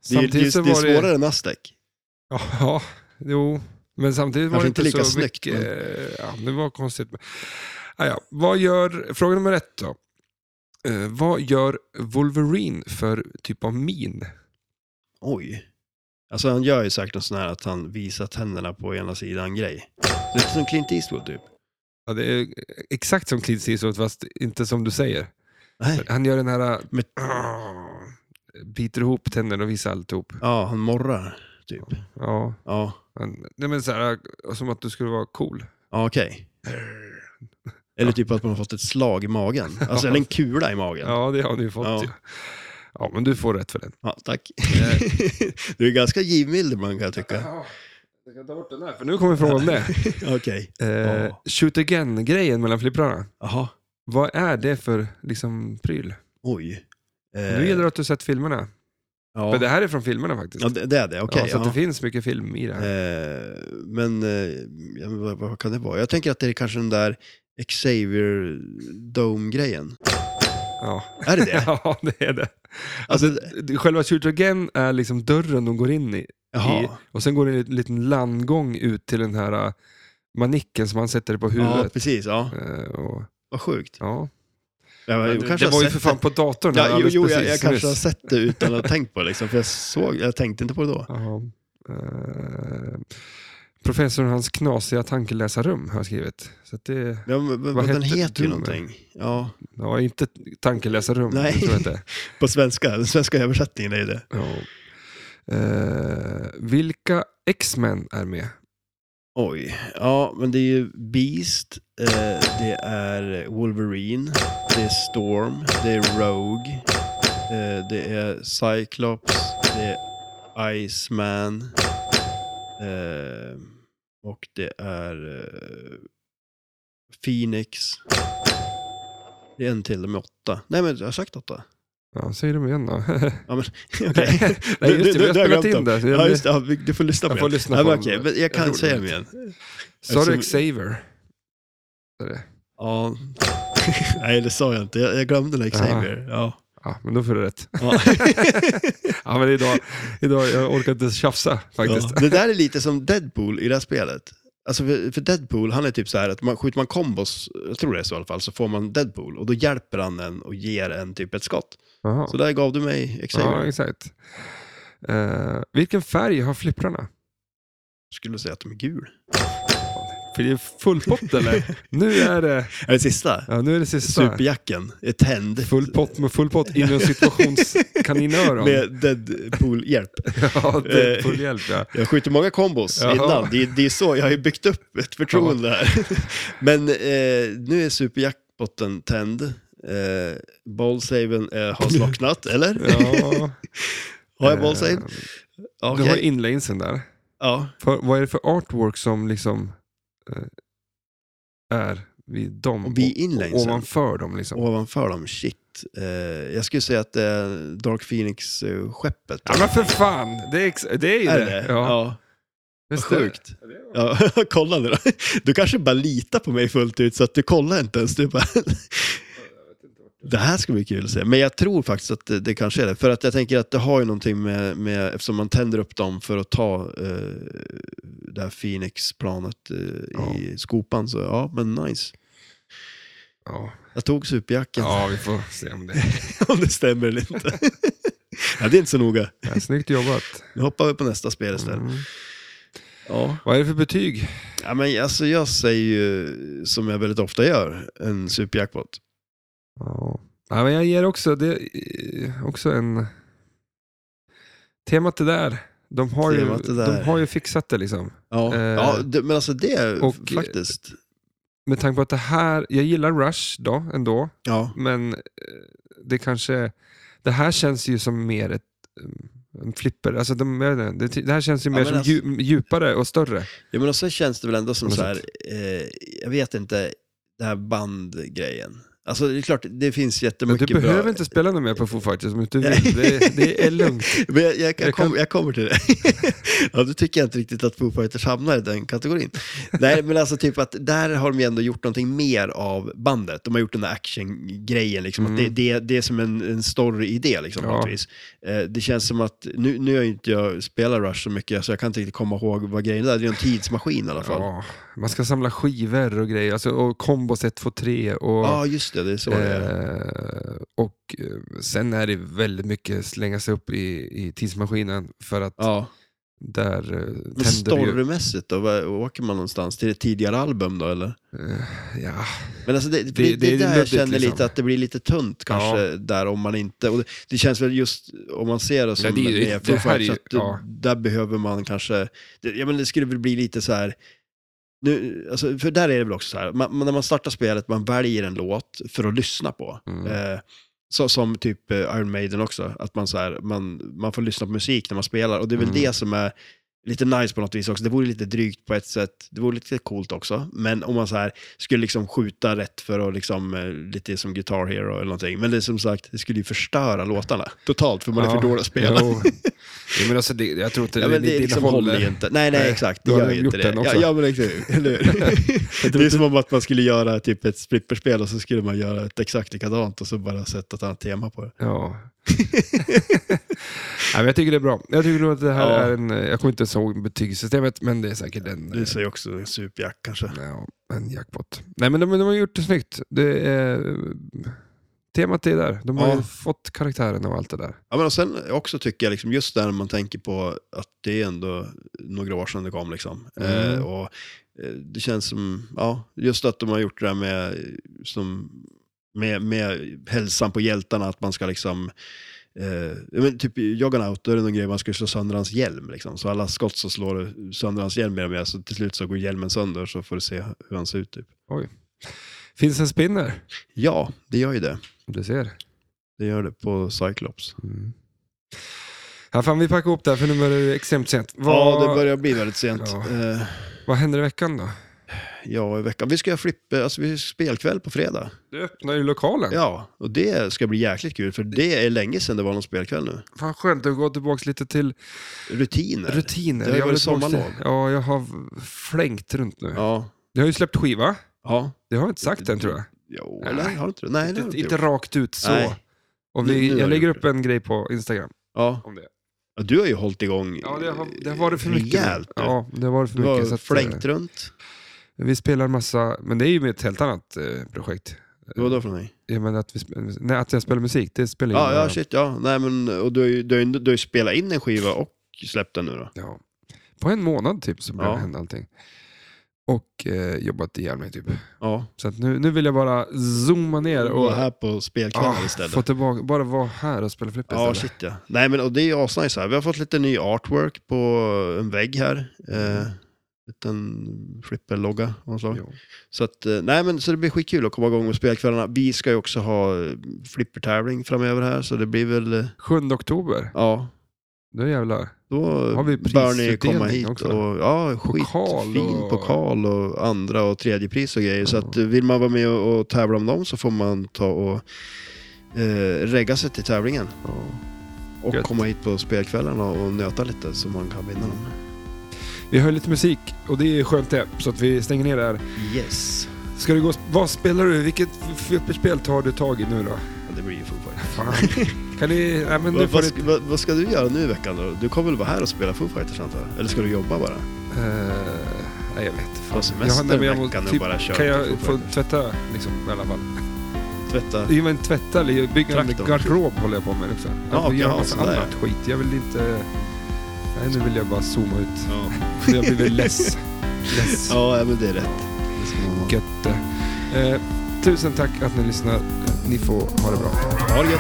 Speaker 1: Det är, ju- det, är,
Speaker 2: så
Speaker 1: ju- det är
Speaker 2: var
Speaker 1: svårare än Aztec.
Speaker 2: Ja, jo. Men samtidigt var
Speaker 1: Kanske
Speaker 2: det
Speaker 1: inte
Speaker 2: inte,
Speaker 1: lika
Speaker 2: så
Speaker 1: snyggt,
Speaker 2: mycket... eh, Ja, det var konstigt. Ah, ja. Vad gör... Fråga nummer ett då. Eh, vad gör Wolverine för typ av min?
Speaker 1: Oj. Alltså han gör ju säkert en sån här att han visar tänderna på ena sidan grej. Lite som Clint Eastwood typ.
Speaker 2: Ja, det är exakt som Clint Eastwood, fast inte som du säger.
Speaker 1: Nej.
Speaker 2: Han gör den här...
Speaker 1: Men-
Speaker 2: Ah, biter ihop tänderna och visar alltihop.
Speaker 1: Ja, han morrar typ.
Speaker 2: Ja,
Speaker 1: Ja,
Speaker 2: han, nej men så här, som att du skulle vara cool.
Speaker 1: ja okej. Eller typ att man har fått ett slag i magen. Alltså eller en kula i magen. Ja,
Speaker 2: Ja, det har du fått.
Speaker 1: Ja.
Speaker 2: Ja. ja, men du får rätt för den.
Speaker 1: tack. du är ganska givmild ibland kan jag tycka.
Speaker 2: Ja, jag kan ta bort den här, för nu kommer frågan med.
Speaker 1: Okej.
Speaker 2: Eh,
Speaker 1: Ja.
Speaker 2: Shoot again-grejen mellan flipprarna.
Speaker 1: Jaha.
Speaker 2: Vad är det för liksom, pryl?
Speaker 1: Oj. Eh,
Speaker 2: Nu gäller det att du sett filmerna.
Speaker 1: ja.
Speaker 2: För det här är från filmerna faktiskt.
Speaker 1: ja, det, det är det. Okej.
Speaker 2: ja, så att
Speaker 1: ja.
Speaker 2: det finns mycket film i det här.
Speaker 1: Eh, men eh, ja, men vad, vad kan det vara? Jag tänker att det är kanske den där Xavier Dome-grejen.
Speaker 2: Ja.
Speaker 1: Är det det?
Speaker 2: ja, det är det.
Speaker 1: Alltså,
Speaker 2: Själva shoot again är liksom dörren de går in i. i
Speaker 1: jaha.
Speaker 2: och sen går det en liten- liten landgång ut till den här eh, manicken som man sätter på
Speaker 1: Ja,
Speaker 2: huvudet.
Speaker 1: precis. Ja.
Speaker 2: Eh, och,
Speaker 1: Vad sjukt.
Speaker 2: ja.
Speaker 1: Jag,
Speaker 2: Men
Speaker 1: jag
Speaker 2: det-
Speaker 1: kanske
Speaker 2: det
Speaker 1: har
Speaker 2: var ju
Speaker 1: sett
Speaker 2: för fan
Speaker 1: det.
Speaker 2: på datorn här
Speaker 1: Ja, jo,
Speaker 2: alldeles
Speaker 1: jo, jag, jag
Speaker 2: precis
Speaker 1: kanske har
Speaker 2: nyss.
Speaker 1: sett det utan att ha tänkt på det. Liksom, för jag, såg, jag tänkte inte på det då.
Speaker 2: Ja. Eh, professorn och hans knasiga tankeläsarrum har jag skrivit. Så att det,
Speaker 1: Ja, men, men,
Speaker 2: Vad
Speaker 1: den
Speaker 2: hette
Speaker 1: heter ju
Speaker 2: Doom?
Speaker 1: någonting. Ja,
Speaker 2: ja, inte tankeläsarrum.
Speaker 1: Nej.
Speaker 2: det Tror jag inte.
Speaker 1: på svenska. Den svenska översättningen är ju det.
Speaker 2: Ja. Eh, vilka X-Men är med?
Speaker 1: Oj. Ja, men det är ju Beast. Eh, det är Wolverine. Det är Storm. Det är Rogue. Eh, det är Cyclops. Det är Iceman. Eh, och det är eh, Phoenix. Det är en till, de är åtta. Nej, men jag har sagt åtta.
Speaker 2: Ja, säg dem igen då.
Speaker 1: Ja, men, okej.
Speaker 2: Nej, just det, vi har spelat
Speaker 1: glömt
Speaker 2: in
Speaker 1: dem.
Speaker 2: det.
Speaker 1: Ja, just det. Ja, vi- du får lyssna
Speaker 2: Jag
Speaker 1: på
Speaker 2: får
Speaker 1: det.
Speaker 2: lyssna
Speaker 1: ja,
Speaker 2: på
Speaker 1: men,
Speaker 2: dem.
Speaker 1: okej, men jag
Speaker 2: Jag
Speaker 1: kan
Speaker 2: tror
Speaker 1: säga
Speaker 2: det.
Speaker 1: dem igen.
Speaker 2: Sa du
Speaker 1: Eftersom-
Speaker 2: Xavier? Är det?
Speaker 1: Ja. Nej, det sa jag inte. Jag, jag glömde den här Xavier. Ja.
Speaker 2: Ja, men då får du rätt.
Speaker 1: Ja.
Speaker 2: Ja, men idag, idag jag orkar inte tjafsa faktiskt.
Speaker 1: Ja. Det där är lite som Deadpool i det här spelet. Alltså för, för Deadpool, han är typ så här att man, skjuter man kombos, jag tror det är så i alla fall, så får man Deadpool och då hjälper han en och ger en typ ett skott.
Speaker 2: Jaha.
Speaker 1: Så där gav du mig Xavier.
Speaker 2: Ja, exakt. Eh, vilken färg har flipprarna?
Speaker 1: Skulle säga att de är gul.
Speaker 2: För det är full pott eller? nu, är det,
Speaker 1: Är det sista?
Speaker 2: ja, nu är det sista.
Speaker 1: Superjacken är tänd.
Speaker 2: Full pott med full pott inom situationskaninöron.
Speaker 1: Med Deadpool-hjälp.
Speaker 2: ja, det är full hjälp ja.
Speaker 1: Jag skjuter många kombos
Speaker 2: Jaha.
Speaker 1: innan. Det är, det är så jag har ju byggt upp ett förtroende här. Men eh, nu är superjackpotten tänd. Eh, ballsaven eh, har slocknat, eller?
Speaker 2: ja.
Speaker 1: Har jag ballsave?
Speaker 2: Eh,
Speaker 1: Okej.
Speaker 2: Du har inlanesen där.
Speaker 1: Ja.
Speaker 2: För, vad är det för artwork som liksom eh, är vid dem?
Speaker 1: Och vid inlanesen?
Speaker 2: Ovanför dem liksom.
Speaker 1: Ovanför dem, shit. Eh, jag skulle säga att det är Dark Phoenix-skeppet.
Speaker 2: Ja men för fan, det är, ex- det, är ju
Speaker 1: är
Speaker 2: det.
Speaker 1: det?
Speaker 2: Ja,
Speaker 1: ja.
Speaker 2: det
Speaker 1: Vad
Speaker 2: står-
Speaker 1: sjukt. Ja, kolla nu då. Du kanske bara litar på mig fullt ut så att du kollar inte ens. Du bara... Det här ska bli kul att se. Men jag tror faktiskt att det, det kanske är det. För att jag tänker att det har ju någonting med, med eftersom man tänder upp dem för att ta eh, det här Phoenix-planet eh, i skopan. Så ja, men nice.
Speaker 2: Ja.
Speaker 1: Jag tog superjacken,
Speaker 2: ja, vi får se om det är.
Speaker 1: om det stämmer eller inte. ja, det är inte så noga.
Speaker 2: Ja, snyggt jobbat.
Speaker 1: Nu hoppar vi på nästa spel istället.
Speaker 2: Mm.
Speaker 1: Ja.
Speaker 2: Vad är det för betyg?
Speaker 1: Ja, men alltså jag säger ju, som jag väldigt ofta gör, en superjackpot.
Speaker 2: Ja. Ja, men jag ger också, det, eh, också en... Temat det där. De har, ju,
Speaker 1: Temat det där.
Speaker 2: de har ju fixat det liksom.
Speaker 1: Ja,
Speaker 2: Eh,
Speaker 1: ja det, men alltså det
Speaker 2: och- eh,
Speaker 1: faktiskt.
Speaker 2: Med tanke på att det här, jag gillar Rush då ändå,
Speaker 1: Ja,
Speaker 2: men eh, det kanske, det här känns ju som mer ett eh, en flipper, alltså de, jag vet inte, det, det här känns ju
Speaker 1: Ja,
Speaker 2: mer
Speaker 1: men
Speaker 2: som
Speaker 1: alltså-
Speaker 2: dju- djupare och större.
Speaker 1: ja men och så känns det väl ändå som
Speaker 2: På
Speaker 1: så
Speaker 2: något
Speaker 1: här, eh, jag vet inte, den här bandgrejen. Alltså det är klart, det finns
Speaker 2: Men du
Speaker 1: jättemycket
Speaker 2: behöver
Speaker 1: bra.
Speaker 2: inte spela något mer på Foo Fighters om du inte vill. Det, det är lugnt.
Speaker 1: Men jag, jag, jag,
Speaker 2: Jag kan-
Speaker 1: kom, jag kommer till det. ja, då tycker jag inte riktigt att Foo Fighters hamnar i den kategorin. Nej, men alltså typ att där har de ju ändå gjort någonting mer av bandet. De har gjort den där actiongrejen, liksom. Att det,
Speaker 2: Mm.
Speaker 1: det, det är som en, en story-idé, liksom, på
Speaker 2: Ja.
Speaker 1: något vis. Eh, det känns som att, nu, nu har ju inte jag spelat Rush så mycket, så jag kan inte riktigt komma ihåg vad grejen är. Det är en tidsmaskin i alla fall. Ja,
Speaker 2: Ja, man ska samla skivor och grejer, alltså, och kombos 1, 2, 3 och...
Speaker 1: just det, det är så det är.
Speaker 2: Eh, och eh, sen är det väldigt mycket slänga sig upp i, i tidsmaskinen för att
Speaker 1: Ja.
Speaker 2: där eh,
Speaker 1: Men
Speaker 2: tänder det ju...
Speaker 1: storymässigt då, vad- åker man någonstans? Till ett tidigare album då, eller?
Speaker 2: Eh, ja,
Speaker 1: Men alltså det, det,
Speaker 2: det
Speaker 1: det,
Speaker 2: är
Speaker 1: är där jag
Speaker 2: luddigt,
Speaker 1: känner
Speaker 2: liksom.
Speaker 1: lite att det blir lite tunt kanske där om man inte... Och det, det känns väl just om man ser det som
Speaker 2: Ja, det är ju-
Speaker 1: med
Speaker 2: det
Speaker 1: Foo
Speaker 2: här är ju-
Speaker 1: Fighters, att du-
Speaker 2: ja.
Speaker 1: där behöver man kanske... Det, ja, men det skulle väl bli lite så här... Nu, alltså, för där är det väl också så här, man, man- när man startar spelet, man väljer en låt för att lyssna på.
Speaker 2: Mm.
Speaker 1: Eh, så, som typ eh, Iron Maiden också, att man, så här, man, man får lyssna på musik när man spelar. Och det är väl
Speaker 2: Mm.
Speaker 1: det som är lite nice på något vis också. Det vore lite drygt på ett sätt, det vore lite coolt också. Men om man så här skulle liksom skjuta rätt för att liksom, eh, lite som Guitar Hero eller någonting. Men det är som sagt, det skulle ju förstöra låtarna totalt för man är
Speaker 2: Ja,
Speaker 1: för dålig att spela.
Speaker 2: jo. Ja, men alltså, det, jag tror inte
Speaker 1: Ja,
Speaker 2: det,
Speaker 1: men det liksom håller ju inte. Nej, nej,
Speaker 2: Nej,
Speaker 1: exakt. Det
Speaker 2: då
Speaker 1: gör
Speaker 2: hade
Speaker 1: ju
Speaker 2: de
Speaker 1: inte
Speaker 2: gjort
Speaker 1: det.
Speaker 2: den
Speaker 1: Ja,
Speaker 2: också.
Speaker 1: ja, men exakt. Eller hur? det är som om att man skulle göra typ ett flipperspel och så skulle man göra ett exakt likadant och så bara sätta ett annat tema på det.
Speaker 2: Ja. ja, men jag tycker det är bra. Jag tycker nog att det här
Speaker 1: Ja.
Speaker 2: är en... Jag kommer inte ihåg betygssystemet, men det är säkert en...
Speaker 1: Du säger också en superjack kanske.
Speaker 2: Ja, en jackpot. Nej, men de, de har gjort det snyggt. Det är, temat är där. De har
Speaker 1: Ja.
Speaker 2: ju fått karaktären och allt det där.
Speaker 1: Ja, men och sen också tycker jag, liksom, just där man tänker på att det är ändå några år sedan det kom. Liksom.
Speaker 2: Mm.
Speaker 1: Eh, och, eh, det känns som, ja, just att de har gjort det där med, eh, som, med, med hälsan på hjältarna, att man ska liksom Eh, ja, men typ i Juggernaut, då är det någon grej man ska slå sönder hans hjälm. Liksom. Så alla skott så slår du sönder hans hjälm mer och mer, så till slut så går hjälmen sönder så får du se hur han ser ut. Typ.
Speaker 2: Finns en spinner?
Speaker 1: Ja, det gör ju det.
Speaker 2: Du ser.
Speaker 1: Det gör det på Cyclops.
Speaker 2: Mm. Ja, fan, vi packar ihop där för nu börjar det extremt sent. Vad,
Speaker 1: Ja, det börjar bli väldigt sent.
Speaker 2: Ja.
Speaker 1: Eh,
Speaker 2: vad händer i veckan då?
Speaker 1: ja, i veckan. Vi ska ha flipp, alltså, vi har spelkväll på fredag.
Speaker 2: Du öppnar ju lokalen.
Speaker 1: Ja, och det ska bli jäkligt kul för det är länge sedan det var någon spelkväll nu.
Speaker 2: Fan skönt att gå tillbaka lite till
Speaker 1: Rutiner.
Speaker 2: rutiner.
Speaker 1: Det har ju
Speaker 2: Jag
Speaker 1: varit
Speaker 2: vill tillbaka till-
Speaker 1: sommarlov.
Speaker 2: Ja, jag har flängt runt nu.
Speaker 1: Ja.
Speaker 2: Jag har ju släppt skiva.
Speaker 1: Ja.
Speaker 2: Det har jag inte sagt än tror jag.
Speaker 1: Jo,
Speaker 2: Nej.
Speaker 1: nej, har du inte det? Nej, det har
Speaker 2: Inte,
Speaker 1: du inte
Speaker 2: inte
Speaker 1: gjort.
Speaker 2: rakt ut så.
Speaker 1: Nej.
Speaker 2: Och
Speaker 1: Nu- nu
Speaker 2: vi,
Speaker 1: har
Speaker 2: jag
Speaker 1: du
Speaker 2: lägger
Speaker 1: gjort
Speaker 2: upp en grej på Instagram
Speaker 1: Ja.
Speaker 2: om det.
Speaker 1: Ja, Du har ju hållit igång
Speaker 2: Ja, det har, det har varit för
Speaker 1: eh,
Speaker 2: mycket. nu.
Speaker 1: rejält. nu.
Speaker 2: Ja, det har varit för
Speaker 1: Du
Speaker 2: mycket.
Speaker 1: har
Speaker 2: så att,
Speaker 1: flängt runt.
Speaker 2: eh, vi spelar massa, men det är ju ett helt annat eh, projekt.
Speaker 1: Vadå för mig?
Speaker 2: Jag menar att, vi, sp- nej, att jag spelar musik, det spelar ingen
Speaker 1: Ja, ja,
Speaker 2: roll.
Speaker 1: shit, ja. Nej, men och du har ju du har ju- du har ju spelat in en skiva och släppt den nu då.
Speaker 2: Ja. På en månad typ så började
Speaker 1: Ja.
Speaker 2: hända allting. Och eh, jobbat ihjäl mig typ.
Speaker 1: Ja.
Speaker 2: Så att nu, nu vill jag bara zooma ner och
Speaker 1: Och här på spelkvällen
Speaker 2: ah,
Speaker 1: istället.
Speaker 2: få tillbaka, bara vara här och spela flipper
Speaker 1: Ja,
Speaker 2: istället.
Speaker 1: shit ja. Nej, men och det är ju asnice här. Vi har fått lite ny artwork på en vägg här. Eh,
Speaker 2: Mm.
Speaker 1: en flipperlogga av något slag.
Speaker 2: Jo.
Speaker 1: Så, att, eh, nej, men, så det blir skitkul att komma igång med spelkvällarna. Vi ska ju också ha eh, flippertävling framöver här, så det blir väl... eh,
Speaker 2: 7 oktober,
Speaker 1: Ja,
Speaker 2: då jävlar.
Speaker 1: då
Speaker 2: Har vi
Speaker 1: bör ni komma
Speaker 2: prisutdelning
Speaker 1: hit.
Speaker 2: också?
Speaker 1: Och, ja,
Speaker 2: Pokal
Speaker 1: skitfin
Speaker 2: och-
Speaker 1: pokal och andra och tredje pris och grejer. Så
Speaker 2: Ja.
Speaker 1: att, eh, vill man vara med och, och tävla om dem så får man ta och eh, regga sig till tävlingen.
Speaker 2: Ja.
Speaker 1: Och
Speaker 2: Gött.
Speaker 1: komma hit på spelkvällarna och nöta lite så man kan vinna dem.
Speaker 2: Vi har ju lite musik och det är skönt det, så att vi stänger ner det här.
Speaker 1: Yes.
Speaker 2: Ska du gå, vad spelar du? Vilket flipperspel tar du tag i nu då?
Speaker 1: Ja, det blir ju Foo Fighters.
Speaker 2: Fan. kan ni, nej men nu
Speaker 1: Vad,
Speaker 2: får
Speaker 1: vad,
Speaker 2: ni...
Speaker 1: ska- vad, vad ska du göra nu i veckan då? Du kommer väl vara här och spela Foo Fighters antar jag? Eller ska du jobba bara?
Speaker 2: eh, nej jag vet inte.
Speaker 1: Ta
Speaker 2: Jag,
Speaker 1: semester
Speaker 2: nej, men
Speaker 1: en
Speaker 2: jag må,
Speaker 1: vecka nu och
Speaker 2: typ,
Speaker 1: bara köra
Speaker 2: kan
Speaker 1: Foo
Speaker 2: jag få
Speaker 1: Fighters?
Speaker 2: tvätta liksom i alla fall?
Speaker 1: Tvätta?
Speaker 2: Jo men tvätta eller bygga en
Speaker 1: Traktorn.
Speaker 2: garderob håller jag på med också. Jag
Speaker 1: Ja,
Speaker 2: får göra
Speaker 1: ja,
Speaker 2: massa
Speaker 1: sådär.
Speaker 2: annat skit. Jag vill inte... Nej nu vill jag bara zooma ut.
Speaker 1: Ja.
Speaker 2: För jag blir less. less.
Speaker 1: ja, ja, men det är rätt. Det ska man ha.
Speaker 2: Gött det. eh, Tusen tack att ni lyssnar. Ni får ha det bra.
Speaker 1: Ha det gött.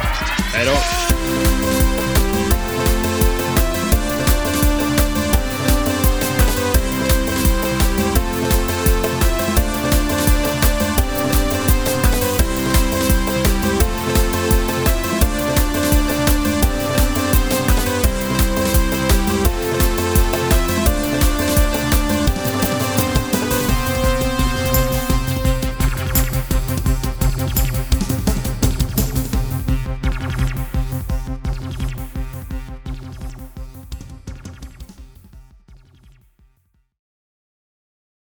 Speaker 1: Hej då.